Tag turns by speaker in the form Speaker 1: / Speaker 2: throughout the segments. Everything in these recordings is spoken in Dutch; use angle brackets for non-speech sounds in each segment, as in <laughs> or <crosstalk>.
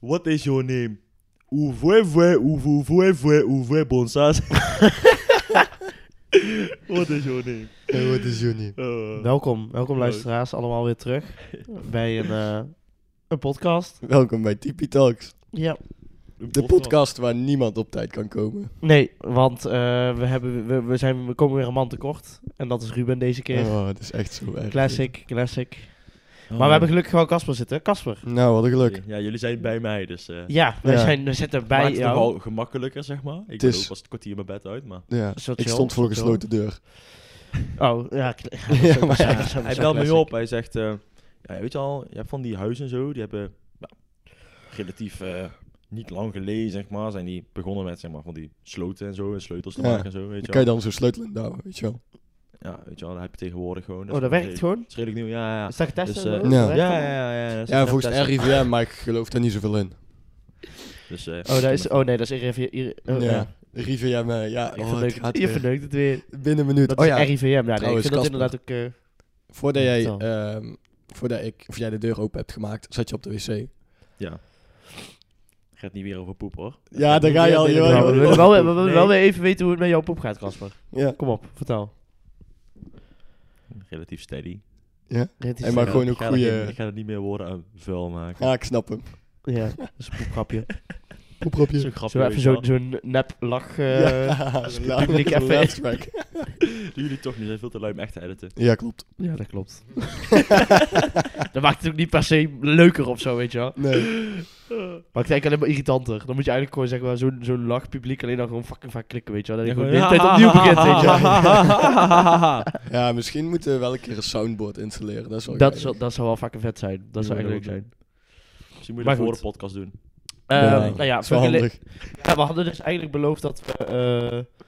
Speaker 1: What is your name? Ouvre, vrai, ouvre, vrai, vrai, ouvre, bon saas. What is your name?
Speaker 2: Hey, wat is Johnny?
Speaker 1: Eh,
Speaker 3: Welkom, welkom luisteraars, allemaal weer terug bij een, eh, een podcast.
Speaker 2: Welkom bij Tipi Talks.
Speaker 3: Ja.
Speaker 1: een
Speaker 2: De podcast waar niemand op tijd kan komen.
Speaker 3: Nee, want eh, we, hebben, we, we, zijn, we komen weer een man tekort. En dat is Ruben deze keer.
Speaker 2: Oh, het is echt zo erg.
Speaker 3: Classic, classic.
Speaker 1: Oh,
Speaker 3: Maar we hebben gelukkig gewoon Casper zitten. Casper.
Speaker 2: Nou, wat een geluk.
Speaker 1: Ja, jullie zijn bij mij, dus... eh
Speaker 3: Ja, we,
Speaker 2: Ja.
Speaker 3: Zijn, we zitten bij
Speaker 1: maakt het
Speaker 3: jou.
Speaker 1: nogal gemakkelijker, zeg maar. Ik ben
Speaker 2: is-
Speaker 1: ook pas een kwartier mijn bed uit, maar...
Speaker 2: Ja.
Speaker 3: Is dat
Speaker 2: Ik
Speaker 3: chill?
Speaker 2: stond voor een
Speaker 3: Chill.
Speaker 2: gesloten deur.
Speaker 3: Oh, ja. kl- <laughs>
Speaker 2: Ja,
Speaker 3: dat is ook
Speaker 2: maar
Speaker 3: zo-
Speaker 2: ja,
Speaker 3: dat is ook
Speaker 1: hij
Speaker 3: zo
Speaker 1: belt me
Speaker 3: classic.
Speaker 1: op. Hij zegt, eh, ja, weet je al, je hebt van die huizen en zo, die hebben nou, relatief eh, niet lang geleden, zeg maar, zijn die begonnen met, zeg maar, van die sloten en zo, en sleutels te
Speaker 2: Ja,
Speaker 1: maken en zo, weet
Speaker 2: Dan
Speaker 1: je
Speaker 2: kan je
Speaker 1: wel.
Speaker 2: dan zo'n sleutel in douwen, weet je wel.
Speaker 1: Ja, weet je wel, dat heb je tegenwoordig gewoon.
Speaker 3: Oh,
Speaker 1: is
Speaker 3: dat
Speaker 1: wel
Speaker 3: werkt
Speaker 1: redelijk-
Speaker 3: gewoon?
Speaker 1: Is redelijk nieuw, ja, ja.
Speaker 3: Is dat getest?
Speaker 1: Dus,
Speaker 3: en
Speaker 1: eh,
Speaker 3: zo?
Speaker 2: ja.
Speaker 3: Dat werkt
Speaker 1: Ja, ja,
Speaker 3: allemaal?
Speaker 1: ja. ja, dat is
Speaker 2: Ja,
Speaker 1: een
Speaker 2: volgens de
Speaker 1: test.
Speaker 2: RIVM, maar ik geloof daar niet zoveel in.
Speaker 1: Dus, eh,
Speaker 3: Oh, dat is, oh nee, dat is RIVM. hier- Oh, ja.
Speaker 2: Ja, RIVM, eh, ja, oh,
Speaker 3: Je
Speaker 2: het
Speaker 3: verneukt
Speaker 2: gaat
Speaker 3: het- je
Speaker 2: weer.
Speaker 3: verneukt het weer.
Speaker 2: Binnen een minuut.
Speaker 3: Dat
Speaker 2: Oh
Speaker 3: is
Speaker 2: ja,
Speaker 3: RIVM. Ja, nee, ik
Speaker 2: Trouwens,
Speaker 3: vind dat
Speaker 2: Casper.
Speaker 3: inderdaad ook... eh,
Speaker 2: voordat jij,
Speaker 3: Vertel.
Speaker 2: ehm, voordat ik, of jij de deur open hebt gemaakt, zat je op de wc.
Speaker 1: Ja. Gaat niet weer over poep, hoor.
Speaker 2: Ja, daar ga je al.
Speaker 1: Ja,
Speaker 2: je
Speaker 1: ja,
Speaker 2: wel-
Speaker 1: ja,
Speaker 3: Nou,
Speaker 2: je
Speaker 3: we
Speaker 1: ja,
Speaker 2: wel-
Speaker 3: willen wel, we willen
Speaker 1: Nee.
Speaker 3: wel weer even weten hoe het met jouw pop gaat, Casper.
Speaker 2: Ja,
Speaker 3: Kom op, vertel.
Speaker 1: Relatief steady.
Speaker 3: Dit is
Speaker 2: Hey, maar
Speaker 3: eh,
Speaker 2: gewoon
Speaker 1: Ik
Speaker 2: ook
Speaker 1: ga er geen-
Speaker 2: goede-
Speaker 1: Ik ga er niet meer woorden aan vuil maken.
Speaker 2: Ja, ik snap hem.
Speaker 3: Ja, dat is een
Speaker 2: <laughs>
Speaker 3: poepgrapje.
Speaker 1: Zo'n
Speaker 2: Poepropje.
Speaker 1: grapje,
Speaker 3: Zullen we
Speaker 1: weet
Speaker 3: even
Speaker 1: je
Speaker 3: zo'n
Speaker 1: wel.
Speaker 3: zo'n nep lach... eh,
Speaker 2: <laughs> Ja,
Speaker 3: dus
Speaker 2: laat-
Speaker 3: publiek even-
Speaker 2: laat weg.
Speaker 1: Doen <laughs> jullie toch niet, zijn veel te lui om echt te editen.
Speaker 2: Ja, klopt.
Speaker 3: <laughs> Ja, dat klopt. <laughs> dat maakt het ook niet per se leuker of zo, weet je wel.
Speaker 2: Nee.
Speaker 3: Maakt het eigenlijk alleen maar irritanter. Dan moet je eigenlijk gewoon zeg maar, zo'n zo'n lach publiek alleen dan gewoon fucking vaak klikken, weet je wel. Dat je gewoon de hele tijd opnieuw begint, weet je wel.
Speaker 2: <laughs>
Speaker 3: <laughs>
Speaker 2: Ja, misschien moeten we wel een keer een soundboard installeren. Dat is wel
Speaker 3: Dat
Speaker 2: geinig.
Speaker 3: zou, dat zou wel fucking vet zijn. Dat zou
Speaker 1: Ja,
Speaker 3: echt leuk
Speaker 1: dat
Speaker 3: zijn.
Speaker 1: Misschien moet je
Speaker 3: Maar
Speaker 1: dat voor
Speaker 3: goed.
Speaker 1: de podcast doen.
Speaker 3: Ehm,
Speaker 2: Ja.
Speaker 3: nou ja,
Speaker 2: Dat is wel
Speaker 3: voor jullie-
Speaker 2: handig.
Speaker 3: Ja, we hadden dus eigenlijk beloofd dat we eh,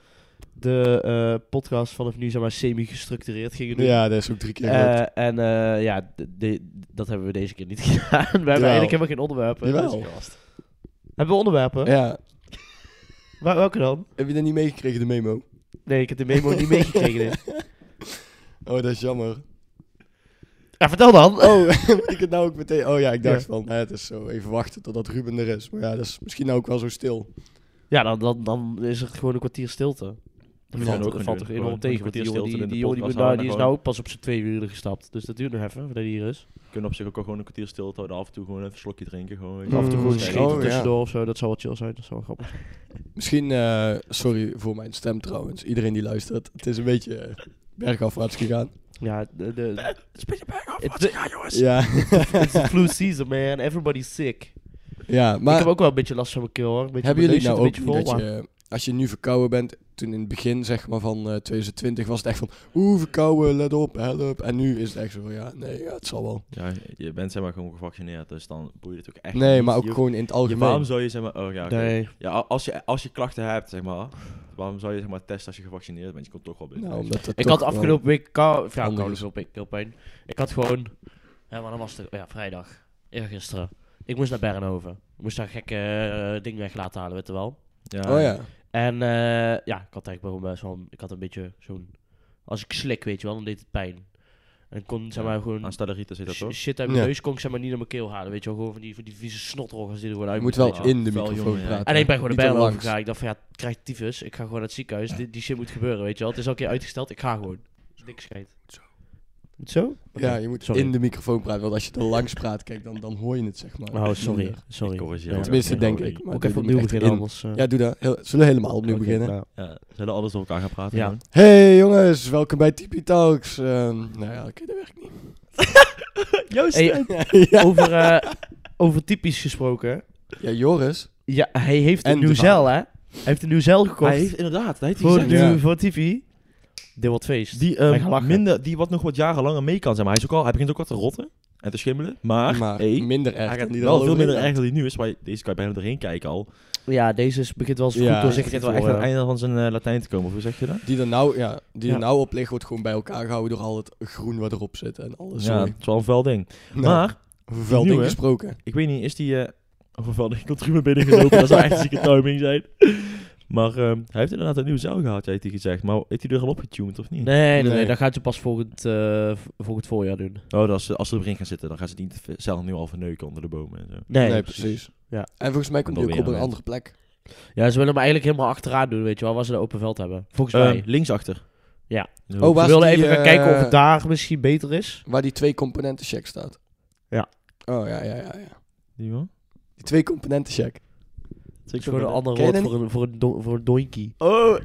Speaker 3: de eh, podcast vanaf nu zeg maar semi-gestructureerd gingen doen.
Speaker 2: Ja, dat is ook drie keer
Speaker 3: Eh,
Speaker 2: gelukt.
Speaker 3: en eh, ja, d- de- dat hebben we deze keer niet <laughs> gedaan. We hebben eigenlijk helemaal geen onderwerpen.
Speaker 2: Jawel.
Speaker 3: Hebben we onderwerpen?
Speaker 2: Ja,
Speaker 3: Waar- welke dan?
Speaker 2: heb je dat niet meegekregen, de memo?
Speaker 3: Nee, ik heb de memo
Speaker 2: <laughs>
Speaker 3: niet meegekregen. dit.
Speaker 2: Oh, dat is jammer.
Speaker 3: Ja, vertel dan.
Speaker 2: Oh, <laughs> moet ik het nou ook meteen... Oh ja, ik dacht
Speaker 3: Ja.
Speaker 2: van, hè, het is zo even wachten totdat Ruben er is. Maar ja, dat is misschien nou ook wel zo stil.
Speaker 3: Ja, dan, dan, dan is er gewoon een kwartier stilte. Dat
Speaker 2: Ja,
Speaker 3: valt,
Speaker 2: dat
Speaker 3: dat
Speaker 1: kunnen
Speaker 3: valt
Speaker 1: we
Speaker 3: er
Speaker 1: doen. Gewoon
Speaker 3: enorm tegen.
Speaker 1: een
Speaker 3: Want die
Speaker 1: kwartier
Speaker 3: jongen, die,
Speaker 1: stilte in de
Speaker 3: die, jongen die,
Speaker 1: podcast
Speaker 3: moet nou-
Speaker 1: houden
Speaker 3: die is
Speaker 1: en
Speaker 3: nou ook pas op zijn twee uur gestapt. Dus dat duurt nog even, voordat hij hier is.
Speaker 1: We kunnen op zich ook al gewoon een kwartier stil te houden. Af en toe gewoon even een slokje drinken. Gewoon, weet je
Speaker 3: Af en toe
Speaker 1: wel.
Speaker 3: gewoon
Speaker 2: Mm,
Speaker 1: Stijgen.
Speaker 3: schieten
Speaker 2: oh, ja.
Speaker 3: tussendoor of zo. Dat zou wel chill zijn. Dat zou wel grappig zijn.
Speaker 2: Misschien, eh, sorry voor mijn stem trouwens. Iedereen die luistert. Het is een beetje eh, bergafwaarts
Speaker 3: <laughs>
Speaker 2: gegaan.
Speaker 3: Ja, de, de,
Speaker 1: Het is een beetje bergaf.
Speaker 3: Het-
Speaker 1: Wat is er,
Speaker 3: <laughs>
Speaker 1: jongens?
Speaker 2: Ja,
Speaker 3: It's the flu season, man. Everybody's sick.
Speaker 2: ja
Speaker 3: ik
Speaker 2: maar
Speaker 3: heb ook wel een beetje last van mijn keel, hoor. Een beetje-
Speaker 2: hebben
Speaker 3: mijn
Speaker 2: jullie
Speaker 3: neus
Speaker 2: nou ook
Speaker 3: zit
Speaker 2: niet
Speaker 3: een beetje
Speaker 2: dat
Speaker 3: vol,
Speaker 2: je... eh, Als je nu verkouden bent, toen in het begin zeg maar van eh, 2020 was het echt van... Oeh, verkouden, let op, help. En nu is het echt zo van, ja, nee, ja, het zal wel.
Speaker 1: Ja, je bent zeg maar gewoon gevaccineerd. Dus dan boeit het ook echt
Speaker 2: Nee,
Speaker 1: niet.
Speaker 2: maar ook
Speaker 1: Je-
Speaker 2: gewoon in het
Speaker 1: je- Waarom
Speaker 2: algemeen.
Speaker 1: zou je zeg maar... Oh ja,
Speaker 3: maar-
Speaker 1: oké.
Speaker 3: Nee.
Speaker 1: Ja, a- als je, als je klachten hebt, zeg maar. Waarom zou je zeg maar testen als je gevaccineerd bent? Je komt toch wel binnen.
Speaker 2: Nou, omdat het
Speaker 3: Ik
Speaker 2: toch
Speaker 3: had
Speaker 2: wel-
Speaker 3: afgelopen week kou... Ja,
Speaker 2: Handig
Speaker 3: kou
Speaker 2: is.
Speaker 3: is op ik keelpijn. Ik had gewoon... Ja, maar dan was het... Ja, vrijdag. Eergisteren. Ik moest naar Bernhoven. Ik moest daar een gekke eh, ding weg laten halen, weet je wel.
Speaker 2: Oh ja.
Speaker 3: En eh, ja, ik had eigenlijk wel best wel... Ik had een beetje zo'n... Als ik slik, weet je wel, dan deed het pijn. En ik kon, zeg
Speaker 1: Ja,
Speaker 3: maar, gewoon...
Speaker 1: Aan Stellerita zit dat
Speaker 3: sh-
Speaker 1: toch?
Speaker 3: shit uit mijn
Speaker 2: Ja.
Speaker 3: neus kon ik zeg maar niet naar mijn keel halen. Weet je wel, gewoon van die, van die vieze snotroggers die er gewoon
Speaker 2: Je
Speaker 3: uit
Speaker 2: moet
Speaker 3: moeten,
Speaker 2: wel
Speaker 3: weet je
Speaker 2: in de
Speaker 1: wel,
Speaker 2: microfoon
Speaker 1: jongen, ja.
Speaker 2: praten.
Speaker 3: En ik ben gewoon
Speaker 2: Niet
Speaker 3: de
Speaker 2: te
Speaker 3: bijl
Speaker 2: langs.
Speaker 3: overgegaan. Ik dacht van ja, ik krijg tyfus. Ik ga gewoon naar het ziekenhuis. Die, die shit moet gebeuren, weet je wel. Het is al een keer uitgesteld. Ik ga gewoon. Dik schijt. Zo? Oké,
Speaker 2: Ja, je moet
Speaker 3: sorry.
Speaker 2: in de microfoon praten. Want als je te langs praat, kijk, dan, dan hoor je het zeg maar.
Speaker 3: Oh, sorry.
Speaker 2: Minder.
Speaker 3: Sorry.
Speaker 1: Ik corrigeer
Speaker 3: Ja.
Speaker 1: het.
Speaker 2: Tenminste,
Speaker 1: Ja,
Speaker 2: denk
Speaker 1: sorry.
Speaker 2: ik. maar
Speaker 3: Ook
Speaker 2: doe
Speaker 3: even
Speaker 2: er niet
Speaker 3: opnieuw
Speaker 2: echt
Speaker 3: beginnen
Speaker 2: in.
Speaker 3: anders. eh.
Speaker 2: Ja, doe dat. Heel, zullen we helemaal opnieuw
Speaker 3: Oké,
Speaker 2: beginnen? <laughs>
Speaker 3: nou.
Speaker 1: Ja, zullen alles door elkaar gaan praten?
Speaker 3: Ja.
Speaker 1: gewoon?
Speaker 2: Hey jongens, welkom bij Tipi Talks. Ehm, nou ja, oké, dat werkt niet.
Speaker 1: <laughs> Joost!
Speaker 3: Hey,
Speaker 2: <laughs> ja.
Speaker 3: over, eh, over typisch gesproken.
Speaker 2: ja, Joris.
Speaker 3: Ja, hij heeft
Speaker 2: En
Speaker 3: een
Speaker 2: de
Speaker 3: nieuw zeil, hè? Hij heeft een nieuw zeil gekocht.
Speaker 1: Hij heeft inderdaad, hij heeft die
Speaker 3: voor,
Speaker 1: gezegd.
Speaker 3: nu,
Speaker 2: Ja.
Speaker 3: voor TV. Dit wordt feest.
Speaker 1: Die
Speaker 3: Hij gaat
Speaker 1: ehm
Speaker 3: lachen.
Speaker 1: minder, die wat nog wat jaren langer mee kan zijn. Maar hij, is ook al, hij begint ook wat te rotten en te schimmelen. Maar,
Speaker 2: Maar
Speaker 1: hey,
Speaker 2: minder
Speaker 1: hij
Speaker 2: erg. dan
Speaker 1: gaat
Speaker 2: die er
Speaker 1: wel
Speaker 2: al
Speaker 1: veel minder
Speaker 2: overheen
Speaker 1: erg dan die nu is. Maar deze kan je bijna doorheen kijken al.
Speaker 3: Ja, deze is, begint wel eens
Speaker 2: Ja,
Speaker 3: goed
Speaker 1: Dus ik
Speaker 3: doorzichtig
Speaker 1: begint
Speaker 3: te
Speaker 1: wel echt aan het
Speaker 3: worden.
Speaker 1: einde van zijn eh, Latijn te komen. Of hoe zeg je dat?
Speaker 2: gaat. Die er nou, ja, die er
Speaker 3: Ja.
Speaker 2: nou op ligt, wordt gewoon bij elkaar gehouden door al het groen wat erop zit en alles.
Speaker 1: Ja,
Speaker 2: Sorry.
Speaker 1: het is wel een vuil ding.
Speaker 2: Nou,
Speaker 1: Maar,
Speaker 2: over vuil
Speaker 1: nieuwe-
Speaker 2: ding gesproken.
Speaker 1: ik weet niet, is die... eh over vuil ding, komt Ruben binnengelopen. dat zou echt een zieke timing zijn. Maar ehm, hij heeft inderdaad een nieuw zeil gehad, heeft hij gezegd. Maar heeft hij er al opgetuned of niet?
Speaker 3: Nee, nee, nee,
Speaker 2: Nee.
Speaker 3: dat gaat ze pas volgend, eh, v- volgend voorjaar doen.
Speaker 1: Oh, dat als, ze- als ze erin gaan zitten, dan gaan ze het niet v- zelf nu al verneuken onder de bomen en zo.
Speaker 3: Nee,
Speaker 2: nee, precies.
Speaker 3: Ja.
Speaker 2: En volgens mij komt
Speaker 1: Dan
Speaker 2: die ook
Speaker 1: weer
Speaker 2: op een
Speaker 1: een
Speaker 2: andere plek.
Speaker 3: Ja, ze willen hem eigenlijk helemaal achteraan doen, weet je wel, waar ze een open veld hebben. Volgens
Speaker 1: Ehm,
Speaker 3: mij.
Speaker 1: linksachter.
Speaker 3: Ja.
Speaker 1: Zo.
Speaker 2: Oh, wa-
Speaker 3: Ze
Speaker 2: was
Speaker 3: willen
Speaker 2: die,
Speaker 3: even gaan
Speaker 2: eh,
Speaker 3: kijken of het daar misschien beter is.
Speaker 2: Waar die twee componenten check staat.
Speaker 3: Ja.
Speaker 2: Oh ja, ja, ja. ja.
Speaker 1: Die man?
Speaker 2: Die twee componenten check.
Speaker 3: Dat is gewoon een ander
Speaker 2: Ken je
Speaker 3: woord
Speaker 2: dat
Speaker 3: voor een, voor een, don- voor een doinkie. <laughs>
Speaker 1: Oh,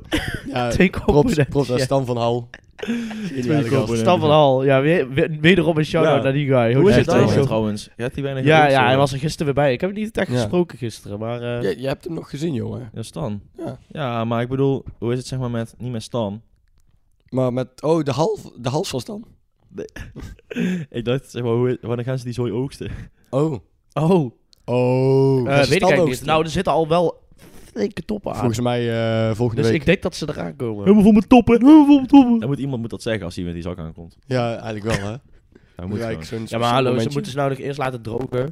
Speaker 2: Ja,
Speaker 3: Twee
Speaker 2: props,
Speaker 3: componenten.
Speaker 2: props aan
Speaker 3: ja.
Speaker 2: Stan van Hal. Geniale gast.
Speaker 1: componenten.
Speaker 3: Stam van Hal. Ja, weer, weer- wederom een shout-out
Speaker 1: Ja.
Speaker 3: naar die guy.
Speaker 1: hoe is
Speaker 3: Echt,
Speaker 1: het daar
Speaker 3: echt.
Speaker 1: nou trouwens? Je hebt die weinig
Speaker 3: Ja,
Speaker 1: gehoord,
Speaker 3: ja,
Speaker 1: eh.
Speaker 3: hij was er gisteren weer bij. Ik heb hem niet echt
Speaker 2: Ja.
Speaker 3: gesproken gisteren, maar... eh,
Speaker 2: Je, je hebt hem nog gezien, jongen.
Speaker 1: Ja, Stan.
Speaker 2: Ja.
Speaker 1: Ja, maar ik bedoel, hoe is het zeg maar met, niet met Stan.
Speaker 2: Maar met... Oh, de, half, de hals was dan.
Speaker 1: Ik dacht, zeg maar, hoe, wanneer gaan ze die zooi oogsten?
Speaker 2: Oh.
Speaker 3: Oh,
Speaker 2: Oh.
Speaker 3: eh, weet ik eigenlijk niet. Nou, er zitten al wel flinke toppen aan.
Speaker 2: Volgens mij eh, volgende
Speaker 3: Dus
Speaker 2: week.
Speaker 3: ik denk dat ze eraan komen.
Speaker 1: vol met toppen, helemaal vol met toppen. Dan moet iemand moet dat zeggen als hij met die zak aankomt.
Speaker 2: Ja, eigenlijk wel,
Speaker 3: <laughs>
Speaker 2: hè?
Speaker 1: Hij moet
Speaker 2: Ja,
Speaker 1: gewoon.
Speaker 2: ik zo'n-
Speaker 3: Ja, maar hallo, ze
Speaker 2: momentje.
Speaker 3: moeten ze nou nog eerst laten drogen.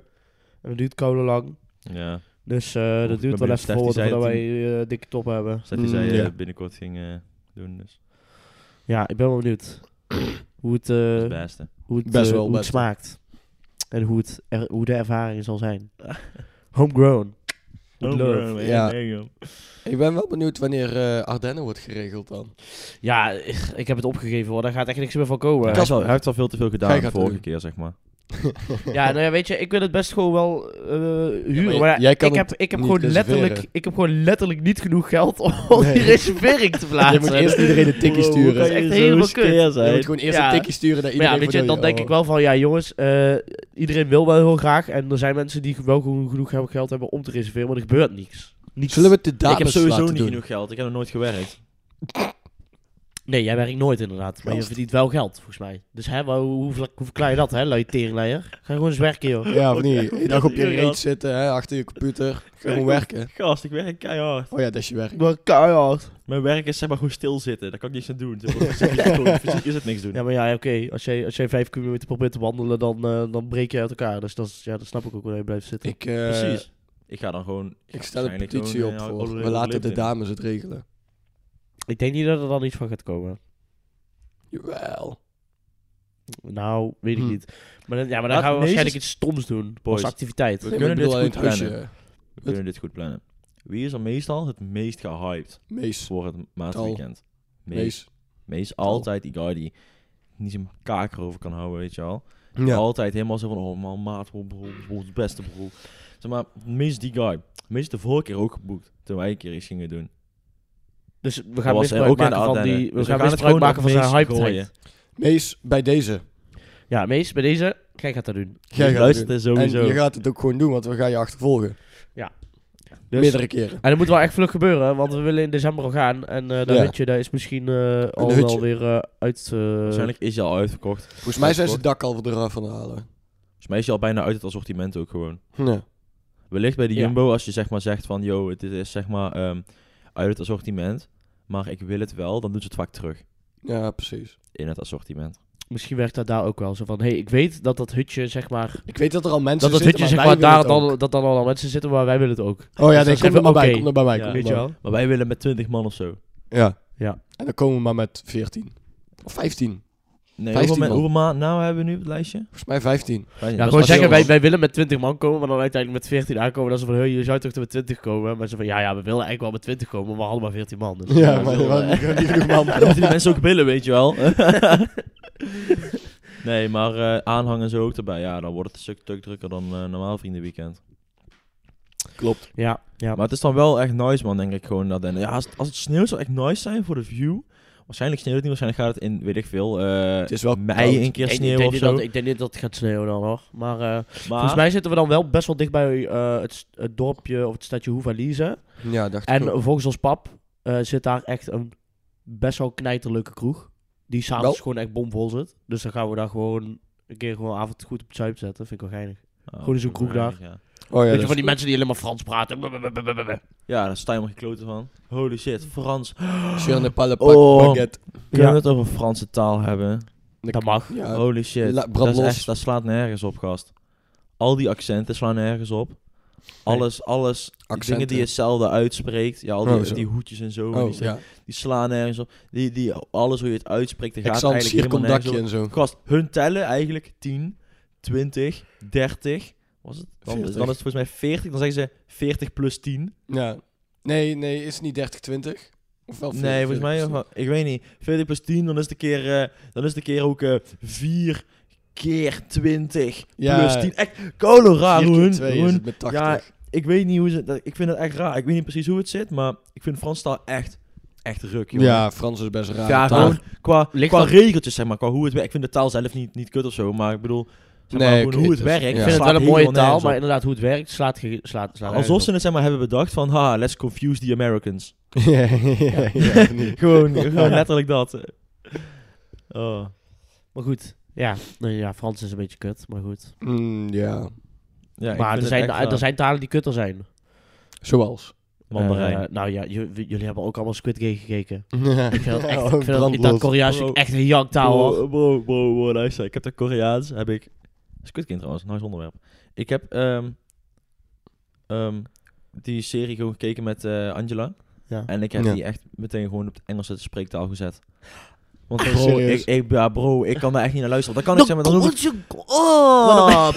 Speaker 3: En dat duurt kolen lang.
Speaker 1: Ja,
Speaker 3: Dus eh,
Speaker 1: ik ben
Speaker 3: dat duurt wel
Speaker 1: benieuwd.
Speaker 3: even
Speaker 1: Stef,
Speaker 3: voor
Speaker 1: die zei
Speaker 3: voordat
Speaker 1: dat
Speaker 3: wij eh, dikke top hebben.
Speaker 1: Stef die
Speaker 2: Mm,
Speaker 1: zei eh,
Speaker 2: ja.
Speaker 1: binnenkort ging eh, doen, dus
Speaker 3: Ja, ik ben wel benieuwd <clears throat> hoe het, eh,
Speaker 1: dat is het beste.
Speaker 3: hoe het,
Speaker 2: Best
Speaker 3: eh,
Speaker 2: wel
Speaker 3: hoe het
Speaker 2: best.
Speaker 3: smaakt. En hoe, het er- hoe de ervaring zal zijn. Homegrown. With love.
Speaker 1: man,
Speaker 2: Ja.
Speaker 1: nee, joh.
Speaker 2: Ik ben wel benieuwd wanneer eh Ardennen wordt geregeld dan.
Speaker 3: Ja, ik, ik heb het opgegeven hoor. Daar gaat echt niks meer van komen.
Speaker 1: Hij,
Speaker 2: Kas-
Speaker 1: heeft al, hij heeft al veel te veel gedaan
Speaker 2: Gij
Speaker 1: de
Speaker 2: gaat
Speaker 1: vorige
Speaker 2: doen.
Speaker 1: keer, zeg maar.
Speaker 3: Ja, nou ja, weet je, ik wil het best gewoon wel eh, huren.
Speaker 2: maar j-
Speaker 3: maar ja,
Speaker 2: jij kan
Speaker 3: ik, heb,
Speaker 2: het
Speaker 3: ik, heb
Speaker 2: niet
Speaker 3: gewoon
Speaker 2: reserveren.
Speaker 3: letterlijk, ik heb gewoon letterlijk niet genoeg geld
Speaker 2: <laughs>
Speaker 3: om
Speaker 2: Nee.
Speaker 3: die reservering te
Speaker 2: <laughs> je
Speaker 3: plaatsen.
Speaker 2: moet eerst iedereen een tikkie
Speaker 1: Wow,
Speaker 2: sturen.
Speaker 1: hoe kan
Speaker 3: echt
Speaker 1: je zo
Speaker 3: helemaal kut.
Speaker 1: skeer
Speaker 2: Je
Speaker 1: zijn?
Speaker 2: moet gewoon eerst
Speaker 3: Ja.
Speaker 2: een tikkie sturen naar
Speaker 3: Maar ja,
Speaker 2: iedereen.
Speaker 3: weet je, dan denk ik
Speaker 2: Oh.
Speaker 3: wel van, ja jongens, eh, iedereen wil wel heel graag. En er zijn mensen die wel gewoon genoeg hebben- geld hebben om te reserveren, maar er gebeurt niks. niks.
Speaker 2: Zullen we het de
Speaker 1: Ik
Speaker 2: dames
Speaker 1: heb sowieso
Speaker 2: laten
Speaker 1: niet
Speaker 2: doen?
Speaker 1: genoeg geld, ik heb nog nooit gewerkt.
Speaker 3: Nee, jij werkt nooit inderdaad, maar je
Speaker 2: Gast.
Speaker 3: verdient wel geld, volgens mij. Dus hè, maar hoe, hoe, verkla- hoe verklaar je dat, hè, luie teringleier? Ga gewoon eens werken, joh.
Speaker 2: Ja, of niet?
Speaker 1: Oké,
Speaker 2: Je <laughs> dag op je
Speaker 1: dat is
Speaker 2: reet
Speaker 1: gast.
Speaker 2: zitten, hè, achter je computer.
Speaker 1: Ja,
Speaker 2: Gewoon
Speaker 1: ik-
Speaker 2: werken.
Speaker 1: <laughs> Gast, ik werk keihard.
Speaker 2: Oh ja, dat is je werk.
Speaker 3: Maar keihard.
Speaker 1: Mijn werk is zeg maar gewoon stilzitten, daar kan ik niks aan doen. Zeg maar, Fysiek
Speaker 2: <laughs>
Speaker 1: is het gewoon- fysiek is het niks doen.
Speaker 3: Ja, maar ja, oké, als, jij, als jij vijf kilometer probeert te wandelen, dan, eh, dan breek je uit elkaar. Dus dat, is- ja, dat snap ik ook wel, je blijft zitten.
Speaker 2: Ik, eh,
Speaker 1: Precies. Ik ga dan gewoon...
Speaker 2: ik stel een
Speaker 1: waarschijnlijk
Speaker 2: petitie
Speaker 1: gewoon,
Speaker 2: op
Speaker 1: eh,
Speaker 2: voor.
Speaker 1: alle-
Speaker 2: We
Speaker 1: alle
Speaker 2: laten de
Speaker 1: LinkedIn.
Speaker 2: dames het regelen.
Speaker 3: Ik denk niet dat er dan iets van gaat komen.
Speaker 2: Jawel.
Speaker 3: Nou, weet ik
Speaker 2: Hm.
Speaker 3: niet. Maar dan, ja, maar dan
Speaker 1: Laat-
Speaker 3: gaan we
Speaker 1: nee,
Speaker 3: waarschijnlijk iets stoms doen,
Speaker 1: Boys.
Speaker 3: als activiteit.
Speaker 1: We
Speaker 2: Nee, maar
Speaker 1: kunnen
Speaker 2: ik
Speaker 1: dit
Speaker 2: bedoel
Speaker 1: goed
Speaker 2: alleen het
Speaker 1: plannen.
Speaker 2: pushen.
Speaker 1: We kunnen dit goed plannen. Wie is er meestal het meest gehyped
Speaker 2: Mees.
Speaker 1: voor het maandweekend? Meest.
Speaker 2: Mees.
Speaker 1: Meest altijd die guy die niet zijn kaak erover kan houden, weet je wel.
Speaker 2: Ja.
Speaker 1: Altijd helemaal zo van, oh man, maat, bro, bro, bro, het beste bro. Zeg maar, meest die guy. Meest de vorige keer ook geboekt, toen wij een keer iets gingen doen.
Speaker 3: Dus we
Speaker 1: Dat
Speaker 3: gaan
Speaker 1: was, eh,
Speaker 3: misbruik
Speaker 1: ook in de
Speaker 3: maken van
Speaker 1: Ardennen.
Speaker 3: die... We
Speaker 1: Dus we
Speaker 3: gaan
Speaker 1: gaan het
Speaker 3: misbruik
Speaker 1: gewoon
Speaker 3: maken van
Speaker 1: op
Speaker 3: zijn
Speaker 1: Mees
Speaker 3: hype
Speaker 1: gooien.
Speaker 2: Mees, bij deze.
Speaker 3: Ja, meest bij deze, jij gaat dat doen.
Speaker 2: Jij
Speaker 1: Dus
Speaker 2: gaat
Speaker 1: luister
Speaker 2: het
Speaker 1: het sowieso.
Speaker 2: En je gaat het ook gewoon doen, want we gaan je achtervolgen.
Speaker 3: Dus,
Speaker 2: Meerdere keren.
Speaker 3: En dat moet wel echt vlug gebeuren, want we willen in december al gaan. En eh dan
Speaker 2: Ja.
Speaker 3: weet je, daar is misschien eh, al
Speaker 2: hutje.
Speaker 3: wel weer eh, uit... eh,
Speaker 1: Waarschijnlijk is hij al uitverkocht.
Speaker 2: Volgens mij zijn ze het dak al eraf van halen.
Speaker 1: Volgens mij is hij al bijna uit het assortiment ook gewoon.
Speaker 2: Ja.
Speaker 1: Wellicht bij de
Speaker 3: Ja.
Speaker 1: Jumbo, als je zeg maar zegt van, yo, dit is zeg maar ehm, uit het assortiment, maar ik wil het wel, dan doen ze het vaak terug
Speaker 2: Ja, precies.
Speaker 1: in het assortiment.
Speaker 3: misschien werkt dat daar ook wel zo van. hey, ik weet dat dat hutje, zeg maar...
Speaker 2: Ik weet dat er al mensen
Speaker 3: Dat dat
Speaker 2: zitten,
Speaker 3: hutje, zeg
Speaker 2: maar
Speaker 3: maar,
Speaker 2: wij
Speaker 3: daar
Speaker 2: willen het
Speaker 3: dan, dat dan al mensen zitten, maar wij willen het
Speaker 2: ook.
Speaker 3: ook.
Speaker 2: Oh ja,
Speaker 3: Dus
Speaker 2: nee,
Speaker 3: dan
Speaker 2: kom er
Speaker 3: zeggen
Speaker 2: maar
Speaker 3: we,
Speaker 2: bij,
Speaker 3: oké.
Speaker 2: kom er maar bij.
Speaker 1: Ja,
Speaker 2: kom er
Speaker 3: weet je
Speaker 2: maar
Speaker 3: wel?
Speaker 1: Maar wij willen met 20 man of zo.
Speaker 2: bij. Ja.
Speaker 3: Ja.
Speaker 2: En dan komen we maar met 14. Of 15.
Speaker 1: Nee,
Speaker 2: 15
Speaker 1: hoeveel, ma-
Speaker 2: man.
Speaker 1: hoeveel ma- nou hebben we nu op het lijstje?
Speaker 2: Volgens mij 15.
Speaker 1: Wij-
Speaker 3: Ja,
Speaker 1: dat
Speaker 3: gewoon
Speaker 1: is-
Speaker 3: zeggen,
Speaker 2: heel
Speaker 3: wij,
Speaker 2: lang.
Speaker 3: wij willen met 20 man komen, maar dan uiteindelijk met 14 aankomen. Dat ze van, hey, je zou toch met 20 komen? Maar ze van, ja, ja, we willen eigenlijk wel met 20 komen, maar we hadden maar 14 man. Dus,
Speaker 2: Ja,
Speaker 3: dat
Speaker 2: maar
Speaker 3: is wel,
Speaker 2: maar
Speaker 3: eh,
Speaker 2: niet niet genoeg
Speaker 1: <laughs>
Speaker 2: man.
Speaker 1: Dan moeten die mensen ook willen, weet je wel. <laughs> nee, maar eh aanhang en zo ook erbij. Ja, dan wordt het een stuk, stuk drukker dan eh, normaal vriendenweekend.
Speaker 2: Klopt.
Speaker 3: Ja, ja.
Speaker 1: Maar het is dan wel echt nice, man, denk ik gewoon. Dat, en, ja, als, het- als het sneeuwt zou echt nice zijn voor de view. Waarschijnlijk sneeuwt het niet, waarschijnlijk gaat het in, weet ik veel, eh,
Speaker 2: Het is wel
Speaker 1: mei
Speaker 2: koud.
Speaker 1: een keer
Speaker 3: Ik denk-
Speaker 1: sneeuw
Speaker 3: ik denk
Speaker 1: of
Speaker 3: niet
Speaker 1: zo.
Speaker 3: Dat, ik denk niet dat het gaat sneeuwen dan hoor. Maar, eh, volgens
Speaker 1: maar
Speaker 3: mij zitten we dan wel best wel dicht bij eh, het, s- het dorpje of het stadje Hoevalise.
Speaker 2: Ja, dacht ik
Speaker 3: En
Speaker 2: ook.
Speaker 3: volgens ons pap eh, zit daar echt een best wel knijterlijke kroeg. Die
Speaker 2: Wel.
Speaker 3: s'avonds gewoon echt bomvol zit. Dus dan gaan we daar gewoon een keer gewoon avond goed op het zuip zetten. Vind ik wel geinig.
Speaker 1: Oh,
Speaker 3: gewoon in zo'n kroeg daar.
Speaker 1: Ja.
Speaker 2: Oh ja,
Speaker 3: Weet
Speaker 2: dat
Speaker 3: je,
Speaker 2: is
Speaker 3: van die mensen die alleen maar Frans praten. Blablabla.
Speaker 1: ja, daar sta je maar gekloten van. Holy shit, Frans.
Speaker 2: goed. Sfeer in <gasps> de palle-
Speaker 1: Oh.
Speaker 2: baguette.
Speaker 1: Kunnen
Speaker 3: Ja.
Speaker 1: we het over Franse taal hebben?
Speaker 3: Dat mag.
Speaker 2: Ja,
Speaker 1: Holy shit.
Speaker 2: la- brand
Speaker 1: dat, is
Speaker 2: los.
Speaker 1: echt, dat slaat nergens op, gast. Al die accenten slaan nergens op. Alles, alles. die Dingen die je zelden uitspreekt. Ja, al die,
Speaker 2: Oh, zo.
Speaker 1: die hoedjes en zo. en
Speaker 2: Oh,
Speaker 1: die,
Speaker 2: ja.
Speaker 1: die slaan nergens op. Die, die, alles hoe je het uitspreekt, dat gaat
Speaker 2: Exant,
Speaker 1: eigenlijk helemaal nergens
Speaker 2: circondakje
Speaker 1: op.
Speaker 2: en zo.
Speaker 1: Gast, hun tellen eigenlijk 10, 20, 30. Was het? Dan,
Speaker 2: 40.
Speaker 1: dan is het volgens mij 40. Dan zeggen ze 40 plus 10.
Speaker 2: Ja. Nee, nee, is het niet 30, 20? Of wel 40,
Speaker 1: nee, volgens mij,
Speaker 2: 40?
Speaker 1: ik weet niet. 40 plus 10, dan is de keer, eh, dan is de keer ook eh 4 keer 20
Speaker 2: Ja.
Speaker 1: plus 10. Echt, Colorado,
Speaker 2: Vier keer
Speaker 1: hun,
Speaker 2: twee is
Speaker 1: hun-
Speaker 2: het met 80.
Speaker 1: Ja, ik weet niet hoe ze, dat- ik vind het echt raar. Ik weet niet precies hoe het zit, maar ik vind Frans taal echt, echt ruk, jongen.
Speaker 2: Ja, Frans is best raar.
Speaker 1: Ja,
Speaker 2: taal.
Speaker 1: gewoon qua,
Speaker 3: Ligt
Speaker 1: qua
Speaker 3: dat-
Speaker 1: regeltjes, zeg maar, qua hoe het werkt. Ik vind de taal zelf niet, niet kut of zo, maar ik bedoel, zeg maar,
Speaker 2: Nee,
Speaker 1: gewoon
Speaker 2: oké,
Speaker 1: hoe het
Speaker 2: dus-
Speaker 1: werkt.
Speaker 2: ik
Speaker 3: Ik
Speaker 2: Ja.
Speaker 3: vind het wel een
Speaker 1: slaat
Speaker 3: mooie
Speaker 1: helemaal
Speaker 3: taal,
Speaker 1: nergens
Speaker 3: maar
Speaker 1: op.
Speaker 3: inderdaad hoe het werkt slaat... ge- slaat, slaat
Speaker 1: Alsof
Speaker 3: nergens
Speaker 1: ze
Speaker 3: op.
Speaker 1: het zeg maar, hebben bedacht van, ha, let's confuse the Americans.
Speaker 2: <laughs> ja, ja,
Speaker 3: <laughs>
Speaker 2: ja, nee.
Speaker 1: <laughs>
Speaker 2: <laughs>
Speaker 1: gewoon, gewoon letterlijk dat. Oh.
Speaker 3: Maar goed, ja. Nee, ja, Frans is een beetje kut, maar goed.
Speaker 2: Mm, ja,
Speaker 1: Ja, ik
Speaker 3: maar
Speaker 1: vind
Speaker 3: er
Speaker 1: het
Speaker 3: zijn,
Speaker 1: echt raar.
Speaker 3: er zijn talen die kutter zijn.
Speaker 2: zoals.
Speaker 1: Mandarijn.
Speaker 3: Eh, nou ja, j- j- jullie hebben ook allemaal Squid Game
Speaker 1: <laughs>
Speaker 3: gekeken. Ik vind dat, echt,
Speaker 2: Oh,
Speaker 3: ik vind dat, dat
Speaker 2: brandlos.
Speaker 3: Koreaans
Speaker 1: Bro.
Speaker 3: vind ik echt een janktaal hoor.
Speaker 1: Bro, bro, bro, bro, luister. Ik heb dat Koreaans, heb ik... Squid Game trouwens, nice onderwerp. Ik heb ehm, ehm, die serie gewoon gekeken met eh, Angela.
Speaker 3: Ja.
Speaker 1: En ik heb
Speaker 2: Ja.
Speaker 1: die echt meteen gewoon op het Engelse spreektaal gezet. Want
Speaker 2: Ah,
Speaker 1: bro,
Speaker 2: serieus?
Speaker 1: ik, ik, ja, bro, ik kan daar echt niet naar luisteren. Dan kan ik zeg maar, dan hoef ik...
Speaker 3: Oh,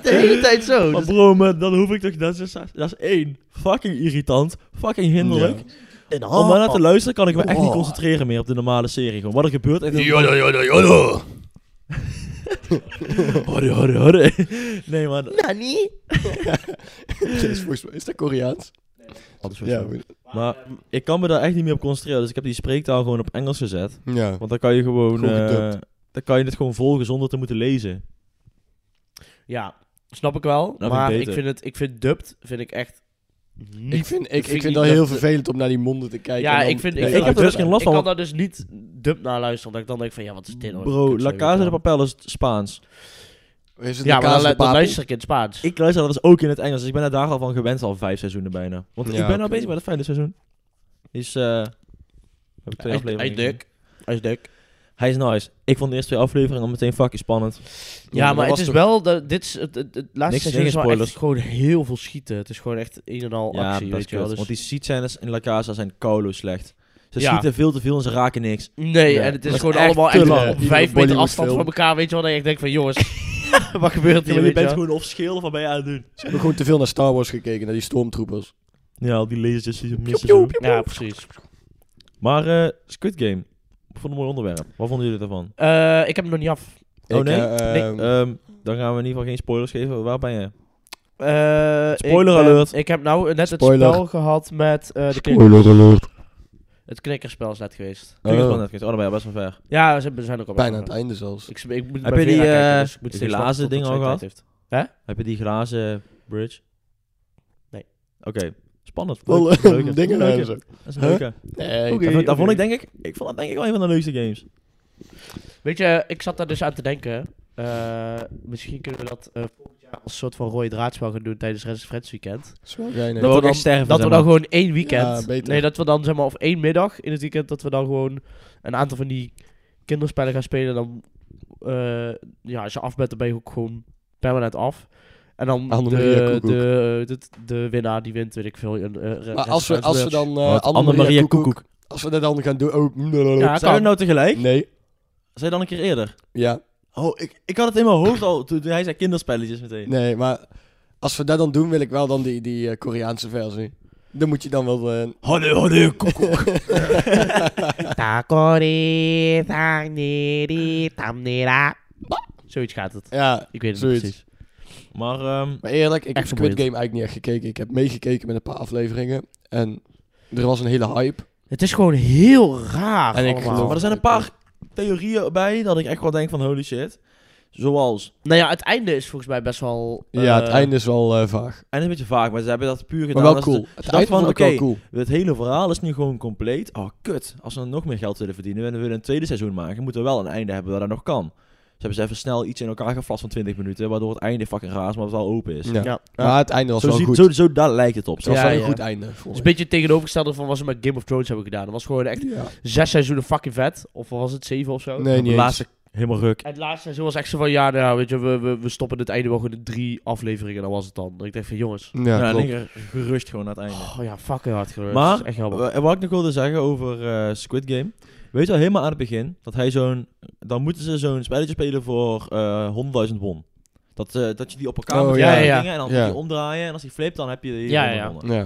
Speaker 3: <laughs> de hele tijd zo.
Speaker 1: Maar bro, man, dan hoef ik toch... Dat is, dat is één. Fucking irritant. Fucking hinderlijk.
Speaker 2: Ja.
Speaker 3: Nou,
Speaker 1: Om daarna te luisteren kan ik me echt niet
Speaker 2: Oh.
Speaker 1: concentreren meer op de normale serie. Gewoon wat er gebeurt. Echt, <laughs>
Speaker 2: Jodda, jodda, <laughs> jodda.
Speaker 1: Horre, horre, horre. Nee, man.
Speaker 3: Nani?
Speaker 2: Dat is volgens mij- Is dat Koreaans? Ja, we-
Speaker 1: Maar ik kan me daar echt niet meer op concentreren. Dus ik heb die spreektaal gewoon op Engels gezet.
Speaker 2: ja.
Speaker 1: Want dan kan je gewoon...
Speaker 2: Goed
Speaker 1: eh,
Speaker 2: gedubt.
Speaker 1: dan kan je het gewoon volgen zonder te moeten lezen.
Speaker 3: Ja, snap ik wel.
Speaker 1: vind ik
Speaker 3: maar ik
Speaker 1: beter.
Speaker 3: Nou, vind, het, ik vind dubbed vind ik echt niet...
Speaker 2: Ik vind, ik,
Speaker 3: vind
Speaker 2: ik
Speaker 3: niet
Speaker 2: vind dat
Speaker 3: dat
Speaker 2: heel
Speaker 3: de-
Speaker 2: vervelend om naar die monden te kijken. en
Speaker 3: ja,
Speaker 2: dan-
Speaker 3: ik vind...
Speaker 1: Nee,
Speaker 3: ik, vind
Speaker 1: ik heb
Speaker 3: dat-
Speaker 1: er dus geen last
Speaker 3: Ik
Speaker 1: van,
Speaker 3: kan daar dus niet dubbed naar luisteren. Omdat ik dan denk van, ja, wat is dit nou? voor
Speaker 1: Bro,
Speaker 3: kut,
Speaker 1: La
Speaker 3: zo,
Speaker 1: Casa de
Speaker 3: weet je
Speaker 1: Papel is Spaans.
Speaker 2: Is het
Speaker 3: wel. Ja,
Speaker 2: een
Speaker 3: maar dan,
Speaker 2: kaas
Speaker 3: lu-
Speaker 2: de
Speaker 3: dan
Speaker 2: papel?
Speaker 3: luister ik in het Spaans.
Speaker 1: Ik luister dat dus ook in het Engels. Dus ik ben daar daar al van gewend al vijf seizoenen bijna. Want
Speaker 2: Ja,
Speaker 1: ik ben al
Speaker 2: oké.
Speaker 1: bezig met het vijfde seizoen. Is... eh heb ik twee
Speaker 3: Hij is- hij is
Speaker 1: afleveringen gezien.
Speaker 3: dik. Hij is dik.
Speaker 1: Hij is nice. Ik vond de eerste twee afleveringen al meteen fucking spannend.
Speaker 3: Ja,
Speaker 2: dat
Speaker 3: maar het
Speaker 2: was
Speaker 3: is
Speaker 2: toch-
Speaker 3: wel... de- dit is, het, het, het laatste
Speaker 1: Niks-
Speaker 3: seizoen
Speaker 1: geen
Speaker 3: is wel
Speaker 1: spoilers.
Speaker 3: echt gewoon heel veel schieten. Het is gewoon echt een en al
Speaker 1: Ja,
Speaker 3: actie,
Speaker 1: best
Speaker 3: weet je wel.
Speaker 1: kut.
Speaker 3: Dus-
Speaker 1: Want die seatscènes in La Casa zijn kolo slecht. Ze
Speaker 3: Ja.
Speaker 1: schieten veel te veel en ze raken niks.
Speaker 3: Nee,
Speaker 2: Ja.
Speaker 3: en het is
Speaker 1: Dat is
Speaker 3: gewoon
Speaker 1: echt
Speaker 3: allemaal
Speaker 1: te
Speaker 3: echt
Speaker 1: lang.
Speaker 3: op
Speaker 2: Iedere
Speaker 3: vijf meter
Speaker 2: Bollywood
Speaker 3: afstand
Speaker 2: film.
Speaker 3: van elkaar, weet je wel. Dat ik denk van,
Speaker 1: <laughs>
Speaker 3: jongens, <laughs> wat gebeurt
Speaker 1: Ja,
Speaker 3: hier,
Speaker 1: maar je
Speaker 3: weet je
Speaker 1: bent
Speaker 3: wel?
Speaker 1: gewoon of scheel of wat ben je aan het doen?
Speaker 2: Ik heb gewoon te veel naar Star Wars gekeken, naar die stormtroopers.
Speaker 1: Ja, al die lasertjes die ze missen. zo.
Speaker 3: Ja, precies.
Speaker 1: Maar eh, Squid Game. Ik vond het een mooi onderwerp. Wat vonden jullie daarvan?
Speaker 3: Eh, ik heb hem nog niet af.
Speaker 1: Oh,
Speaker 2: Ik,
Speaker 1: nee?
Speaker 2: eh,
Speaker 3: Nee.
Speaker 2: ehm,
Speaker 1: Ehm, dan gaan we in ieder geval geen spoilers geven. Waar ben je?
Speaker 3: Eh,
Speaker 1: Spoiler
Speaker 3: ik ben-
Speaker 1: alert.
Speaker 3: Ik heb nou net
Speaker 2: Spoiler.
Speaker 3: het spel gehad met eh, de knik-
Speaker 2: Spoiler alert.
Speaker 3: het knikkerspel is net geweest.
Speaker 1: Ik heb
Speaker 2: Eh.
Speaker 1: het wel net gezien. Oh, dan ben je best wel ver.
Speaker 3: Ja, we zijn, we zijn ook al
Speaker 2: Bijna
Speaker 3: best
Speaker 2: het
Speaker 3: wel-
Speaker 2: einde zelfs.
Speaker 3: Ik, ik moet
Speaker 1: Heb
Speaker 3: bij
Speaker 1: je die,
Speaker 3: Vera kijken,
Speaker 1: eh,
Speaker 3: dus ik moet
Speaker 1: die
Speaker 3: steeds
Speaker 1: glazen
Speaker 3: wachten tot
Speaker 1: dingen
Speaker 3: zij
Speaker 1: al
Speaker 3: tijd
Speaker 1: gehad?
Speaker 3: heeft.
Speaker 1: Heb je die glazen bridge?
Speaker 3: Nee.
Speaker 1: Oké. Spannend.
Speaker 2: Wel,
Speaker 1: Leuk.
Speaker 2: ehm,
Speaker 1: Leuke.
Speaker 2: <laughs> dingen
Speaker 1: Leuke.
Speaker 2: en zo.
Speaker 1: Dat is een
Speaker 2: Huh?
Speaker 1: leuke.
Speaker 2: Nee,
Speaker 3: Oké.
Speaker 1: Dat vond- Dat vond ik
Speaker 3: oké.
Speaker 1: denk ik... Ik vond dat denk ik wel een van de leukste games.
Speaker 3: Weet je, ik zat daar dus aan te denken. eh, misschien kunnen we dat eh, volgend jaar als soort van rode draadspel gaan doen tijdens Rest Friends weekend.
Speaker 2: Zwaar, jij, nee.
Speaker 1: Dat we ook
Speaker 3: dan-
Speaker 1: echt sterven.
Speaker 3: Dat we
Speaker 1: zeg
Speaker 3: dan
Speaker 1: maar.
Speaker 3: gewoon één weekend.
Speaker 2: Ja, beter.
Speaker 3: Nee, dat we dan zeg maar, of één middag in het weekend, dat we dan gewoon een aantal van die kinderspellen gaan spelen. Dan, eh, ja, als je af bent, dan ben je ook gewoon permanent af. En dan de,
Speaker 2: Annemaria
Speaker 3: de,
Speaker 2: Koekoek.
Speaker 3: de, de winnaar, die wint, weet ik veel. Een, eh, re-
Speaker 2: Maar als we,
Speaker 3: restaurant
Speaker 2: als we
Speaker 3: merch.
Speaker 2: dan... eh,
Speaker 1: Wat?
Speaker 2: Anne-Maria
Speaker 1: Anne-Maria
Speaker 2: Koekoek.
Speaker 1: Koekoek.
Speaker 2: Als we dat dan gaan doen... Oh,
Speaker 3: Ja,
Speaker 1: Zijn we
Speaker 3: kan.
Speaker 1: nou tegelijk?
Speaker 2: Nee.
Speaker 1: Zijn we dan een keer eerder?
Speaker 2: Ja.
Speaker 1: Oh, ik, ik had het in mijn hoofd al toen toen hij zei kinderspelletjes meteen.
Speaker 2: Nee, maar... Als we dat dan doen, wil ik wel dan die, die eh, Koreaanse versie. Dan moet je dan wel... eh,
Speaker 1: Hallo, hallo, koekoek.
Speaker 3: Takori, tangneri, tamnera. Zoiets gaat het.
Speaker 2: <laughs> ja,
Speaker 3: Ik weet het
Speaker 2: Zoiets.
Speaker 3: niet precies.
Speaker 1: Maar ehm,
Speaker 2: Maar eerlijk, ik heb
Speaker 3: Echt
Speaker 2: Squid
Speaker 3: vermoeiend.
Speaker 2: Game eigenlijk niet echt gekeken. Ik heb meegekeken met een paar afleveringen. En er was een hele hype.
Speaker 3: Het is gewoon heel raar
Speaker 2: En ik
Speaker 3: allemaal.
Speaker 2: geloof-
Speaker 1: maar er zijn een paar theorieën bij dat ik echt wel denk van holy shit. Zoals,
Speaker 3: Nou ja, het einde is volgens mij best wel... eh,
Speaker 2: ja, het einde is wel eh, vaag.
Speaker 1: en is een beetje vaak, maar ze hebben dat puur gedaan.
Speaker 2: Maar wel
Speaker 1: als
Speaker 2: cool.
Speaker 1: Ze, ze
Speaker 2: Het
Speaker 1: dachten
Speaker 2: einde
Speaker 1: van,
Speaker 2: vond
Speaker 1: oké,
Speaker 2: ik wel cool.
Speaker 1: het hele verhaal is nu gewoon compleet. Oh, kut. Als we nog meer geld willen verdienen en we willen een tweede seizoen maken, moeten we wel een einde hebben dat dat nog kan. Ze hebben ze even snel iets in elkaar gevast van 20 minuten, waardoor het einde fucking raar is, maar het wel open is.
Speaker 2: Ja.
Speaker 3: Ja.
Speaker 2: Maar het einde was
Speaker 1: Zo,
Speaker 2: wel
Speaker 1: ziet,
Speaker 2: goed.
Speaker 1: zo, zo daar lijkt het op.
Speaker 2: Het was
Speaker 3: Ja,
Speaker 2: wel een
Speaker 3: ja.
Speaker 2: goed einde. volgens
Speaker 3: Het is een beetje het tegenovergestelde van wat ze met Game of Thrones hebben gedaan. Dat was gewoon echt
Speaker 2: mij. Ja.
Speaker 3: zes seizoenen fucking vet. Of wat was het, zeven of zo?
Speaker 2: Nee,
Speaker 1: de
Speaker 2: niet eens.
Speaker 1: laatste Helemaal ruk.
Speaker 3: En het laatste seizoen was echt zo van, ja, nou, weet je, we, we, we stoppen het einde wel gewoon in drie afleveringen. En dan was het dan. Dat Ik dacht van, jongens,
Speaker 2: Ja,
Speaker 1: nou,
Speaker 2: klopt.
Speaker 1: lekker gerust gewoon naar het einde.
Speaker 3: oh ja, fucking hard gebeurd.
Speaker 1: Maar-
Speaker 3: Dat is echt jammer.
Speaker 1: Eh, Wa- Wat ik nog wilde zeggen over eh, Squid Game. Weet je al helemaal aan het begin dat hij zo'n. Dan moeten ze zo'n spelletje spelen voor eh 100.000 won. Dat, eh, dat je die op elkaar
Speaker 2: Oh,
Speaker 1: moet
Speaker 2: ja,
Speaker 1: leggen
Speaker 3: ja, ja.
Speaker 1: dingen en dan
Speaker 2: Ja.
Speaker 1: moet je omdraaien. En als die flipt, dan heb je die
Speaker 3: Ja,
Speaker 1: ronde
Speaker 3: ja.
Speaker 1: gewonnen.
Speaker 2: Ja,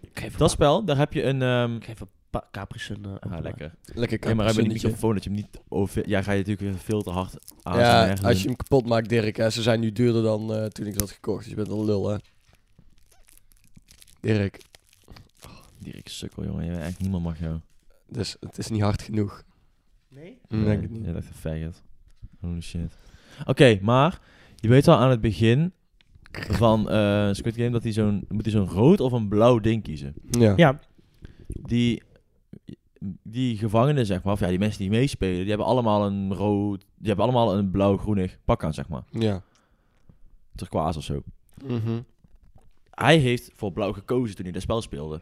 Speaker 3: ik geef
Speaker 1: Dat spel, daar heb je een. ehm
Speaker 3: ik geef een pa- Capris een... eh,
Speaker 1: ah,
Speaker 3: appel.
Speaker 1: lekker.
Speaker 2: lekker
Speaker 1: Ja, maar heb je die
Speaker 2: kapuzinnetje.
Speaker 1: microfoon dat je hem niet over. Ja, ga je natuurlijk weer veel te hard aan.
Speaker 2: Ja, als je hem kapot maakt, Dirk. Hè, ze zijn nu duurder dan eh, toen ik ze had gekocht. Dus je bent een lul, hè. Dirk,
Speaker 1: Dirk sukkel, jongen. Je bent echt niemand mag jou.
Speaker 2: dus het is niet hard genoeg.
Speaker 3: Nee?
Speaker 2: Mm, denk ik niet.
Speaker 1: Ja, dat is een faggot. Holy shit. Oké, maar je weet al aan het begin van eh, Squid Game dat hij zo'n moet hij zo'n rood of een blauw ding kiezen.
Speaker 2: Ja.
Speaker 3: Ja,
Speaker 1: Die die gevangenen zeg maar, of ja, die mensen die meespelen, die hebben allemaal een rood, die hebben allemaal een blauw-groenig pak aan zeg maar,
Speaker 2: Ja.
Speaker 1: turquoise of zo.
Speaker 2: Mhm.
Speaker 1: Hij heeft voor blauw gekozen toen hij dat spel speelde.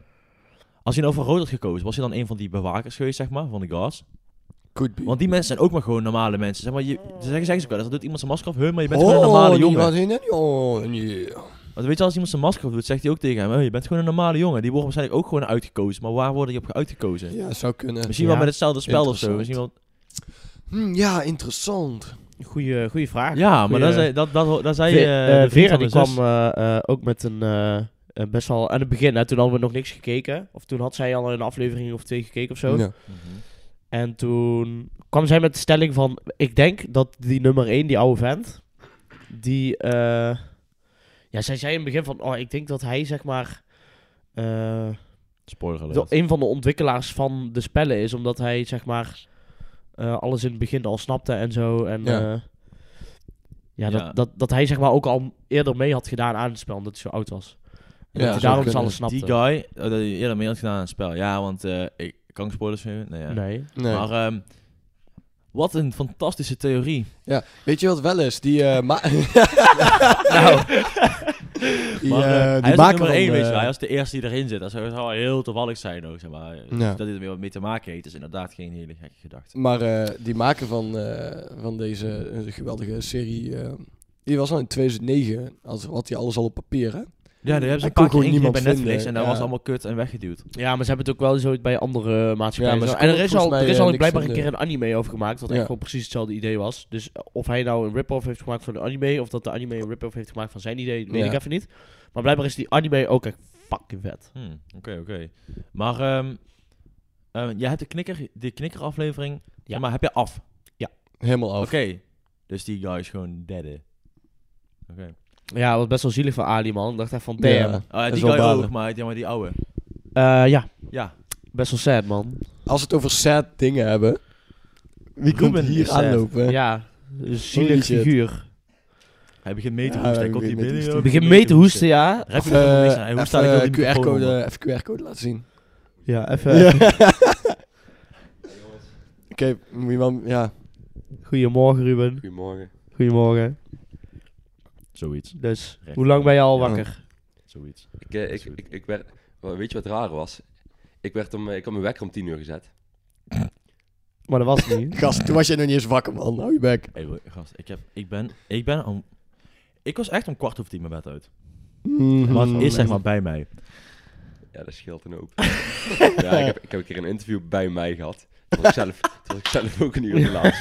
Speaker 1: Als hij nou voor rood had gekozen, was hij dan een van die bewakers geweest zeg maar, van de guards?
Speaker 2: Could be.
Speaker 1: Want die mensen zijn ook maar gewoon normale mensen. Zeg maar, je, ze zeggen, zeggen ze ook wel, eens, dan doet iemand zijn masker af, huh, maar je bent
Speaker 2: oh,
Speaker 1: gewoon een normale
Speaker 2: die
Speaker 1: jongen.
Speaker 2: gaat heen en oh, yeah.
Speaker 1: Want weet je, als iemand zijn masker op doet, zegt hij ook tegen hem: "Hey, Je bent gewoon een normale jongen. Die worden waarschijnlijk ook gewoon uitgekozen. Maar waar worden die op uitgekozen?
Speaker 2: Ja, zou kunnen.
Speaker 1: Misschien
Speaker 3: Ja.
Speaker 1: wel met hetzelfde spel of zo.
Speaker 2: Interessant.
Speaker 1: Misschien wel...
Speaker 2: Hm, ja, interessant.
Speaker 3: goede goede vraag.
Speaker 1: Ja, maar
Speaker 3: Goeie-
Speaker 1: dat zei, dat, dat, dat zei
Speaker 3: Ve-
Speaker 1: eh,
Speaker 3: eh,
Speaker 1: de vriend
Speaker 3: Vera
Speaker 1: van
Speaker 3: die
Speaker 1: de zus.
Speaker 3: kwam eh, eh, ook met een eh, eh, best wel aan het begin. Hè, toen hadden we nog niks gekeken. Of toen had zij al een aflevering of twee gekeken of zo.
Speaker 2: Ja.
Speaker 1: Mhm.
Speaker 3: En toen kwam zij met de stelling van... Ik denk dat die nummer 1, die oude vent... Die... eh, ja, zij zei in het begin van... Oh, ik denk dat hij zeg maar... eh,
Speaker 1: Spoiler
Speaker 3: dat
Speaker 1: alert.
Speaker 3: een van de ontwikkelaars van de spellen is. Omdat hij zeg maar... eh, alles in het begin al snapte en zo. En
Speaker 2: Ja.
Speaker 3: ja, ja, dat,
Speaker 1: Ja.
Speaker 3: Dat, dat hij zeg maar ook al eerder mee had gedaan aan het spel. Omdat hij zo oud was.
Speaker 2: Ja,
Speaker 3: En dat hij
Speaker 2: zou
Speaker 3: daarom
Speaker 2: kunnen.
Speaker 3: alles snapte.
Speaker 1: Die guy, eh, dat hij eerder mee had gedaan aan het spel. Ja, want eh, ik kan ik spoilers geven. Nee, ja.
Speaker 3: Nee.
Speaker 2: Nee.
Speaker 1: Maar ehm, wat een fantastische theorie.
Speaker 2: Weet je wat wel is? Die,
Speaker 1: <laughs>
Speaker 2: eh, ma- <laughs> die,
Speaker 1: Nou. Maar,
Speaker 2: eh,
Speaker 1: eh, hij
Speaker 2: die
Speaker 1: is
Speaker 2: maker
Speaker 1: nummer
Speaker 2: van,
Speaker 1: één, weet je
Speaker 2: eh,
Speaker 1: wel. Hij was de eerste die erin zit. Dat zou zou heel toevallig zijn ook, zeg maar. Dus
Speaker 2: Ja.
Speaker 1: Dat dit er weer wat mee te maken heeft, is inderdaad geen hele gekke gedachte.
Speaker 2: Maar eh, die maker van, eh, van deze eh, geweldige serie, eh, die was al in 2009, als, had hij alles al op papier, hè?
Speaker 1: Ja, daar hebben ze
Speaker 2: Hij
Speaker 1: een
Speaker 2: kon
Speaker 1: paar keer
Speaker 2: gewoon
Speaker 1: ingegrepen bij
Speaker 2: niemand
Speaker 1: Netflix
Speaker 2: vinden,
Speaker 1: en dat
Speaker 2: ja.
Speaker 1: was allemaal kut en weggeduwd.
Speaker 3: Ja, maar ze hebben het ook wel zo bij andere maatschappijen.
Speaker 2: Ja, maar
Speaker 3: en
Speaker 2: ze
Speaker 3: zo. en er
Speaker 2: konden
Speaker 3: is al,
Speaker 2: volgens
Speaker 3: er
Speaker 2: mij,
Speaker 3: is
Speaker 2: eh,
Speaker 3: al
Speaker 2: niks
Speaker 3: blijkbaar een
Speaker 2: vinden.
Speaker 3: keer een anime over gemaakt, wat
Speaker 2: Ja.
Speaker 3: echt gewoon precies hetzelfde idee was. Dus eh, of hij nou een rip-off heeft gemaakt van een anime, of dat de anime een rip-off heeft gemaakt van zijn idee, weet
Speaker 2: Ja.
Speaker 3: ik even niet. Maar blijkbaar is die anime ook echt fucking vet.
Speaker 1: Hmm, Oké, oké. Maar ehm, ehm, jij hebt de knikker, die knikkeraflevering, ja. maar heb je af?
Speaker 2: Helemaal
Speaker 1: Oké.
Speaker 2: af.
Speaker 1: Dus die guy is gewoon dead. hè. Oké.
Speaker 3: Ja, wat best wel zielig van Ali, man. Ik dacht echt van, damn.
Speaker 2: Ja.
Speaker 3: Ja,
Speaker 1: Ah,
Speaker 2: is
Speaker 1: die
Speaker 2: wel
Speaker 1: guy
Speaker 2: balen.
Speaker 1: ook, maar, ja, maar die oude.
Speaker 3: ja
Speaker 1: Ja.
Speaker 3: best wel sad, man.
Speaker 2: Als we het over sad dingen hebben, wie komt
Speaker 1: Ruben is
Speaker 2: hier
Speaker 1: sad.
Speaker 2: aanlopen?
Speaker 3: <laughs> Ja, een zielig
Speaker 2: Holy shit.
Speaker 3: figuur.
Speaker 1: Hij begint mee te
Speaker 2: Ja,
Speaker 1: hoesten.
Speaker 2: hij
Speaker 1: Hij komt hier
Speaker 2: begint mee te
Speaker 1: binnen.
Speaker 2: hoesten.
Speaker 1: joh,
Speaker 3: Begin mee te hoesten, ja.
Speaker 1: Daar heb je
Speaker 2: Even,
Speaker 1: nog helemaal
Speaker 2: eh,
Speaker 1: niks aan. Hij hoest
Speaker 2: even,
Speaker 1: eigenlijk
Speaker 2: eh,
Speaker 1: wel die microfoon
Speaker 2: QR-code,
Speaker 1: omhoog.
Speaker 2: even QR-code laten zien.
Speaker 3: Ja, even.
Speaker 2: Ja. <laughs> Oké, moet je wel- ja.
Speaker 3: Goedemorgen, Ruben.
Speaker 4: Goedemorgen.
Speaker 3: Goedemorgen.
Speaker 1: Zoiets.
Speaker 3: Dus,
Speaker 1: Recht.
Speaker 3: hoe lang ben je al
Speaker 2: Ja.
Speaker 3: wakker?
Speaker 1: Zoiets.
Speaker 4: Ik, eh, ik, ik, ik werd, wel, weet je wat raar was? Ik, werd om, eh, ik had mijn wekker om 10 uur gezet.
Speaker 3: Maar dat was het niet.
Speaker 2: Gast, toen was jij nog niet eens wakker, man. Hou je bek.
Speaker 1: Hey, bro, gast. Ik, heb, ik ben... Ik ben om, ik was echt om kwart over tien mijn bed uit. Mm-hmm. Wat
Speaker 2: Mhm.
Speaker 1: is zeg maar bij
Speaker 2: <laughs>
Speaker 1: mij?
Speaker 4: Ja, dat scheelt een hoop. ja, ik heb, ik heb een keer een interview bij mij gehad. Toen was ik zelf, toen was ik zelf ook een uur te
Speaker 2: <laughs>
Speaker 4: laat.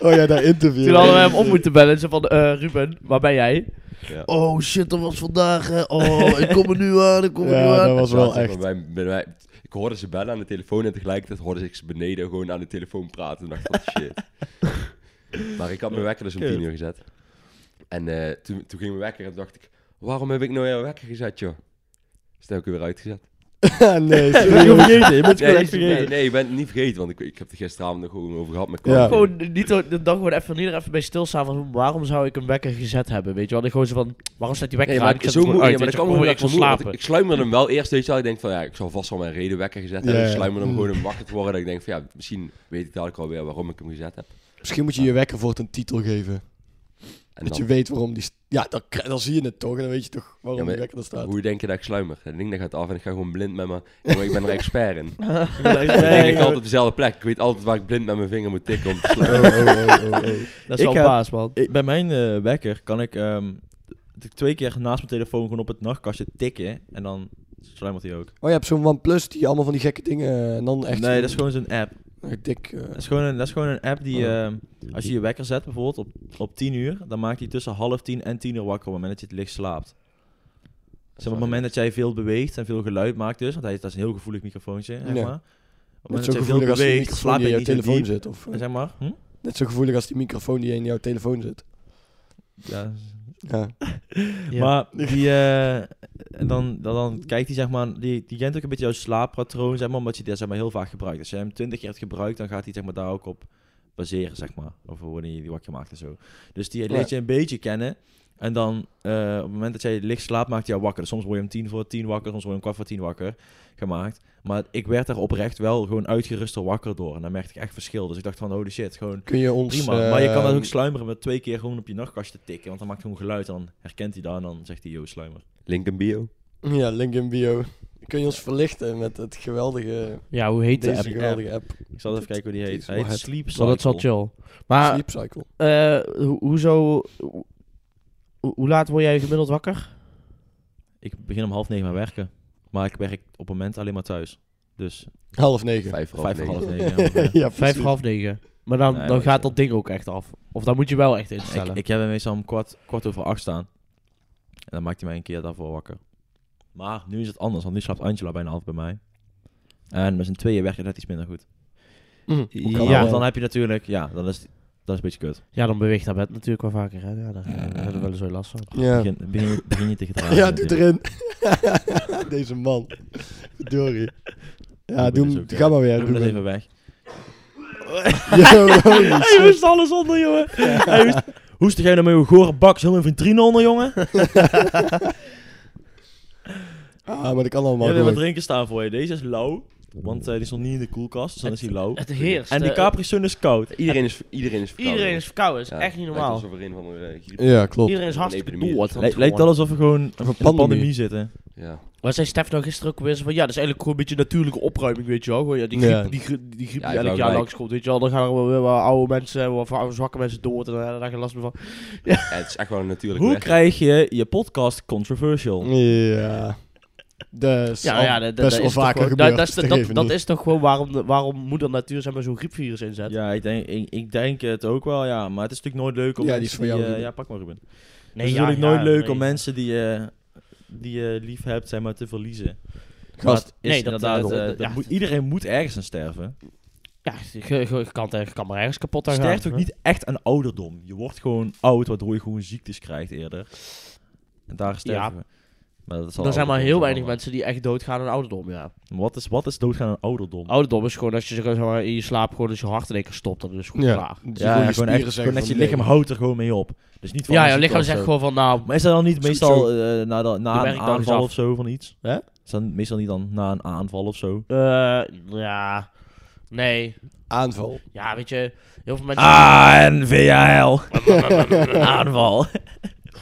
Speaker 2: Oh ja, dat interview.
Speaker 3: Toen hadden we hem op moeten bellen. Ze van, eh, Ruben, waar ben jij?
Speaker 4: Ja.
Speaker 3: Oh shit, dat was vandaag. hè. Oh, ik kom er nu aan, ik kom er nu
Speaker 2: Ja,
Speaker 3: aan. <laughs>
Speaker 2: dat was
Speaker 4: Ja,
Speaker 2: wel
Speaker 4: zeg
Speaker 2: echt.
Speaker 4: maar, bij- bij mij- ik hoorde ze bellen aan de telefoon en tegelijkertijd hoorde ik ze beneden gewoon aan de telefoon praten. En dacht ik,
Speaker 2: <laughs>
Speaker 4: van, shit. maar ik had mijn wekker dus om
Speaker 1: Kut.
Speaker 4: 10 uur gezet. En eh, toen, toen ging mijn wekker en toen dacht ik, waarom heb ik nou jouw wekker gezet, joh? Dus toen heb ik hem weer uitgezet.
Speaker 2: <laughs>
Speaker 1: Je
Speaker 2: nee,
Speaker 1: bent
Speaker 2: serieus.
Speaker 1: het vergeten. Je
Speaker 3: <laughs>
Speaker 1: bent het gewoon echt
Speaker 4: Nee, nee, nee,
Speaker 1: vergeten.
Speaker 4: nee, ik ben het niet vergeten, want ik, ik heb het gisteravond nog gewoon over gehad met
Speaker 2: Ja.
Speaker 4: Carlo.
Speaker 3: Gewoon niet o- de dag gewoon even, niet er even bij stilstaan van waarom zou ik een wekker gezet hebben, weet je wel? Ik gewoon zo van, waarom staat die wekker
Speaker 4: Nee,
Speaker 3: aan?
Speaker 4: maar
Speaker 3: Ik
Speaker 4: het is
Speaker 3: zet
Speaker 4: zo
Speaker 3: hem gewoon
Speaker 4: moeilijk.
Speaker 3: uit,
Speaker 4: Ja, maar
Speaker 3: weet
Speaker 4: dat
Speaker 3: je
Speaker 4: kan
Speaker 3: wel.
Speaker 4: gewoon
Speaker 3: Oh,
Speaker 4: echt
Speaker 3: ik
Speaker 4: zo
Speaker 3: wil
Speaker 4: moeilijk. want
Speaker 3: slapen.
Speaker 4: Ik, ik sluimer hem wel eerst, weet je wel. Ik denk van, ja, ik zal vast wel mijn reden wekker gezet hebben.
Speaker 2: Ja,
Speaker 4: Ik
Speaker 2: ja.
Speaker 4: sluimer
Speaker 2: Mm.
Speaker 4: hem gewoon een wakker te worden. Dat ik denk van, ja, misschien weet ik dadelijk alweer waarom ik hem gezet heb.
Speaker 2: Misschien moet je je wekker voor het een titel geven.
Speaker 4: En
Speaker 2: Dat
Speaker 4: dan,
Speaker 2: je weet waarom die... st- Ja, dan, kri- dan zie je het toch. En dan weet je toch waarom
Speaker 4: Ja, maar-
Speaker 2: die wekker er staat.
Speaker 4: hoe denk je dat ik sluimer? Dat ding dat gaat af en ik ga gewoon blind met mijn... Jongen, ik ben er expert
Speaker 3: <laughs>
Speaker 4: in. Ik
Speaker 1: Nee,
Speaker 4: denk ik
Speaker 1: joh.
Speaker 4: altijd op dezelfde plek. Ik weet altijd waar ik blind met mijn vinger moet tikken om te
Speaker 2: <laughs> Oh,
Speaker 4: sluimen.
Speaker 2: oh, oh, oh, oh.
Speaker 3: Dat
Speaker 1: Ik
Speaker 3: is wel
Speaker 1: heb-
Speaker 3: paas, man.
Speaker 1: Ik- bij mijn eh, wekker kan ik ehm, t- twee keer naast mijn telefoon gewoon op het nachtkastje tikken. En dan sluimert hij ook.
Speaker 2: Oh, je hebt zo'n OnePlus die allemaal van die gekke dingen... eh, En dan echt...
Speaker 1: nee, dat is gewoon zo'n app.
Speaker 2: een Dik... eh,
Speaker 1: Dat is gewoon een, dat is gewoon een app die,
Speaker 2: Oh.
Speaker 1: ehm, als je je wekker zet bijvoorbeeld op, op 10 uur, dan maakt hij tussen half 10 en 10 uur wakker op het moment dat je het licht slaapt. Dus op het moment dat jij veel beweegt en veel geluid maakt dus, want hij, dat is een heel gevoelig microfoontje, zeg
Speaker 2: Ja.
Speaker 1: maar. Op het
Speaker 2: net
Speaker 1: moment
Speaker 2: zo
Speaker 1: dat jij veel
Speaker 2: gevoelig als die
Speaker 1: beweegt,
Speaker 2: microfoon
Speaker 1: slaap
Speaker 2: die in
Speaker 1: je
Speaker 2: jouw
Speaker 1: niet zo
Speaker 2: telefoon
Speaker 1: diep.
Speaker 2: zit. Of, eh,
Speaker 1: Zeg maar, hm?
Speaker 2: net zo gevoelig als die microfoon die in jouw telefoon zit.
Speaker 1: ja,
Speaker 2: Ja.
Speaker 3: Ja.
Speaker 1: Maar die, eh, en dan, dan, dan kijkt hij, zeg maar, die, die kent ook een beetje jouw slaappatroon, zeg maar, omdat je die zeg maar, heel vaak gebruikt. Als je hem twintig keer hebt gebruikt, dan gaat hij zeg maar, daar ook op baseren, zeg maar, over wanneer je die wakker maakt en zo. Dus die leert je een beetje kennen. En dan, eh, op het moment dat jij licht slaapt, maakt hij jou wakker. Dus soms word je om tien voor tien wakker, soms word je om kwart voor tien wakker gemaakt. Maar ik werd daar oprecht wel gewoon uitgeruster wakker door. En dan merkte ik echt verschil. Dus ik dacht van, holy shit, gewoon
Speaker 2: Kun je ons...
Speaker 1: Prima, maar je kan dat
Speaker 2: eh,
Speaker 1: ook sluimeren met twee keer gewoon op je nachtkastje tikken. Want dan maakt hij gewoon geluid en dan herkent hij dat en dan zegt hij, yo, sluimer.
Speaker 4: Link in bio.
Speaker 2: Ja, link in bio. Kun je ons verlichten met het geweldige,
Speaker 3: ja, hoe heet de
Speaker 2: deze
Speaker 3: app?
Speaker 2: geweldige app,
Speaker 1: Ik zal even kijken hoe die
Speaker 2: die
Speaker 1: heet.
Speaker 2: is
Speaker 1: Hij
Speaker 2: wel
Speaker 1: heet
Speaker 2: het.
Speaker 1: Sleep
Speaker 3: Zo, dat is wel
Speaker 1: Cycle.
Speaker 3: chill. Maar
Speaker 2: Sleep Cycle.
Speaker 3: eh, ho- hoezo... ho- hoe laat word jij gemiddeld wakker?
Speaker 1: Ik begin om half negen aan werken. Maar ik werk op het moment alleen maar thuis. Dus
Speaker 2: Half negen.
Speaker 4: Vijf voor half
Speaker 1: vijf voor half
Speaker 4: negen.
Speaker 1: negen. ja, ongeveer.
Speaker 2: <laughs> ja,
Speaker 3: Vijf,
Speaker 2: precies.
Speaker 3: half negen. Maar dan,
Speaker 1: Nee,
Speaker 3: dan
Speaker 1: maar
Speaker 3: gaat
Speaker 1: zo.
Speaker 3: dat ding ook echt af. Of dan moet je wel echt instellen.
Speaker 1: ik, ik heb hem meestal om kwart, kwart over acht staan. En dan maakt hij mij een keer daarvoor wakker. Maar nu is het anders, want nu slaapt Angela bijna altijd bij mij. En met z'n tweeën werkt het net iets minder goed.
Speaker 2: Mm, hoe kan
Speaker 3: Ja.
Speaker 1: Want
Speaker 2: dat?
Speaker 1: dan heb je natuurlijk, ja, dan is, dat is een beetje kut.
Speaker 3: Ja, dan beweegt dat bed natuurlijk wel vaker. Hè? Ja, daar daar hebben we wel eens zo last van.
Speaker 2: Ja,
Speaker 1: Begin, begin, begin je tegen te raken
Speaker 2: ja doe
Speaker 1: natuurlijk.
Speaker 2: erin. <laughs> Deze man. Dory. Ja,
Speaker 1: Ruben
Speaker 2: doe,
Speaker 1: is
Speaker 2: hem-
Speaker 1: ook, ja.
Speaker 2: ga maar weer.
Speaker 1: Doe hem dat
Speaker 2: Ruben. <laughs>
Speaker 1: even weg.
Speaker 2: Yo, holy
Speaker 1: Hij
Speaker 2: shit.
Speaker 1: moest alles onder, jongen. <laughs> Hij moest... Hoestte jij nou met je gore bak zo mijn vitrine onder, jongen?
Speaker 2: Ah, maar dat kan allemaal
Speaker 1: Jij wil wat
Speaker 2: gewoon.
Speaker 1: drinken staan voor je. Deze is lauw, want eh, die stond niet in de koelkast, dus dan is die lauw.
Speaker 3: Het heerst.
Speaker 1: En die
Speaker 3: eh,
Speaker 1: Capri Sun is koud.
Speaker 4: Iedereen is, iedereen is verkouden.
Speaker 3: Iedereen is verkouden. is
Speaker 4: Ja,
Speaker 3: echt niet
Speaker 4: lijkt
Speaker 3: normaal.
Speaker 4: alsof er een eh, van de,
Speaker 2: Ja, klopt.
Speaker 3: Iedereen is hartstikke
Speaker 4: epidemie.
Speaker 3: dood.
Speaker 1: Lij- lijkt wel alsof we gewoon in een pandemie.
Speaker 2: pandemie
Speaker 1: zitten.
Speaker 4: ja.
Speaker 3: Wat zei Stef nou gisteren ook weer? Zo Van, ja, dat is eigenlijk gewoon een beetje natuurlijke opruiming, weet je wel. Gewoon, ja, die griep
Speaker 2: Ja.
Speaker 3: die, griep- die, griep die
Speaker 4: Ja, ik wou
Speaker 3: elk jaar
Speaker 4: gelijk-
Speaker 3: langskomt, weet je wel. Dan gaan er wel weer wat oude mensen, wat oude zwakke mensen dood en eh, daar ga je last meer van.
Speaker 4: Ja, het is echt wel een natuurlijk
Speaker 1: Hoe
Speaker 4: weg.
Speaker 1: krijg je je podcast controversial?
Speaker 2: Ja. Dus
Speaker 3: Ja, ja, dat, dat
Speaker 2: best
Speaker 3: is
Speaker 2: wel
Speaker 3: toch
Speaker 2: vaker
Speaker 3: gewoon-
Speaker 2: gebeurd.
Speaker 3: Dat, dat, is-
Speaker 2: dus
Speaker 3: dat-
Speaker 2: geven
Speaker 3: dat
Speaker 2: niet.
Speaker 3: is toch gewoon waarom, de- waarom moeder natuur zeg maar, zo'n griepvirus inzet.
Speaker 1: Ja, ik denk, ik, ik denk het ook wel, ja. Maar het is natuurlijk nooit leuk om
Speaker 2: Ja, die
Speaker 1: mensen
Speaker 2: is voor jou,
Speaker 1: eh,
Speaker 2: Ruben.
Speaker 1: ja, pak maar Ruben.
Speaker 3: Nee,
Speaker 1: het is
Speaker 3: ja,
Speaker 1: natuurlijk
Speaker 3: ja,
Speaker 1: nooit leuk
Speaker 3: nee.
Speaker 1: om mensen die je die je lief hebt, zeg maar, te verliezen.
Speaker 2: Gast,
Speaker 1: Maar het is
Speaker 3: nee, dat-
Speaker 1: inderdaad,
Speaker 3: dat-
Speaker 1: eh,
Speaker 3: dat-
Speaker 1: dat
Speaker 3: ja.
Speaker 1: moet- iedereen moet ergens aan sterven.
Speaker 3: Ja, je, je- je kan, je kan maar ergens kapot aan gaan.
Speaker 1: sterft ook
Speaker 3: hè?
Speaker 1: niet echt aan ouderdom. Je wordt gewoon oud, waardoor je gewoon ziektes krijgt eerder. En daar sterven
Speaker 3: Ja.
Speaker 1: we. Maar dat zal
Speaker 3: Er zijn maar
Speaker 1: ouderdom
Speaker 3: heel
Speaker 1: zijn
Speaker 3: weinig mensen die echt doodgaan aan ouderdom, ja.
Speaker 1: allemaal. Wat is, wat is doodgaan aan ouderdom?
Speaker 3: Ouderdom is gewoon als je zeg maar, in je slaap gewoon als je hart in één keer stopt, dan is het goed
Speaker 2: ja.
Speaker 3: klaar.
Speaker 1: ja,
Speaker 2: Dus gewoon
Speaker 1: ja,
Speaker 2: je
Speaker 1: gewoon
Speaker 2: spieren
Speaker 1: echt,
Speaker 2: zeggen
Speaker 1: gewoon echt je
Speaker 2: van, eh,
Speaker 1: lichaam
Speaker 2: nee.
Speaker 1: houdt er gewoon mee op. Dus niet van
Speaker 3: Ja,
Speaker 1: een
Speaker 3: je
Speaker 1: ziekte
Speaker 3: lichaam
Speaker 1: of
Speaker 3: zegt
Speaker 1: zo.
Speaker 3: gewoon van, nou,
Speaker 1: Maar is dat dan niet
Speaker 2: Schiet
Speaker 1: meestal
Speaker 2: zo.
Speaker 1: eh, na, de- na
Speaker 3: De
Speaker 1: een
Speaker 3: werkdag is
Speaker 1: aanval
Speaker 3: af.
Speaker 1: of zo van iets?
Speaker 3: Hè?
Speaker 1: Is dat meestal niet dan na een aanval of zo?
Speaker 3: eh, ja, nee.
Speaker 2: Aanval.
Speaker 3: Ja, weet je, heel veel mensen...
Speaker 1: Ah, en VHL. aanval. <laughs>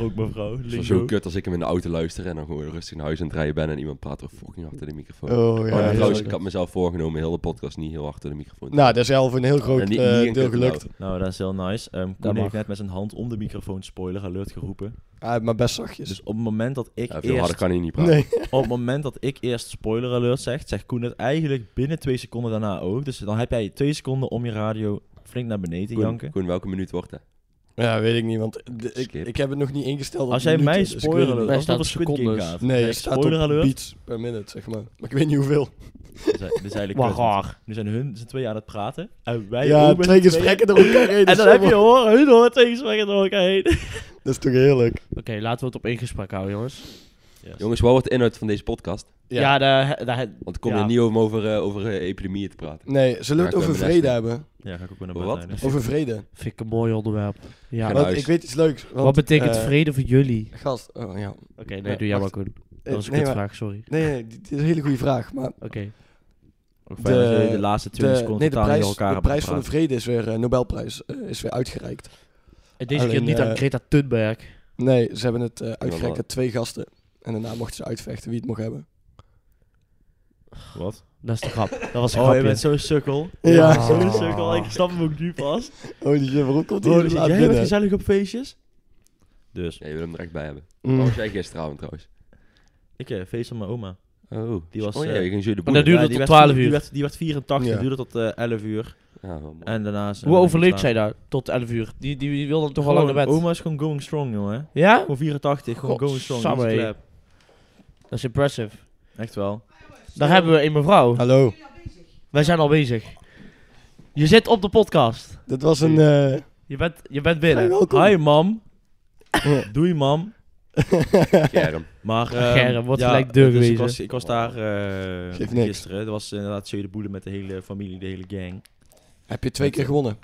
Speaker 1: Ook mevrouw.
Speaker 4: Het is
Speaker 1: lingo.
Speaker 4: wel zo kut als ik hem in de auto luister en dan gewoon rustig naar huis aan het rijden ben en iemand praat er fucking hard in de microfoon.
Speaker 2: Oh
Speaker 4: Oh,
Speaker 2: ja.
Speaker 4: en
Speaker 1: ja,
Speaker 4: trouwens,
Speaker 1: ja.
Speaker 4: ik had mezelf voorgenomen heel de podcast niet heel hard door de microfoon. te
Speaker 2: Nou, dat is al voor een heel
Speaker 4: praten.
Speaker 2: groot
Speaker 4: En
Speaker 2: eh,
Speaker 4: niet- niet een
Speaker 2: deel
Speaker 4: kut
Speaker 2: gelukt.
Speaker 1: Nou, dat is heel nice. Ehm
Speaker 3: Dat
Speaker 1: Koen heeft
Speaker 3: mag.
Speaker 1: net met zijn hand om de microfoon spoiler alert geroepen.
Speaker 2: Ah, maar best zachtjes.
Speaker 1: Dus op het moment dat ik
Speaker 4: Ja, veel
Speaker 1: eerst
Speaker 4: harder kan hij niet praten.
Speaker 2: Nee.
Speaker 1: Op het moment dat ik eerst spoiler alert zeg, zegt Koen het eigenlijk binnen twee seconden daarna ook. Dus dan heb jij twee seconden om je radio flink naar beneden te
Speaker 4: Koen,
Speaker 1: janken.
Speaker 4: Koen, welke minuut wordt het?
Speaker 2: Ja, weet ik niet, want de- ik,
Speaker 4: Skip.
Speaker 2: ik heb het nog niet ingesteld. op
Speaker 1: Als jij
Speaker 2: minuten,
Speaker 1: mij
Speaker 2: dus ik weet
Speaker 1: spoiler
Speaker 2: het
Speaker 1: alert,
Speaker 3: Daar
Speaker 1: als het
Speaker 3: staat
Speaker 1: over Squid Game
Speaker 3: secondes.
Speaker 1: gaat.
Speaker 2: niet. Nee,
Speaker 1: zeg
Speaker 2: het
Speaker 1: ik
Speaker 2: staat op
Speaker 1: spoiler alert.
Speaker 2: beats per minute, zeg maar. Maar ik weet niet hoeveel.
Speaker 1: Dat is- dat is eigenlijk
Speaker 3: Wat
Speaker 1: kut.
Speaker 3: raar.
Speaker 1: Nu zijn hun zijn twee aan het praten. En wij ook
Speaker 2: ja,
Speaker 1: met
Speaker 2: twee
Speaker 1: z'n
Speaker 2: gesprekken door elkaar heen.
Speaker 1: tweeën. <laughs> En
Speaker 2: dat
Speaker 1: dan
Speaker 2: is
Speaker 1: heb je
Speaker 2: helemaal-
Speaker 1: hoor, hun hoor twee gesprekken door elkaar heen.
Speaker 2: Dat is toch heerlijk.
Speaker 3: Oké, laten we het op één gesprek houden, jongens.
Speaker 4: Jongens, wat wordt de inhoud van deze podcast?
Speaker 2: Ja.
Speaker 3: Ja, daar, daar,
Speaker 4: Want ik kom
Speaker 3: Ja.
Speaker 4: hier niet om over, eh, over eh, epidemieën te praten.
Speaker 2: Nee, zullen we
Speaker 4: Ja,
Speaker 2: het
Speaker 4: ik
Speaker 2: over
Speaker 4: ben
Speaker 2: vrede
Speaker 4: best-
Speaker 2: hebben?
Speaker 1: Ja, ga ik ook weer naar
Speaker 4: Over wat?
Speaker 1: buiten.
Speaker 2: Over vrede.
Speaker 3: vind ik een mooi onderwerp. Ja.
Speaker 4: Gaan
Speaker 3: Wat,
Speaker 2: Want
Speaker 4: huis.
Speaker 2: ik weet iets leuks. Want,
Speaker 3: betekent
Speaker 2: eh,
Speaker 3: vrede voor jullie? Oké,
Speaker 2: Gast, oh ja. eh,
Speaker 3: nee, doe jij maar,
Speaker 2: wacht.
Speaker 3: Koen.
Speaker 2: Eh,
Speaker 3: Dat was een
Speaker 2: nee, maar-
Speaker 3: kutvraag, sorry.
Speaker 2: nee, nee, dit dit is een hele goede vraag. Maar
Speaker 3: Oké.
Speaker 1: Ook fijn dat
Speaker 2: De-
Speaker 1: jullie de laatste 20
Speaker 2: de,
Speaker 1: seconden
Speaker 2: nee, de
Speaker 1: totaal niet
Speaker 2: prijs,
Speaker 1: door elkaar
Speaker 2: de
Speaker 1: hebben
Speaker 2: prijs van de
Speaker 1: gepraat.
Speaker 2: vrede is weer, eh, Nobelprijs, eh, is weer uitgereikt.
Speaker 3: Deze keer
Speaker 2: Alleen,
Speaker 3: niet aan
Speaker 2: eh,
Speaker 3: Greta Thunberg.
Speaker 2: Nee, ze hebben het eh
Speaker 4: wel.
Speaker 2: uitgereikt aan twee gasten. En daarna mochten ze uitvechten wie het mocht hebben.
Speaker 1: Wat?
Speaker 2: Oh,
Speaker 3: Dat is de
Speaker 1: <laughs>
Speaker 3: grap. Dat was een
Speaker 1: Oh, je
Speaker 3: grapje.
Speaker 1: bent zo'n sukkel.
Speaker 2: Ja.
Speaker 1: Ja, zo'n sukkel. Ik snap hem ook nu pas.
Speaker 2: Oh, die shit, waarom komt hij
Speaker 1: Bro,
Speaker 2: hier zo laat
Speaker 1: jij bent
Speaker 2: binnen?
Speaker 1: gezellig op feestjes? Dus,
Speaker 4: Nee, je wil hem er echt bij hebben.
Speaker 2: Mm.
Speaker 4: Waar was jij gisteravond trouwens?
Speaker 1: ik eh, feest aan mijn oma.
Speaker 4: Oh,
Speaker 1: Die was,
Speaker 4: Oh ja,
Speaker 1: eh,
Speaker 4: je ging zo de
Speaker 3: En dat
Speaker 4: boer.
Speaker 3: duurde
Speaker 1: die
Speaker 3: tot
Speaker 1: werd-
Speaker 3: 12
Speaker 1: Die
Speaker 3: uur.
Speaker 1: werd, die werd 84,
Speaker 2: Ja.
Speaker 1: duurde tot eh, 11 uur.
Speaker 4: Ja, wel mooi.
Speaker 1: En daarna... is-
Speaker 3: Hoe overleed
Speaker 1: geslapen.
Speaker 3: zij daar tot 11 uur? Die, die, die wil dan toch wel lang
Speaker 1: Gewoon,
Speaker 3: naar bed.
Speaker 1: Oma is gewoon going strong, jongen.
Speaker 3: Ja?
Speaker 1: Gewoon 84, gewoon
Speaker 3: God,
Speaker 1: going strong.
Speaker 3: samme,
Speaker 1: niet
Speaker 3: hé.
Speaker 1: clap.
Speaker 3: Dat is impressive.
Speaker 1: Echt wel.
Speaker 3: Daar hebben we een mevrouw.
Speaker 2: Hallo,
Speaker 3: Wij zijn al bezig. Je zit op de podcast.
Speaker 2: dat was een... eh,
Speaker 3: Je bent, je bent binnen.
Speaker 2: welkom. <laughs>
Speaker 1: Hi, mam.
Speaker 2: Ja.
Speaker 1: Doei, mam. <laughs>
Speaker 4: Germ.
Speaker 1: Maar...
Speaker 3: Ah,
Speaker 1: ehm,
Speaker 3: Gerrit, wordt gelijk deur
Speaker 1: dus ik
Speaker 3: gewezen.
Speaker 1: was, ik was daar eh,
Speaker 2: Geeft niks.
Speaker 1: gisteren. Dat was inderdaad Zee de Boelen met de hele familie, de hele gang.
Speaker 2: Heb je twee keer gewonnen?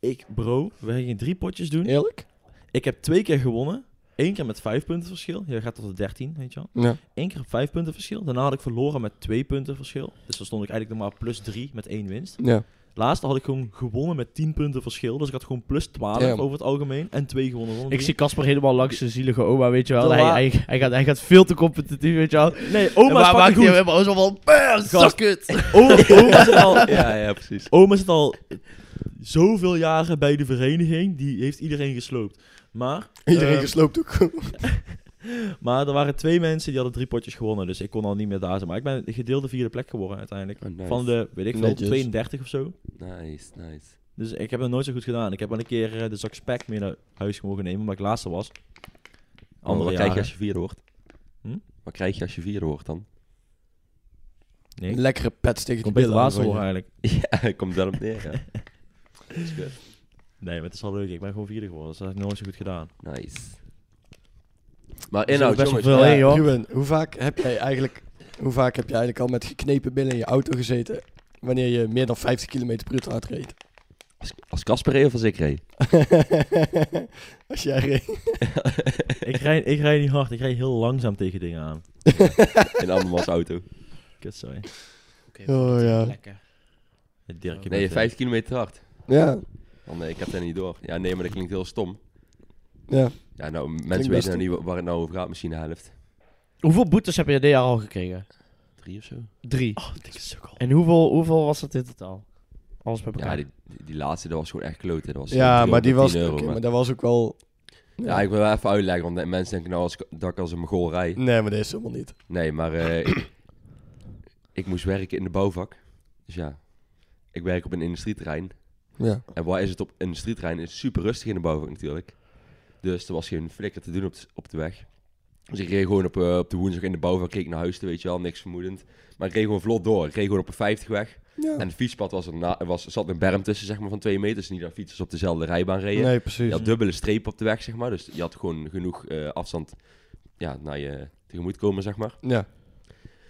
Speaker 1: Ik, bro, we gingen drie potjes doen.
Speaker 2: Eerlijk?
Speaker 1: Ik heb twee keer gewonnen. Eén keer met vijf punten verschil. Je gaat tot de 13, weet je wel.
Speaker 2: Ja.
Speaker 1: Eén keer op vijf punten verschil. Daarna had ik verloren met twee punten verschil. Dus dan stond ik eigenlijk nog maar plus drie met één winst.
Speaker 2: Ja.
Speaker 1: Laatste had ik gewoon gewonnen met 10 punten verschil. Dus ik had gewoon plus 12
Speaker 2: Damn.
Speaker 1: over het algemeen. En twee gewonnen. ronde.
Speaker 3: Ik zie Casper helemaal langs zijn zielige oma, weet je wel.
Speaker 1: Doe
Speaker 3: Hij,
Speaker 1: maar.
Speaker 3: hij, hij, gaat, hij gaat veel te competitief, weet je wel.
Speaker 1: Nee, oma is
Speaker 3: maar
Speaker 1: fucking
Speaker 3: maakt hij
Speaker 1: goed.
Speaker 3: helemaal zo van... "Bah, Suck it!
Speaker 1: O- oma, zit al,
Speaker 4: <laughs> Ja, ja, precies.
Speaker 1: oma zit al zoveel jaren bij de vereniging. Die heeft iedereen gesloopt. Maar,
Speaker 2: Iedereen
Speaker 1: ehm,
Speaker 2: gesloopt ook.
Speaker 1: maar er waren twee mensen die hadden drie potjes gewonnen. Dus ik kon al niet meer daar zijn. Maar ik ben gedeelde vierde plek geworden uiteindelijk.
Speaker 4: Oh, nice.
Speaker 1: Van de, weet ik veel,
Speaker 2: Netjes.
Speaker 1: 32 of zo.
Speaker 4: Nice, nice.
Speaker 1: Dus ik heb het nooit zo goed gedaan. Ik heb wel een keer eh, de zak spek mee naar huis mogen nemen, maar ik laatste was.
Speaker 4: Andere
Speaker 1: Andere
Speaker 4: Oh, wat krijg je als je vierde wordt?
Speaker 1: Hm?
Speaker 4: Wat krijg je als je vierde wordt dan?
Speaker 1: Nee.
Speaker 4: Dus
Speaker 2: Lekkere pets tegen de
Speaker 1: Komt beter
Speaker 2: billen. aan
Speaker 1: laatste
Speaker 2: van
Speaker 1: worden
Speaker 2: je.
Speaker 1: eigenlijk.
Speaker 4: <laughs> ja, komt wel op neer, ja. Is goed.
Speaker 1: Nee, maar het is wel leuk. Ik ben gewoon vierde geworden, dus dat heb ik nooit zo goed gedaan.
Speaker 4: Nice. Maar
Speaker 3: Er
Speaker 4: inhoud,
Speaker 3: zit best wel
Speaker 4: jongens.
Speaker 3: veel in, joh.
Speaker 2: Ruben, hoe vaak heb jij eigenlijk... Hoe vaak heb jij eigenlijk al met geknepen billen in je auto gezeten... wanneer je meer dan 50 km per uur te hard reed? <laughs>
Speaker 4: Als- Als Casper reed of als ik reed?
Speaker 2: Als jij reed. <laughs>
Speaker 1: ik, rij, ik rij niet hard, ik rij heel langzaam tegen dingen aan.
Speaker 4: <laughs> In andermans auto.
Speaker 1: Kut, sorry.
Speaker 2: Oh ja.
Speaker 3: Lekker.
Speaker 1: Dirk, je
Speaker 4: Nee,
Speaker 1: bent, eh,
Speaker 4: 5 kilometer te hard.
Speaker 2: Ja,
Speaker 4: Oh nee, ik heb dat niet door. Ja, nee, maar dat klinkt heel stom.
Speaker 2: ja.
Speaker 4: Ja, nou,
Speaker 2: best
Speaker 4: mensen weten nou
Speaker 2: stom.
Speaker 4: niet wa- waar het nou over gaat. Misschien de helft.
Speaker 3: Hoeveel boetes heb je dit jaar al gekregen?
Speaker 4: Drie of zo?
Speaker 3: Drie.
Speaker 1: Oh, dikke sukkel.
Speaker 3: En hoeveel, hoeveel was dat in totaal? Alles bij elkaar.
Speaker 4: Ja, die, die- die laatste, dat was gewoon echt kloten. Dat was
Speaker 2: Ja, maar die
Speaker 4: 310
Speaker 2: was...
Speaker 4: euro,
Speaker 2: oké,
Speaker 4: maar-
Speaker 2: maar dat was ook wel...
Speaker 4: Ja, ik wil wel even uitleggen, want de mensen denken nou als, ik- dat ik als een mogol rij.
Speaker 2: Nee, maar dat is helemaal niet.
Speaker 4: Nee, maar eh, ik, ik moest werken in de bouwvak. Dus ja, ik werk op een industrieterrein.
Speaker 2: Ja.
Speaker 4: En waar is het op een industrieterrein? Het is super rustig in de bouwvak natuurlijk. Dus er was geen flikker te doen op de, op de weg. Dus ik reed gewoon op, eh, op de woensdag in de bouwvak, keek naar huis, toe, weet je wel, niks vermoedend. Maar ik reed gewoon vlot door. Ik reed gewoon op een 50 weg.
Speaker 2: ja.
Speaker 4: En het fietspad was er na, was, zat een berm tussen, zeg maar, van twee meter. Dus niet dat fietsers op dezelfde rijbaan reden.
Speaker 2: Nee, precies.
Speaker 4: Je had dubbele streep op de weg, zeg maar. Dus je had gewoon genoeg eh, afstand ja, naar je tegemoet komen, zeg maar.
Speaker 2: Ja.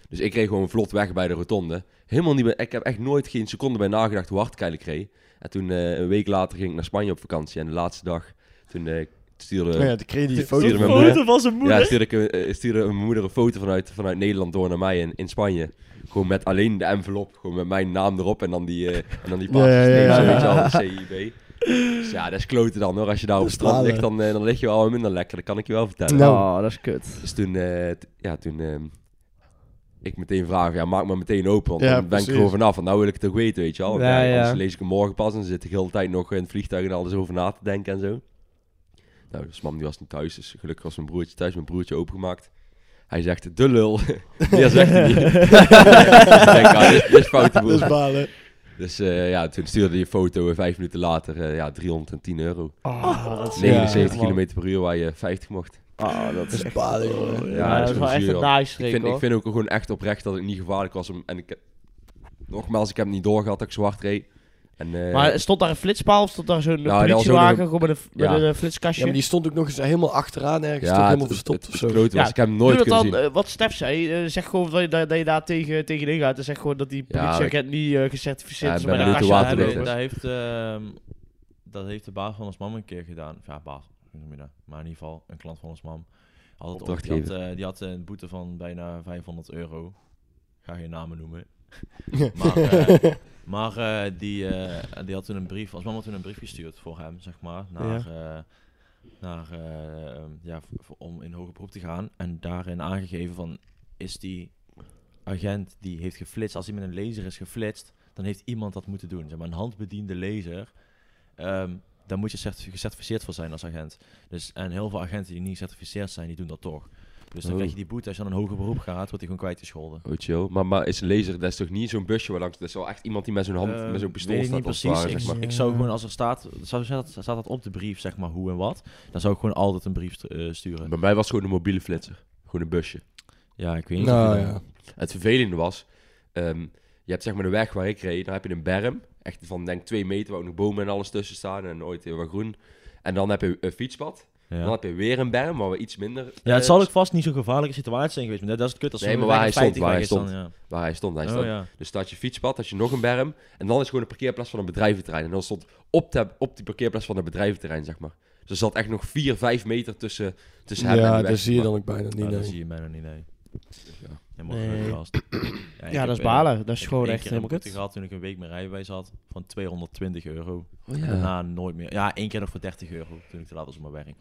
Speaker 4: Dus ik kreeg gewoon vlot weg bij de rotonde. Helemaal niet meer, ik heb echt nooit geen seconde bij nagedacht hoe hard ik eigenlijk reed. En toen eh, een week later ging ik naar Spanje op vakantie. En de laatste dag, toen eh, stuurde,
Speaker 2: Oh ja, die kreeg die foto.
Speaker 4: Stuurde
Speaker 1: Een
Speaker 4: mijn
Speaker 1: foto
Speaker 2: <laughs>
Speaker 4: moeder.
Speaker 1: van zijn moeder.
Speaker 4: ja, stuurde, ik, eh, eh, stuurde mijn moeder een foto vanuit, vanuit Nederland door naar mij in, in Spanje. Gewoon met alleen de envelop, gewoon met mijn naam erop en dan die, eh en dan die
Speaker 2: Ja, ja,
Speaker 4: paarse
Speaker 2: ja,
Speaker 4: steen, zo,
Speaker 2: ja.
Speaker 4: weet je wel, CIB. Dus ja, dat is kloten dan hoor. Als je daar op
Speaker 2: Dat
Speaker 4: het
Speaker 2: is
Speaker 4: strand
Speaker 2: stralen.
Speaker 4: ligt, dan, eh, dan lig je wel wat minder lekker. Dat kan ik je wel vertellen.
Speaker 2: Nou.
Speaker 3: Oh, dat is kut.
Speaker 4: Dus toen, eh, t- ja, toen ehm, ik meteen vraag, ja, maak me meteen open, want
Speaker 2: Ja,
Speaker 4: dan ben ik er
Speaker 2: precies.
Speaker 4: gewoon vanaf. Want nou wil ik het ook weten, weet je wel. Want,
Speaker 3: Ja,
Speaker 4: ja,
Speaker 3: ja.
Speaker 4: Anders lees ik hem morgen pas en dan zit ik de hele tijd nog in het vliegtuig en alles over na te denken en zo. Nou, dus mam die was niet thuis, dus gelukkig was mijn broertje thuis, mijn broertje opengemaakt. Hij zegt, de lul. <laughs> Ja,
Speaker 2: <laughs>
Speaker 4: zegt hij niet. Ik denk, ah, dit, dit is foute
Speaker 2: Dat is
Speaker 4: boel.
Speaker 2: balen.
Speaker 4: Dus eh, ja, toen stuurde hij een foto en vijf minuten later, eh, ja, 310 euro.
Speaker 1: Ah,
Speaker 3: Oh, dat is
Speaker 4: 79
Speaker 3: Ja, man.
Speaker 4: km per uur waar je 50 mocht. Dus
Speaker 3: Oh, dat
Speaker 2: Dat
Speaker 3: is
Speaker 2: is balen, jongen.
Speaker 3: Ja,
Speaker 4: Ja,
Speaker 3: dat is
Speaker 4: zo
Speaker 3: wel echt
Speaker 4: zuur,
Speaker 3: een
Speaker 4: ja.
Speaker 3: nice
Speaker 4: Ik
Speaker 3: streek,
Speaker 4: vind, ik
Speaker 3: hoor.
Speaker 4: vind ook gewoon echt oprecht dat ik niet gevaarlijk was. Om, en ik, heb- nogmaals, ik heb niet doorgehad dat ik zwart reed. En, eh,
Speaker 3: Maar stond daar een flitspaal of stond daar zo'n
Speaker 4: dat was ook
Speaker 3: politiewagen
Speaker 4: nog-
Speaker 3: gewoon met een, met
Speaker 4: Ja.
Speaker 3: een eh, flitskastje?
Speaker 2: Ja, maar die stond ook nog eens helemaal achteraan ergens. toch
Speaker 4: het-
Speaker 2: helemaal
Speaker 4: het-
Speaker 2: verstopt
Speaker 4: het-
Speaker 2: of
Speaker 4: het
Speaker 2: zo.
Speaker 4: klote was,
Speaker 3: Ja,
Speaker 4: ik heb hem
Speaker 3: Doe
Speaker 4: nooit
Speaker 3: het
Speaker 4: kunnen
Speaker 3: dan,
Speaker 4: zien.
Speaker 3: eh, wat Stef zei, eh, zeg gewoon dat je, dat, dat je daar tegen, tegenin gaat. En zeg gewoon dat die
Speaker 4: Ja,
Speaker 3: politieagent niet eh, gecertificeerd
Speaker 4: Ja,
Speaker 3: is
Speaker 4: ik
Speaker 3: om bij
Speaker 4: ben
Speaker 3: de
Speaker 4: benieuwd
Speaker 3: kastje
Speaker 4: hoe
Speaker 3: aan
Speaker 1: dat,
Speaker 3: te
Speaker 4: water
Speaker 1: heeft,
Speaker 4: dit
Speaker 1: dat,
Speaker 3: lopen.
Speaker 1: heeft, ehm, dat heeft de baas van ons mam een keer gedaan. Of Ja, baas, hoe noem je dat? Maar in ieder geval, een klant van ons mam. Had het ooit- die, had,
Speaker 4: Opdrachtgever.
Speaker 1: eh, die had een boete van bijna 500 euro. Ga geen namen noemen.
Speaker 2: <laughs>
Speaker 1: Maar, eh, maar eh, die, eh, die had toen een brief, als mama had toen een brief gestuurd voor hem, zeg maar, naar, eh, naar, eh, ja, v- v- om in hoger beroep te gaan. En daarin aangegeven van, is die agent die heeft geflitst, als hij met een laser is geflitst, dan heeft iemand dat moeten doen. Zeg maar, een handbediende laser, ehm, daar moet je certi- gecertificeerd voor zijn als agent. Dus, en heel veel agenten die niet gecertificeerd zijn, die doen dat toch. Dus dan
Speaker 4: Oh.
Speaker 1: krijg je die boete, als je dan een hoger beroep gaat, wordt hij gewoon kwijtgescholden.
Speaker 3: eh.
Speaker 4: Oh, chill. Maar, maar is laser, dat is toch niet zo'n busje waar langs... Dat is wel echt iemand die met zo'n hand,
Speaker 1: Ehm,
Speaker 4: met zo'n pistool
Speaker 1: weet ik
Speaker 4: staat,
Speaker 1: niet
Speaker 4: als het ware,
Speaker 1: precies.
Speaker 4: zeg maar.
Speaker 1: Ik, ik zou gewoon, als er staat, zou, staat, staat dat op de brief, zeg maar, hoe en wat, dan zou ik gewoon altijd een brief stu- eh, sturen.
Speaker 4: Bij mij was het gewoon een mobiele flitser. Gewoon een busje.
Speaker 1: Ja, ik weet niet. of
Speaker 2: Nou
Speaker 1: je dan-
Speaker 2: ja.
Speaker 4: Het vervelende was, ehm, je hebt zeg maar de weg waar ik reed, dan heb je een berm. Echt van denk twee meter, waar ook nog bomen en alles tussen staan en ooit heel wat groen. En dan heb je een fietspad. Dan
Speaker 1: Ja.
Speaker 4: heb je weer een berm, maar we iets minder...
Speaker 1: Ja, het
Speaker 4: eh,
Speaker 1: zal ook vast niet zo'n gevaarlijke situatie zijn geweest, maar dat- dat is het kut. Als
Speaker 4: Nee,
Speaker 1: zo'n
Speaker 4: maar waar
Speaker 1: weg
Speaker 4: hij stond,
Speaker 1: 50
Speaker 4: waar
Speaker 1: weg
Speaker 4: hij
Speaker 1: is, dan,
Speaker 4: Waar hij stond, hij
Speaker 1: ja.
Speaker 4: stond.
Speaker 1: Oh, ja.
Speaker 4: Dus daar had je fietspad, had je nog een berm. En dan is gewoon een parkeerplaats van een bedrijventerrein. En dan stond op, de, op die parkeerplaats van het bedrijventerrein, zeg maar. Dus er zat echt nog 4, 5 meter tussen, tussen hem en de
Speaker 2: ja,
Speaker 4: weg,
Speaker 2: dat
Speaker 4: zeg
Speaker 2: zie je
Speaker 4: maar.
Speaker 2: dan ook bijna niet.
Speaker 1: Ah,
Speaker 2: nee.
Speaker 1: dat zie je mij nog niet, nee.
Speaker 4: Ja.
Speaker 1: Helemaal
Speaker 3: Nee.
Speaker 1: gevast. ik
Speaker 3: Ja,
Speaker 1: heb,
Speaker 3: dat is
Speaker 1: eh,
Speaker 3: balen. Dat is
Speaker 1: ik heb
Speaker 3: gewoon
Speaker 1: één
Speaker 3: echt
Speaker 1: keer een
Speaker 3: helemaal
Speaker 1: boete
Speaker 3: kut.
Speaker 1: gehad toen ik een week mijn rijbewijs had van 220 euro.
Speaker 4: Oh, ja.
Speaker 1: Daarna nooit meer. Ja, één keer nog voor 30 euro toen ik te laat was op mijn werk.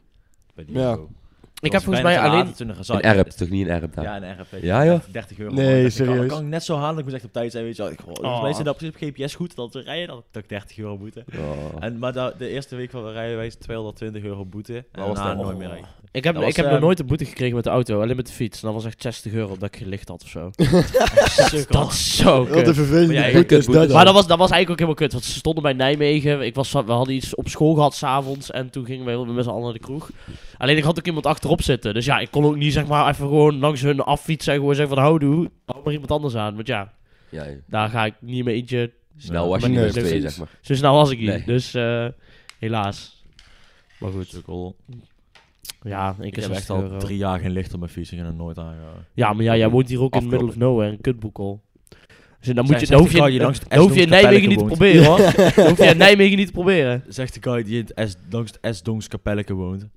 Speaker 1: Bij die
Speaker 2: Ja.
Speaker 1: Jumbo. Toen
Speaker 3: Ik heb
Speaker 1: was
Speaker 3: volgens
Speaker 1: bijna
Speaker 3: mij
Speaker 1: te laat
Speaker 3: alleen...
Speaker 1: en Toen er
Speaker 4: Een
Speaker 1: gezeik-
Speaker 4: erp, toch niet een erp daar?
Speaker 1: Ja, een RFP.
Speaker 4: Nou, Ja, joh.
Speaker 1: 30 euro.
Speaker 2: Nee,
Speaker 1: Ik dacht, ik Kan,
Speaker 2: serieus.
Speaker 1: dat kan ik net zo halen. Ik moest echt op tijd zijn, weet je wel. Ik, goh, volgens
Speaker 3: Oh.
Speaker 1: mij zit dat precies op GPS goed. Dat we rijden, dat dat ik 30 euro boete.
Speaker 4: Oh.
Speaker 1: En, maar dat- de eerste week van de rijbewijs 220 euro boete. En
Speaker 4: Dat was
Speaker 1: daarna
Speaker 4: dan-
Speaker 1: nooit
Speaker 4: oh.
Speaker 1: meer rijden. <laughs>
Speaker 3: Ik heb,
Speaker 1: Dat was,
Speaker 3: ik heb nog
Speaker 1: ehm,
Speaker 3: nooit een boete gekregen met de auto, alleen met de fiets. En dat was echt 60 euro dat ik gelicht had of zo.
Speaker 1: Sukkel.
Speaker 3: Dat is zo
Speaker 2: Wat een
Speaker 3: kut.
Speaker 2: vervelende
Speaker 1: Maar ja,
Speaker 2: boete is
Speaker 4: kutboete.
Speaker 2: dat dan.
Speaker 3: Maar dat was, dat was eigenlijk ook helemaal kut, want ze stonden bij Nijmegen. Ik was, van- we hadden iets op school gehad s'avonds en toen gingen we met z'n allen naar de kroeg. Alleen ik had ook iemand achterop zitten. Dus ja, ik kon ook niet zeg maar even gewoon langs hun affietsen en gewoon zeggen van houdoe, hou maar iemand anders aan. Want ja,
Speaker 4: Ja, ja.
Speaker 3: daar ga ik niet mee eentje.
Speaker 4: snel was je
Speaker 3: maar
Speaker 4: niet
Speaker 2: nee,
Speaker 4: met z'n tweeën,
Speaker 2: precies.
Speaker 4: zeg maar.
Speaker 3: Zo snel was ik niet.
Speaker 4: Nee.
Speaker 3: Dus eh, helaas. Maar goed,
Speaker 1: Sukkel.
Speaker 3: ja, ik,
Speaker 1: Ik heb echt al drie jaar geen licht op mijn fiets. Ik heb er nooit aangehouden.
Speaker 3: Ja, maar ja, jij woont hier ook in the middle of
Speaker 4: Afkloppen.
Speaker 3: nowhere, een kutboekel. Dus dan moet
Speaker 1: Zij
Speaker 3: je,
Speaker 1: zegt
Speaker 3: dan hoef
Speaker 1: die
Speaker 3: je,
Speaker 1: guy die langs het
Speaker 3: dan hoef je in
Speaker 1: Esdonks
Speaker 3: Nijmegen niet te
Speaker 1: kapelletje
Speaker 3: proberen hoor. Dan hoef je in Nijmegen niet te proberen.
Speaker 1: Zegt de guy die in het S, langs het S-Dongs Kapelleke woont.
Speaker 3: Ik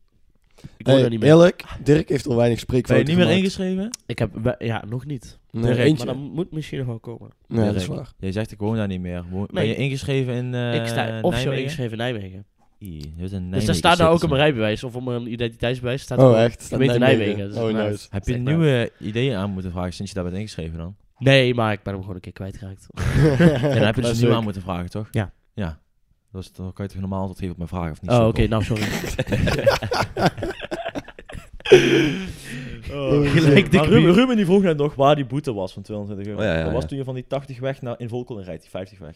Speaker 2: Hey,
Speaker 3: woon daar niet meer.
Speaker 2: eerlijk, Dirk heeft al weinig
Speaker 1: Ben je
Speaker 2: spreekfouten
Speaker 1: niet meer
Speaker 2: gemaakt.
Speaker 1: ingeschreven?
Speaker 3: Ik heb, we- ja, nog niet.
Speaker 2: Nee,
Speaker 1: Dirk,
Speaker 2: eentje.
Speaker 3: Maar dat moet misschien nog wel komen.
Speaker 2: Nee, dat is
Speaker 1: Dirk.
Speaker 2: waar.
Speaker 1: Jij zegt ik woon daar niet meer. Wo- Ben
Speaker 3: Nee.
Speaker 1: je ingeschreven in eh
Speaker 3: ik sta officieel
Speaker 1: Nijmegen?
Speaker 3: ingeschreven in Nijmegen.
Speaker 1: Ih, je bent een
Speaker 3: Dus
Speaker 1: Nijmegen
Speaker 3: daar staat nou ook op
Speaker 1: citizen.
Speaker 3: mijn rijbewijs of op mijn identiteitsbewijs. Staat
Speaker 2: Oh,
Speaker 3: gewoon
Speaker 2: echt? Staat
Speaker 3: gemeente
Speaker 2: Nijmegen.
Speaker 3: Nijmegen. dus
Speaker 2: Oh,
Speaker 3: nou,
Speaker 2: nice.
Speaker 1: Heb je
Speaker 3: Zeg maar.
Speaker 1: nieuwe ideeën aan moeten vragen sinds je daar bent ingeschreven dan?
Speaker 3: Nee, maar ik ben hem gewoon een keer kwijtgeraakt. <laughs>
Speaker 1: Ja, dan heb je
Speaker 2: Dat
Speaker 1: dus
Speaker 2: is
Speaker 1: nieuw
Speaker 2: leuk.
Speaker 1: aan moeten vragen, toch?
Speaker 3: Ja.
Speaker 1: Ja. Dat is, dan kan je toch normaal antwoord geven op mijn vraag, of niet?
Speaker 3: Oh, oké,
Speaker 1: Sukkel? <laughs>
Speaker 3: nou sorry.
Speaker 1: Gelijk de
Speaker 3: Maar
Speaker 1: Ruben,
Speaker 3: Ruben-
Speaker 1: Oh, Ruben die vroeg net nog waar die boete was van 220 euro.
Speaker 4: Oh, ja, ja,
Speaker 1: dat was
Speaker 4: ja.
Speaker 1: toen je van die 80 weg naar in Volkel in rijdt, die 50 weg.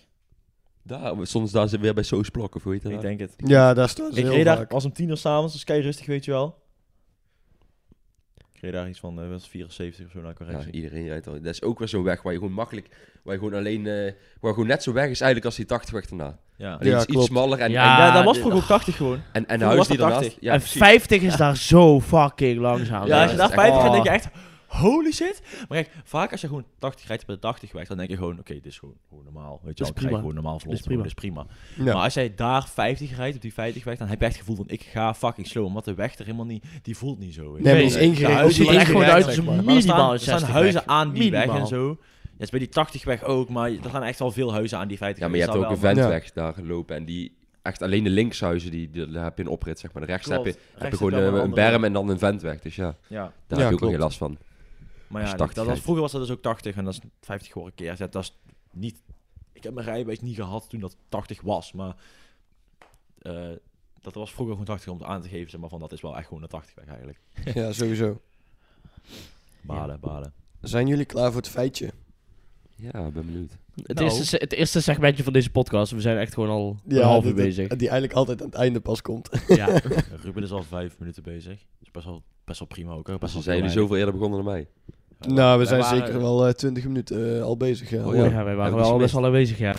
Speaker 4: Daar, soms daar zit weer bij Soos Blok, of hoe heet dat?
Speaker 1: Ik denk het.
Speaker 2: Ja, daar staan ze
Speaker 1: ik
Speaker 2: heel
Speaker 1: reed daar
Speaker 2: vaak.
Speaker 1: als om tien uur s'avonds, dus kei rustig, weet je wel. Ik reed daar iets van eh, was 74 of zo naar
Speaker 4: Ja,
Speaker 1: correctie.
Speaker 4: iedereen rijdt al. Dat is ook weer zo'n weg waar je gewoon makkelijk, waar je gewoon alleen, eh, waar gewoon net zo weg is eigenlijk als die 80 weg daarna.
Speaker 1: Ja.
Speaker 4: Alleen
Speaker 2: Ja,
Speaker 4: is iets
Speaker 2: klopt.
Speaker 4: smaller en,
Speaker 3: Ja,
Speaker 1: Ja, dat was
Speaker 3: dit-
Speaker 1: vroeger ook 80 gewoon.
Speaker 4: en, en, en de
Speaker 1: vroeger was
Speaker 4: huis die
Speaker 1: dat
Speaker 4: daarnaast.
Speaker 1: 80.
Speaker 4: Ja,
Speaker 3: en
Speaker 4: precies.
Speaker 3: 50 is daar zo fucking langzaam.
Speaker 1: Ja,
Speaker 4: Ja,
Speaker 1: als je
Speaker 4: dat
Speaker 1: daar 50
Speaker 4: is echt-
Speaker 1: gaat, denk je echt, holy shit. Maar kijk, vaak als je gewoon 80 rijdt op de 80 weg, dan denk je gewoon, oké, dit is gewoon, gewoon normaal. Weet je wel,
Speaker 3: is
Speaker 1: ik rij
Speaker 3: prima.
Speaker 1: gewoon normaal vlot,
Speaker 3: Dit
Speaker 1: dit
Speaker 3: is prima.
Speaker 1: is prima.
Speaker 2: Ja.
Speaker 1: Maar als jij daar 50 rijdt op die 50 weg, dan heb je echt het gevoel van, ik ga fucking slow. Omdat de weg er helemaal niet, die voelt niet zo. weet je
Speaker 2: Nee, maar
Speaker 1: wel.
Speaker 2: die is ingericht.
Speaker 1: huizen
Speaker 2: op die
Speaker 1: zien er echt gewoon
Speaker 2: ingericht,
Speaker 1: uit
Speaker 2: zeg
Speaker 3: als een
Speaker 2: maar.
Speaker 1: Maar er
Speaker 3: Minimaal
Speaker 1: staan,
Speaker 3: een
Speaker 1: er staan
Speaker 3: 60
Speaker 1: huizen
Speaker 3: weg.
Speaker 1: aan die
Speaker 3: Minimaal.
Speaker 1: weg en zo. Ja, is bij die 80 weg ook, maar er gaan echt wel veel huizen aan die 50
Speaker 4: Ja, maar
Speaker 1: weg.
Speaker 4: je hebt
Speaker 1: Dus
Speaker 4: ook een
Speaker 1: daar wel-
Speaker 4: vent weg daar gelopen en die echt alleen de linkshuizen die, die, daar heb je een oprit zeg maar. De rechts heb je,
Speaker 1: Klopt.
Speaker 4: heb
Speaker 1: Rechts
Speaker 4: je gewoon
Speaker 1: is wel
Speaker 4: eh, een,
Speaker 1: andere-
Speaker 4: berm en dan een vent weg. Dus ja,
Speaker 1: Ja,
Speaker 4: daar
Speaker 2: Ja,
Speaker 4: heb je ook nog
Speaker 2: klopt.
Speaker 4: geen last van.
Speaker 1: maar
Speaker 4: Als
Speaker 1: ja,
Speaker 4: 80
Speaker 1: dat was,
Speaker 4: rijdt.
Speaker 1: vroeger was dat dus ook 80 en dat is 50 geworden keer. Ja, dat is niet... Ik heb mijn rijbewijs niet gehad toen dat 80 was, maar... eh, dat was vroeger gewoon 80 om aan te geven, zeg maar, van dat is wel echt gewoon een 80 weg eigenlijk.
Speaker 2: Ja, sowieso.
Speaker 1: Balen, balen.
Speaker 2: Zijn jullie klaar voor het feitje?
Speaker 4: Ja, ik ben benieuwd.
Speaker 3: Het,
Speaker 1: Nou.
Speaker 3: eerste, se- het eerste segmentje van deze podcast. We zijn echt gewoon al
Speaker 2: Ja, Oh,
Speaker 3: een half uur
Speaker 2: dat- dat-
Speaker 3: bezig.
Speaker 2: Die eigenlijk altijd aan het einde pas komt. <laughs>
Speaker 3: Ja.
Speaker 1: <laughs> Ruben is al vijf minuten bezig. Dat is best wel, best wel prima ook. Hè? Best wel
Speaker 4: Zijn jullie
Speaker 1: veel
Speaker 4: zoveel eerder begonnen dan mij?
Speaker 1: weinig. Ja,
Speaker 2: Nou, we
Speaker 1: wij
Speaker 2: zijn
Speaker 1: waren-
Speaker 2: zeker wel twintig minuten eh, al bezig. Ja.
Speaker 4: Oh,
Speaker 3: ja.
Speaker 2: Hoor.
Speaker 3: wij
Speaker 4: Heb
Speaker 3: waren
Speaker 4: ik
Speaker 3: wel
Speaker 4: iets
Speaker 3: al best
Speaker 4: gemist?
Speaker 3: wel aanwezig, ja.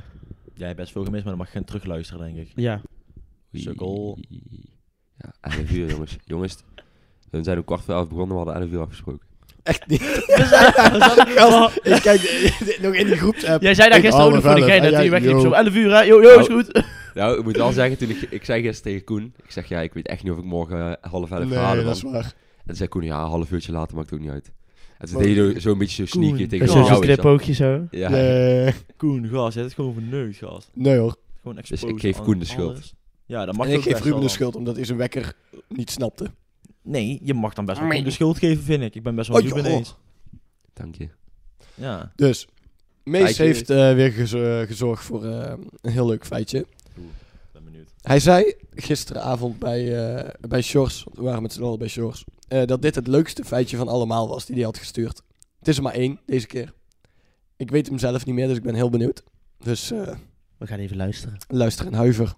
Speaker 1: Jij hebt best veel gemist, maar dan mag je geen terugluisteren, denk ik.
Speaker 3: <laughs> Ja.
Speaker 1: Sukkel.
Speaker 4: Ja, 11 uur <laughs> jongens. jongens, we zijn om kwart voor elf begonnen, we hadden 11 uur afgesproken.
Speaker 2: Echt niet. <laughs> Gast, ik kijk <laughs> eh, nog in die groepsapp.
Speaker 3: Jij zei daar
Speaker 2: Ik oh,
Speaker 3: gisteren ook
Speaker 2: half
Speaker 3: nog voor de
Speaker 2: elf.
Speaker 3: gein
Speaker 2: En
Speaker 3: dat
Speaker 2: jij,
Speaker 3: hij wegliep.
Speaker 2: Ah, yo.
Speaker 3: Zo "Ah, 11 uur, hè? Yo, yo, is
Speaker 4: Nou,
Speaker 3: goed.
Speaker 4: Nou, ik moet wel zeggen, toen ik, ik zei gisteren tegen Koen, ik zeg ja, ik weet echt niet of ik morgen eh, half elf ga
Speaker 2: Nee,
Speaker 4: halen.
Speaker 2: dat is
Speaker 4: man.
Speaker 2: waar.
Speaker 4: En toen zei Koen, ja, een half uurtje later maakt het ook niet uit. En En toen deed hij zo- zo'n beetje zo sneaky
Speaker 1: Koen.
Speaker 4: tegen
Speaker 1: Ik
Speaker 3: Zo'n
Speaker 1: hou
Speaker 4: jou
Speaker 3: zo'n
Speaker 4: in zat.
Speaker 3: knipoogje zo.
Speaker 4: Ja,
Speaker 2: Eh,
Speaker 1: Koen, gas. Jij hebt gewoon verneukt, gas.
Speaker 2: nee hoor.
Speaker 1: Gewoon
Speaker 4: ik
Speaker 1: exposure
Speaker 4: geef
Speaker 1: aan
Speaker 4: Koen de schuld.
Speaker 1: alles. Ja, dat mag
Speaker 2: En
Speaker 1: ook
Speaker 2: ik geef
Speaker 1: best
Speaker 2: Ruben de
Speaker 1: wel.
Speaker 2: schuld omdat hij zijn wekker niet snapte.
Speaker 1: Nee, je mag dan best wel
Speaker 2: Nee.
Speaker 1: Koen de schuld geven, vind ik. Ik ben best wel
Speaker 2: Oh,
Speaker 1: Ruben
Speaker 2: joh.
Speaker 1: eens.
Speaker 4: dank je.
Speaker 1: Ja.
Speaker 2: Dus, Mees
Speaker 4: Feitje.
Speaker 2: heeft eh, weer gezo- gezorgd voor eh, een heel leuk feitje.
Speaker 1: Ben benieuwd.
Speaker 2: Hij zei gisteravond bij, eh, bij Shores, want we waren met z'n allen bij Shores, eh, dat dit het leukste feitje van allemaal was die hij had gestuurd. Het is er maar één deze keer. Ik weet hem zelf niet meer, dus ik ben heel benieuwd. Dus eh,
Speaker 3: We gaan even <laughs> luisteren.
Speaker 2: luister en huiver.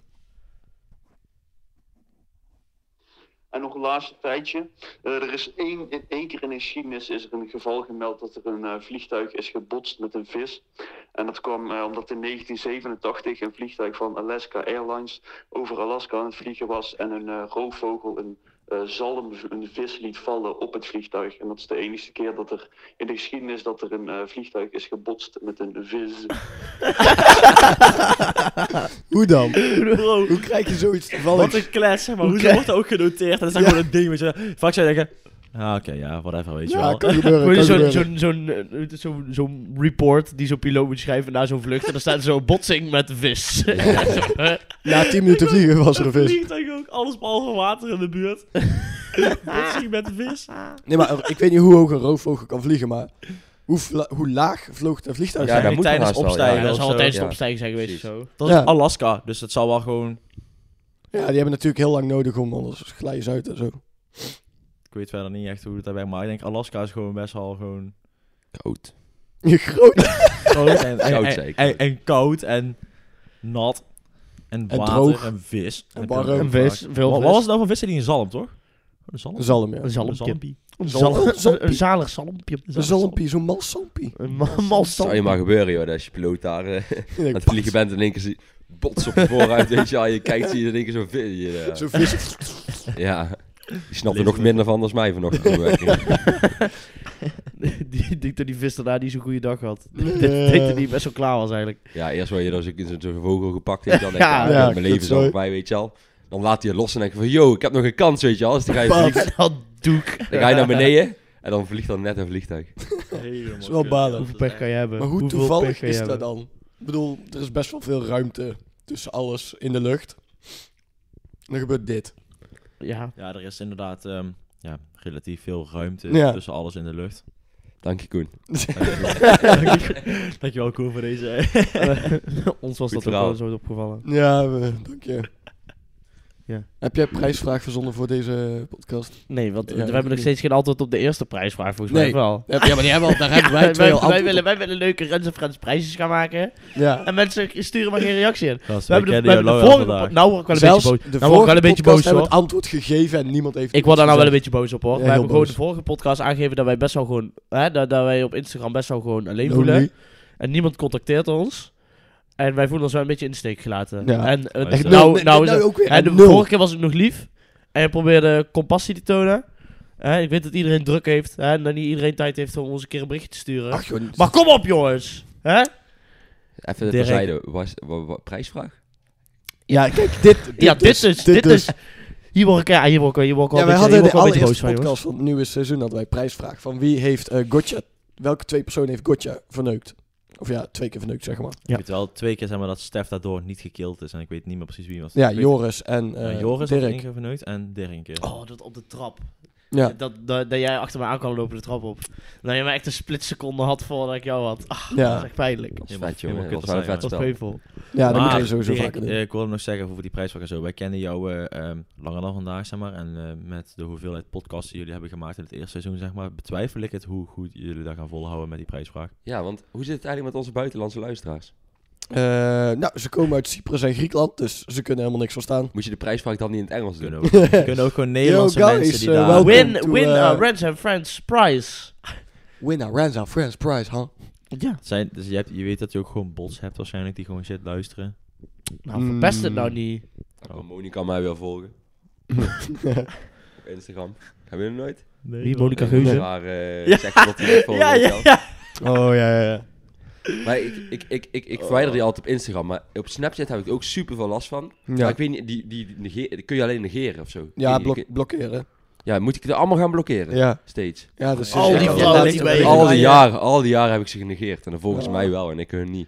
Speaker 5: En nog een laatste feitje. Eh, er is één, in één keer in de geschiedenis is er een geval gemeld dat er een eh, vliegtuig is gebotst met een vis. En dat kwam eh, omdat in 1987 een vliegtuig van Alaska Airlines over Alaska aan het vliegen was en een eh, roofvogel een eh, zalm, een vis liet vallen op het vliegtuig. En dat is de enige keer dat er in de geschiedenis dat er een eh, vliegtuig is gebotst met een vis.
Speaker 2: Hoe dan?
Speaker 1: Bro,
Speaker 2: Hoe krijg je zoiets
Speaker 1: wat
Speaker 2: toevallig?
Speaker 1: een clash, zeg maar.
Speaker 3: Hoe <laughs>
Speaker 1: Hoezo
Speaker 3: krijg-
Speaker 1: wordt dat ook genoteerd? Dat is dan
Speaker 2: Ja.
Speaker 1: gewoon een ding, weet je. Vaak zou je denken... Ah, oké, ja, whatever, weet je
Speaker 2: Ja,
Speaker 1: wel.
Speaker 2: kan gebeuren, kan
Speaker 3: Zo'n
Speaker 2: gebeuren.
Speaker 3: zo'n zo'n eh, zo'n- zo'n report die zo'n piloot moet schrijven na zo'n vlucht. En dan staat er zo'n botsing met de vis.
Speaker 2: Na 10 minuten vliegen was er een
Speaker 3: <laughs>
Speaker 2: vis.
Speaker 1: Vliegtuig ook, alles behalve water in de buurt. Botsing met de vis.
Speaker 2: Nee, maar eh, ik weet niet hoe hoog een roofvogel kan vliegen, maar hoe, vla- hoe laag vloog dat vliegtuig?
Speaker 4: Ja,
Speaker 2: zijn?
Speaker 4: dat moet
Speaker 1: tijdens
Speaker 4: haast wel, ja.
Speaker 1: opstijgen
Speaker 3: Ja, dat
Speaker 1: of
Speaker 3: zal
Speaker 1: zo.
Speaker 3: altijd
Speaker 4: ja.
Speaker 3: een opstijgen zijn geweest. of Zo.
Speaker 1: Dat is
Speaker 2: Ja.
Speaker 1: Alaska, dus dat zal wel gewoon...
Speaker 2: Ja, die hebben natuurlijk heel lang nodig om anders glijden ze uit en zo. <laughs>
Speaker 1: Ik weet verder niet echt hoe dat werkt, maar ik denk Alaska is gewoon best wel gewoon...
Speaker 4: Koud.
Speaker 2: Je groot
Speaker 1: Koud <laughs> en, en,
Speaker 4: Koud,
Speaker 1: en-
Speaker 4: zei ik.
Speaker 1: en- en koud en nat en
Speaker 2: En
Speaker 1: water en,
Speaker 2: droog.
Speaker 1: vis.
Speaker 2: En warm.
Speaker 1: ook
Speaker 2: Een
Speaker 1: vaak.
Speaker 3: vis, veel
Speaker 1: Wat, wat
Speaker 3: vis.
Speaker 1: was het nou van vissen die een zalm, toch? Een zalm.
Speaker 2: zalm, ja.
Speaker 3: Een zalmpje. Een
Speaker 2: Zalm-
Speaker 3: zal-
Speaker 2: zalmpje.
Speaker 3: Een zalig zalmpje.
Speaker 2: Een zalmpie, zo'n mal zalmpie.
Speaker 3: Een ma- mal
Speaker 4: Dat zou je
Speaker 3: zalmpje.
Speaker 4: maar gebeuren, joh, dat als je piloot daar eh,
Speaker 2: Nee,
Speaker 4: aan het
Speaker 2: pak.
Speaker 4: vliegen bent en in één keer zie- bots op je
Speaker 3: <laughs>
Speaker 4: vooruit, weet je wel. Je kijkt, zie je in één keer zo'n vis. hier, eh.
Speaker 2: Zo'n vis.
Speaker 4: Ja, die snapt er nog
Speaker 1: Levensmiddel.
Speaker 4: minder van dan mij vanochtend. op de
Speaker 3: <laughs>
Speaker 4: werk.
Speaker 3: <laughs> Die- Ik denk dat die vis daarna niet zo'n goede dag had.
Speaker 2: Nee.
Speaker 3: Ik denk
Speaker 2: Eh,
Speaker 3: dat die best wel klaar was eigenlijk.
Speaker 4: ja, eerst word je dan zo- in zo'n zo'n vogel gepakt en dan denk je,
Speaker 3: Ja,
Speaker 4: ah,
Speaker 2: ja,
Speaker 4: mijn leven is al
Speaker 2: kutzooi.
Speaker 4: voorbij, weet je wel. Dan laat hij je los en denk je van, yo, ik heb nog een kans, weet je wel. Dus dan ga je,
Speaker 2: Bam.
Speaker 4: vliegen,
Speaker 2: Dat
Speaker 3: Dat doek.
Speaker 4: dan ga je naar beneden en dan vliegt dan net een vliegtuig.
Speaker 1: <laughs> Dat
Speaker 2: is wel balen.
Speaker 3: <laughs> Hoeveel pech kan je hebben?
Speaker 2: Maar hoe
Speaker 3: Hoeveel pech
Speaker 2: toevallig
Speaker 3: kan je
Speaker 2: is dat
Speaker 3: hebben?
Speaker 2: dan? Ik bedoel, er is best wel veel ruimte tussen alles in de lucht. En dan gebeurt dit.
Speaker 3: <laughs> Ja.
Speaker 1: Ja, er is inderdaad ehm, ja, relatief veel ruimte
Speaker 2: Ja.
Speaker 1: tussen alles in de lucht.
Speaker 4: Dank je, Koen.
Speaker 1: <laughs> Dankjewel. Dankjewel, Koen, voor deze.
Speaker 3: Ons was dat
Speaker 4: Goed
Speaker 3: ook
Speaker 4: verhaal.
Speaker 3: wel zo opgevallen.
Speaker 2: Ja, we- dank je.
Speaker 3: Ja.
Speaker 2: Heb jij prijsvraag verzonnen voor deze podcast?
Speaker 3: <laughs> Nee, want
Speaker 2: Ja,
Speaker 3: we
Speaker 2: dat
Speaker 3: hebben nog
Speaker 2: is-
Speaker 3: steeds geen antwoord op de eerste prijsvraag, volgens
Speaker 2: Nee.
Speaker 3: mij wel.
Speaker 2: Ja, maar die hebben al, daar hebben <laughs>
Speaker 3: Ja, wij, wij, willen, wij willen leuke Rens en Friends prijsjes gaan maken.
Speaker 2: Ja.
Speaker 3: En mensen sturen maar geen reactie in. <laughs>
Speaker 1: Gast,
Speaker 3: We
Speaker 1: wij
Speaker 3: hebben de,
Speaker 1: kennen
Speaker 3: we
Speaker 1: jou lang
Speaker 3: hebben de
Speaker 1: al
Speaker 3: vorige...
Speaker 1: vandaag.
Speaker 3: pod- Nou word ik wel een
Speaker 2: Zelfs
Speaker 3: beetje boos.
Speaker 2: de
Speaker 3: Nou word
Speaker 2: vorige
Speaker 3: ik wel een beetje
Speaker 2: podcast
Speaker 3: boos,
Speaker 2: hebben
Speaker 3: hoor.
Speaker 2: het antwoord gegeven en niemand heeft
Speaker 3: Ik
Speaker 2: iets
Speaker 3: word daar nou wel een
Speaker 2: gezegd.
Speaker 3: beetje boos op, hoor.
Speaker 2: Ja,
Speaker 3: we
Speaker 2: heel
Speaker 3: hebben gewoon de
Speaker 2: boos.
Speaker 3: vorige podcast aangegeven dat wij best wel gewoon... Hè, dat, dat wij op Instagram best wel gewoon alleen
Speaker 2: Lonely.
Speaker 3: voelen. En niemand contacteert ons. En wij voelen ons wel een beetje in de steek gelaten.
Speaker 2: Ja.
Speaker 3: En eh,
Speaker 1: Echt
Speaker 3: nou,
Speaker 2: nul.
Speaker 3: nou,
Speaker 2: Nee, nou ook weer
Speaker 3: hè, de
Speaker 2: nul.
Speaker 3: vorige keer was ik nog lief. En je probeerde compassie te tonen. Hè, ik weet dat iedereen druk heeft. Hè, en dat niet iedereen tijd heeft om ons een keer een berichtje te sturen.
Speaker 2: Ach joh,
Speaker 3: maar kom op, jongens! Hè?
Speaker 4: Even
Speaker 1: Direct.
Speaker 4: terzijde, was, wa- wa- prijsvraag?
Speaker 2: Ja, kijk, dit, dit
Speaker 3: ja, dit
Speaker 2: dus,
Speaker 3: is, dit, is. Hier word ik, ja, hier word ik, hier word ik al
Speaker 2: Ja,
Speaker 3: een
Speaker 2: wij
Speaker 3: beetje,
Speaker 2: hadden de
Speaker 3: hier word ik al een beetje boos
Speaker 2: allereerste
Speaker 3: van, jongens.
Speaker 2: podcast van het nieuwe seizoen hadden wij prijsvraag. Van wie heeft eh Gotcha, welke twee personen heeft Gotcha verneukt? Of ja, twee keer verneukt, zeg maar.
Speaker 1: Ik weet wel twee keer zeg maar, dat Stef daardoor niet gekild is. En ik weet niet meer precies wie was.
Speaker 2: Ja,
Speaker 1: Ik weet-
Speaker 2: Joris en
Speaker 1: Ja,
Speaker 2: eh
Speaker 1: Joris had één
Speaker 2: Dirk.
Speaker 1: keer verneukt en Dirk een keer.
Speaker 3: Oh, dat op de trap.
Speaker 2: Ja.
Speaker 3: Dat, dat, dat jij achter me aan kan lopen de trap op. Dat je me echt een split seconde had voordat ik jou had. Ach,
Speaker 2: Ja.
Speaker 3: dat is echt pijnlijk.
Speaker 4: Dat is
Speaker 1: Helemaal-
Speaker 4: vet, jongen.
Speaker 1: helemaal
Speaker 4: Dat
Speaker 1: kut
Speaker 4: is wel een
Speaker 1: zijn,
Speaker 3: Dat
Speaker 4: vet
Speaker 3: is
Speaker 4: spel.
Speaker 3: painvol.
Speaker 2: ja, dat
Speaker 1: Maar
Speaker 2: moet je sowieso
Speaker 1: Dirk,
Speaker 2: vaker doen.
Speaker 1: eh, ik wilde nog zeggen over die prijsvraag en zo. Wij kennen jou eh, ehm, langer dan vandaag, zeg maar. En eh, met de hoeveelheid podcasts die jullie hebben gemaakt in het eerste seizoen, zeg maar, betwijfel ik het hoe goed jullie dat gaan volhouden met die prijsvraag.
Speaker 4: Ja, want hoe zit het eigenlijk met onze buitenlandse luisteraars?
Speaker 2: Eh, nou, ze komen uit Cyprus en Griekenland, dus ze kunnen helemaal niks verstaan.
Speaker 4: Moet je de prijsvraag dan niet in het Engels doen?
Speaker 1: Kunnen ook, kunnen ook
Speaker 2: <laughs>
Speaker 1: gewoon Nederlandse
Speaker 2: guys,
Speaker 1: mensen die
Speaker 2: eh,
Speaker 1: daar...
Speaker 2: welkom.
Speaker 3: Win,
Speaker 2: to,
Speaker 3: win
Speaker 2: eh,
Speaker 3: uh, Rens and Friends prize.
Speaker 2: Winnaar, Ranza, Friends, Prize, huh?
Speaker 3: Ja,
Speaker 1: Zijn, dus je, hebt, je weet dat je ook gewoon bots hebt waarschijnlijk die gewoon shit luisteren.
Speaker 3: nou verpest het nou
Speaker 2: Mm.
Speaker 3: niet.
Speaker 4: Dan Oh. kan Monica mij wel
Speaker 2: <laughs>
Speaker 4: volgen. Op Instagram. Gaan we er nooit?
Speaker 3: Wie, Monica
Speaker 4: Een
Speaker 3: Geuze?
Speaker 4: Zwaar, eh, seksueel telefoon, weet je wel.
Speaker 2: Oh, ja, ja, ja.
Speaker 4: Maar ik, ik, ik, ik, ik
Speaker 2: Oh.
Speaker 4: verwijder die altijd op Instagram. Maar op Snapchat heb ik ook super veel last van. Maar
Speaker 2: Ja,
Speaker 4: ik weet niet, die, die, die negeer- die kun je alleen negeren of zo. Ik weet
Speaker 2: ja
Speaker 4: niet,
Speaker 2: blok-
Speaker 4: ik-
Speaker 2: blokkeren.
Speaker 4: Ja, moet ik het allemaal gaan blokkeren?
Speaker 2: Ja,
Speaker 4: Steeds.
Speaker 2: ja dus
Speaker 3: Al
Speaker 2: ja,
Speaker 3: die
Speaker 2: dat
Speaker 3: vrouwen
Speaker 2: ligt
Speaker 3: die
Speaker 2: er
Speaker 3: bij-
Speaker 2: een
Speaker 4: Al
Speaker 2: beetje
Speaker 4: die
Speaker 2: bij,
Speaker 4: jaren, al die jaren heb ik ze genegeerd. En dan volgens
Speaker 2: Ja.
Speaker 4: mij wel en ik hun niet.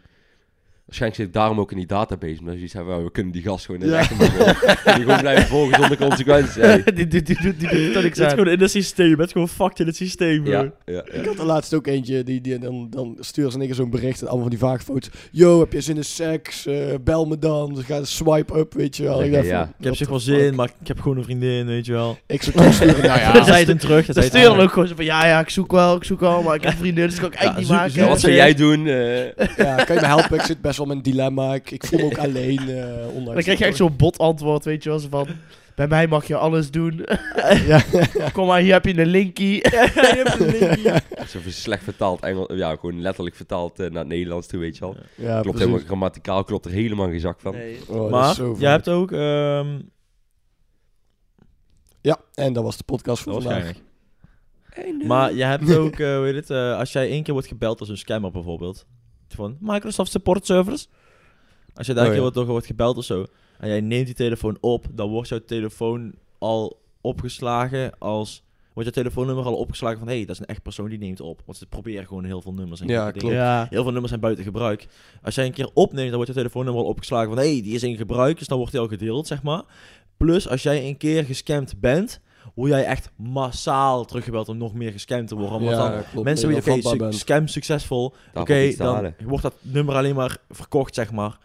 Speaker 4: Waarschijnlijk zit ik daarom ook in die database. Omdat ze iets hebben, we kunnen die gast gewoon in
Speaker 2: Ja.
Speaker 4: de rechter maken. <laughs> En die gewoon blijven volgen zonder consequenties. Ja,
Speaker 3: <laughs> die doet die doet die
Speaker 1: <laughs> Je
Speaker 3: doet dat
Speaker 1: zit
Speaker 3: examen.
Speaker 1: gewoon in het systeem. Je bent gewoon fucked in het systeem, bro.
Speaker 4: ja, ja.
Speaker 2: Ik had er laatst ook eentje, die, die, dan, dan sturen ze niks zo'n bericht en allemaal van die vaag foto's. Yo, heb je zin in seks? Eh, bel me dan. Ze gaan swipe up, weet je wel. Ik,
Speaker 4: Oké,
Speaker 2: dacht
Speaker 4: ja.
Speaker 2: van,
Speaker 1: Ik heb
Speaker 2: what
Speaker 1: zich
Speaker 2: the
Speaker 1: wel
Speaker 2: fuck?
Speaker 1: zin, maar ik heb gewoon een vriendin, weet je wel.
Speaker 2: Ik zou
Speaker 1: <laughs>
Speaker 2: toesturen, nou ja.
Speaker 1: Dan zei het hem terug. dan
Speaker 3: Ze
Speaker 1: zei het
Speaker 3: sturen
Speaker 1: terug.
Speaker 3: ook gewoon zo van, ja, ja, ik zoek wel, ik zoek wel, maar ik heb vrienden, dus dat kan ik eigenlijk
Speaker 1: Ja,
Speaker 3: niet
Speaker 1: zoek-
Speaker 4: Ja,
Speaker 3: maken.
Speaker 4: wat zou jij doen? eh?
Speaker 2: Ja, kan je me helpen? Ik zit best wel met een dilemma. Ik, ik voel me ook alleen, eh ondanks...
Speaker 3: Dan krijg je echt zo'n bot antwoord, weet je wel, zo van, bij mij mag je alles doen.
Speaker 2: Ja,
Speaker 3: Kom maar, hier heb je een linkie.
Speaker 4: Zo ver- slecht vertaald Engels. Ja, gewoon letterlijk vertaald eh, naar het Nederlands toe, weet je wel.
Speaker 2: ja
Speaker 4: klopt
Speaker 2: precies.
Speaker 4: helemaal grammaticaal, klopt er helemaal geen zak van.
Speaker 2: Oh, dat is
Speaker 1: Maar
Speaker 2: zo
Speaker 1: jij
Speaker 2: vet.
Speaker 1: hebt ook... ehm
Speaker 2: Ja, en dat was de podcast voor
Speaker 1: dat was
Speaker 2: vandaag.
Speaker 1: geinig. oh, Maar je
Speaker 2: <laughs>
Speaker 1: hebt ook, eh, hoe heet het, eh, als jij één keer wordt gebeld als een scammer bijvoorbeeld. Van Microsoft Support Servers. Als je daar
Speaker 2: Oh,
Speaker 1: een keer
Speaker 2: ja.
Speaker 1: wordt, door wordt gebeld of zo. En jij neemt die telefoon op. Dan wordt jouw telefoon al opgeslagen als... Wordt jouw telefoonnummer al opgeslagen van... Hé, hey, dat is een echt persoon die neemt op. Want ze proberen gewoon heel veel nummers. en
Speaker 2: Ja,
Speaker 1: dingen.
Speaker 2: klopt.
Speaker 3: Ja.
Speaker 1: Heel veel nummers zijn buiten gebruik. Als jij een keer opneemt, dan wordt je telefoonnummer al opgeslagen van... hé, hey, die is in gebruik, dus dan wordt hij al gedeeld, zeg maar. Plus, als jij een keer gescamd bent... word jij echt massaal teruggebeld om nog meer gescamd te worden. Want
Speaker 2: Ja,
Speaker 1: dan
Speaker 2: klopt.
Speaker 1: mensen
Speaker 2: Dat
Speaker 1: weten,
Speaker 2: je
Speaker 1: oké,
Speaker 2: dan vatbaar
Speaker 1: su-
Speaker 2: bent.
Speaker 1: scam succesvol. Oké,
Speaker 4: Daar valt iets te
Speaker 1: dan
Speaker 4: halen.
Speaker 1: wordt dat nummer alleen maar verkocht, zeg maar.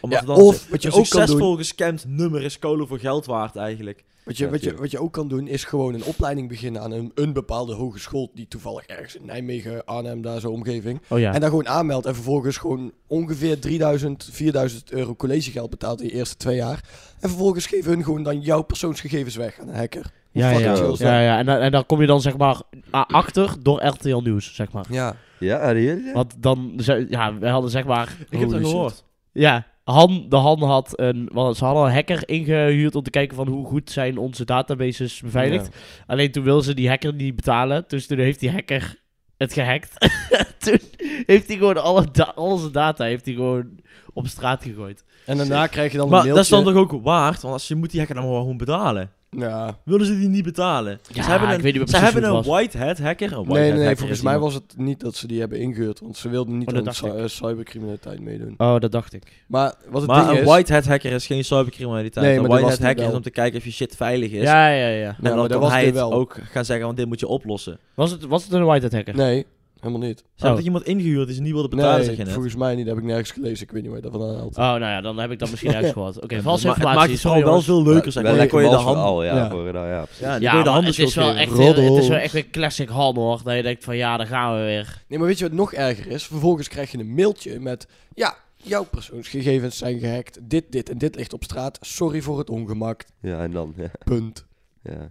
Speaker 1: Omdat
Speaker 2: Ja,
Speaker 1: het dan
Speaker 2: of wat je
Speaker 1: een
Speaker 2: ook kan doen...
Speaker 1: succesvol gescamd nummer is kolen voor geld waard, eigenlijk.
Speaker 2: Wat je,
Speaker 4: Ja,
Speaker 2: wat, je,
Speaker 4: tuurlijk.
Speaker 2: wat je ook kan doen, is gewoon een opleiding beginnen aan een, een bepaalde hogeschool. die toevallig ergens in Nijmegen, Arnhem, daar zo'n omgeving.
Speaker 3: Oh ja.
Speaker 2: En daar gewoon aanmeldt en vervolgens gewoon ongeveer 3000, 4000 euro collegegeld betaalt in de eerste twee jaar. En vervolgens geven hun gewoon dan jouw persoonsgegevens weg aan een hacker. Hoe
Speaker 3: Ja, ja,
Speaker 2: fucking
Speaker 3: ja.
Speaker 2: chill
Speaker 3: ja,
Speaker 2: is dat?
Speaker 3: ja. En, dan- en dan kom je dan zeg maar a- achter door RTL Nieuws, zeg maar.
Speaker 2: Ja,
Speaker 4: Ja, reëel?
Speaker 3: Want dan, ze- ja, we hadden zeg maar...
Speaker 1: Ik heb dat
Speaker 3: Holy shit.
Speaker 1: gehoord.
Speaker 3: Ja, Han, de Han had een, want ze hadden een hacker ingehuurd om te kijken van hoe goed zijn onze databases beveiligd. Alleen toen wilde ze die hacker niet betalen, dus toen heeft die hacker het gehackt. <laughs> toen heeft hij gewoon alle, da- al zijn data heeft hij gewoon op straat gegooid.
Speaker 2: En daarna krijg je dan
Speaker 1: Maar
Speaker 2: een
Speaker 1: dat is
Speaker 2: mailtje.
Speaker 1: dan toch ook waard? Want als je moet die hacker dan maar gewoon betalen.
Speaker 2: Ja.
Speaker 1: Wilden ze die niet betalen?
Speaker 3: Ja,
Speaker 1: ze hebben
Speaker 3: ik
Speaker 1: een,
Speaker 3: weet niet meer
Speaker 1: ze
Speaker 3: precies
Speaker 1: hebben
Speaker 3: hoe
Speaker 1: een
Speaker 3: het was.
Speaker 1: white hat hacker. Een white
Speaker 2: Nee,
Speaker 1: hat
Speaker 2: nee, nee,
Speaker 1: hacker
Speaker 2: volgens
Speaker 1: is
Speaker 2: mij
Speaker 1: iemand-
Speaker 2: was het niet dat ze die hebben ingehuurd. Want ze wilden niet
Speaker 3: Oh, dat
Speaker 2: aan
Speaker 3: dacht
Speaker 2: cy- eh, cybercriminaliteit meedoen.
Speaker 3: Oh, dat dacht ik.
Speaker 2: Maar wat het
Speaker 1: Maar
Speaker 2: ding
Speaker 1: een
Speaker 2: is...
Speaker 1: white hat hacker is geen cybercriminaliteit.
Speaker 2: Nee,
Speaker 1: een
Speaker 2: maar dat
Speaker 1: white
Speaker 2: was
Speaker 1: hat
Speaker 2: dit
Speaker 1: hacker is
Speaker 2: wel.
Speaker 1: om te kijken of je shit veilig is.
Speaker 3: Ja, ja, ja.
Speaker 1: En
Speaker 2: Ja,
Speaker 1: dan
Speaker 2: maar dat
Speaker 1: kan
Speaker 2: was
Speaker 1: hij
Speaker 2: dit
Speaker 1: het
Speaker 2: wel.
Speaker 1: ook gaan zeggen, want dit moet je oplossen. Ze
Speaker 3: Was het, was het een white hat hacker?
Speaker 2: Nee, helemaal niet.
Speaker 1: hebben toch iemand ingehuurd die ze niet wilden betalen, zeg je
Speaker 2: nee,
Speaker 1: net?
Speaker 2: volgens mij niet. Dat heb ik nergens gelezen. Ik weet niet waar je dat vandaan haalt.
Speaker 3: Oh, nou ja, dan heb ik
Speaker 1: <laughs>
Speaker 3: dat misschien uitgehoord. Oké,
Speaker 1: Maar
Speaker 3: valse
Speaker 1: Het maakt
Speaker 3: informatie.
Speaker 1: het
Speaker 3: Sorry,
Speaker 1: vooral wel
Speaker 3: jongens.
Speaker 1: veel leuker, zeg
Speaker 4: Wel
Speaker 1: maar. Dan
Speaker 4: lekker
Speaker 1: kon je de
Speaker 4: mals
Speaker 1: hand...
Speaker 4: verhaal, ja.
Speaker 2: Ja.
Speaker 4: Voor, nou, ja, precies.
Speaker 1: Ja, dan kon
Speaker 3: Ja,
Speaker 1: je de
Speaker 3: maar
Speaker 1: handen
Speaker 3: het is, wel echt, heel- het is wel echt weer classic Han hoor. Dat je denkt van ja, daar gaan we weer.
Speaker 2: Nee, maar weet je wat nog erger is? Vervolgens krijg je een mailtje met... Ja, jouw persoonsgegevens zijn gehackt. Dit, dit en dit ligt op straat. Sorry voor het ongemak.
Speaker 4: Ja, en dan. Ja,
Speaker 2: Punt.
Speaker 4: ja.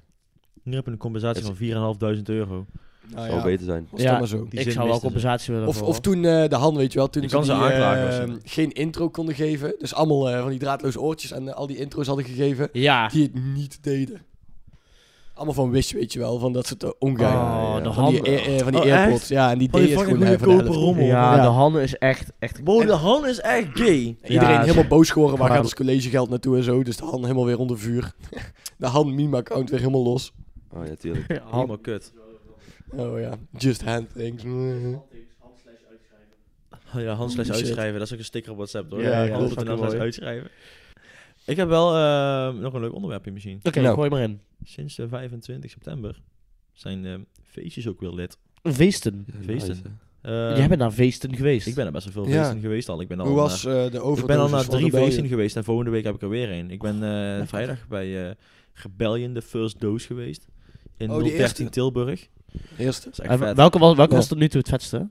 Speaker 1: Nu heb je een compensatie
Speaker 4: Het
Speaker 1: van 4.500 euro.
Speaker 2: Nou
Speaker 1: Ah,
Speaker 4: Zou
Speaker 2: ja,
Speaker 4: beter zijn.
Speaker 2: was
Speaker 3: Ja.
Speaker 2: dat maar zo.
Speaker 1: Die
Speaker 3: ik
Speaker 1: zin
Speaker 3: zou wel
Speaker 1: miste ze.
Speaker 3: compensatie willen
Speaker 2: Of,
Speaker 3: voor,
Speaker 2: of
Speaker 3: hoor.
Speaker 2: toen eh, de Han, weet je wel, toen
Speaker 1: Je
Speaker 2: ze
Speaker 1: kan ze
Speaker 2: die,
Speaker 1: aanklagen
Speaker 2: eh,
Speaker 1: als
Speaker 2: geen intro konden geven. Dus allemaal eh, van die draadloze oortjes en eh, al die intro's hadden gegeven.
Speaker 3: Ja.
Speaker 2: Die het niet deden. Allemaal van Wish, weet je wel, van dat ze het eh, omgaan.
Speaker 3: Oh,
Speaker 4: ja.
Speaker 3: de
Speaker 2: van die,
Speaker 3: Han.
Speaker 2: eh, eh, van die
Speaker 1: Oh, echt?
Speaker 2: AirPods. Ja, en die
Speaker 1: Van
Speaker 2: deden
Speaker 1: die
Speaker 2: het
Speaker 1: fucking
Speaker 2: gewoon even de
Speaker 1: goedkope
Speaker 2: helft.
Speaker 1: rommel.
Speaker 3: Ja,
Speaker 2: Ja.
Speaker 3: de Han is echt... echt
Speaker 1: Wow, de hand is echt gay.
Speaker 2: En Iedereen
Speaker 3: Ja,
Speaker 2: helemaal boos geworden. Waar
Speaker 3: maar-
Speaker 2: gaat ons collegegeld naartoe en zo? Dus de Han helemaal weer onder vuur. <laughs> De Han meme-account weer helemaal los.
Speaker 4: Oh ja,
Speaker 1: <laughs>
Speaker 4: tuurlijk.
Speaker 1: Helemaal kut.
Speaker 2: Oh ja, just hand things.
Speaker 1: Oh Ja, hand slash
Speaker 2: Shit.
Speaker 1: uitschrijven. Dat is ook een sticker op WhatsApp, hoor.
Speaker 2: Ja, ja,
Speaker 1: Ja,
Speaker 2: dat is fucking
Speaker 1: slash
Speaker 2: mooi.
Speaker 1: nou uitschrijven. Ik heb wel eh, nog een leuk onderwerpje misschien.
Speaker 3: Oké,
Speaker 2: Nou.
Speaker 3: gooi maar in.
Speaker 1: Sinds de 25 september zijn ehm, feestjes ook weer lid.
Speaker 3: Veesten.
Speaker 1: Feesten.
Speaker 4: Nice, hè.
Speaker 1: Ehm,
Speaker 3: Jij bent naar feesten geweest.
Speaker 1: Ik ben er best wel veel
Speaker 2: Ja.
Speaker 1: feesten geweest al. Ik ben al
Speaker 2: Hoe was
Speaker 1: naar-
Speaker 2: eh, de overdosis
Speaker 1: ik ben al naar
Speaker 2: van
Speaker 1: drie
Speaker 2: Rebellion?
Speaker 1: feesten geweest en volgende week heb ik er weer een. Ik ben eh, vrijdag bij eh Rebellion, de First Dose geweest. In
Speaker 2: Oh, die
Speaker 1: 013
Speaker 2: eerste.
Speaker 1: Tilburg.
Speaker 2: Eerste.
Speaker 1: Dat is echt
Speaker 3: En
Speaker 1: vet.
Speaker 3: welke was, welke
Speaker 2: Ja.
Speaker 3: was tot nu toe het vetste?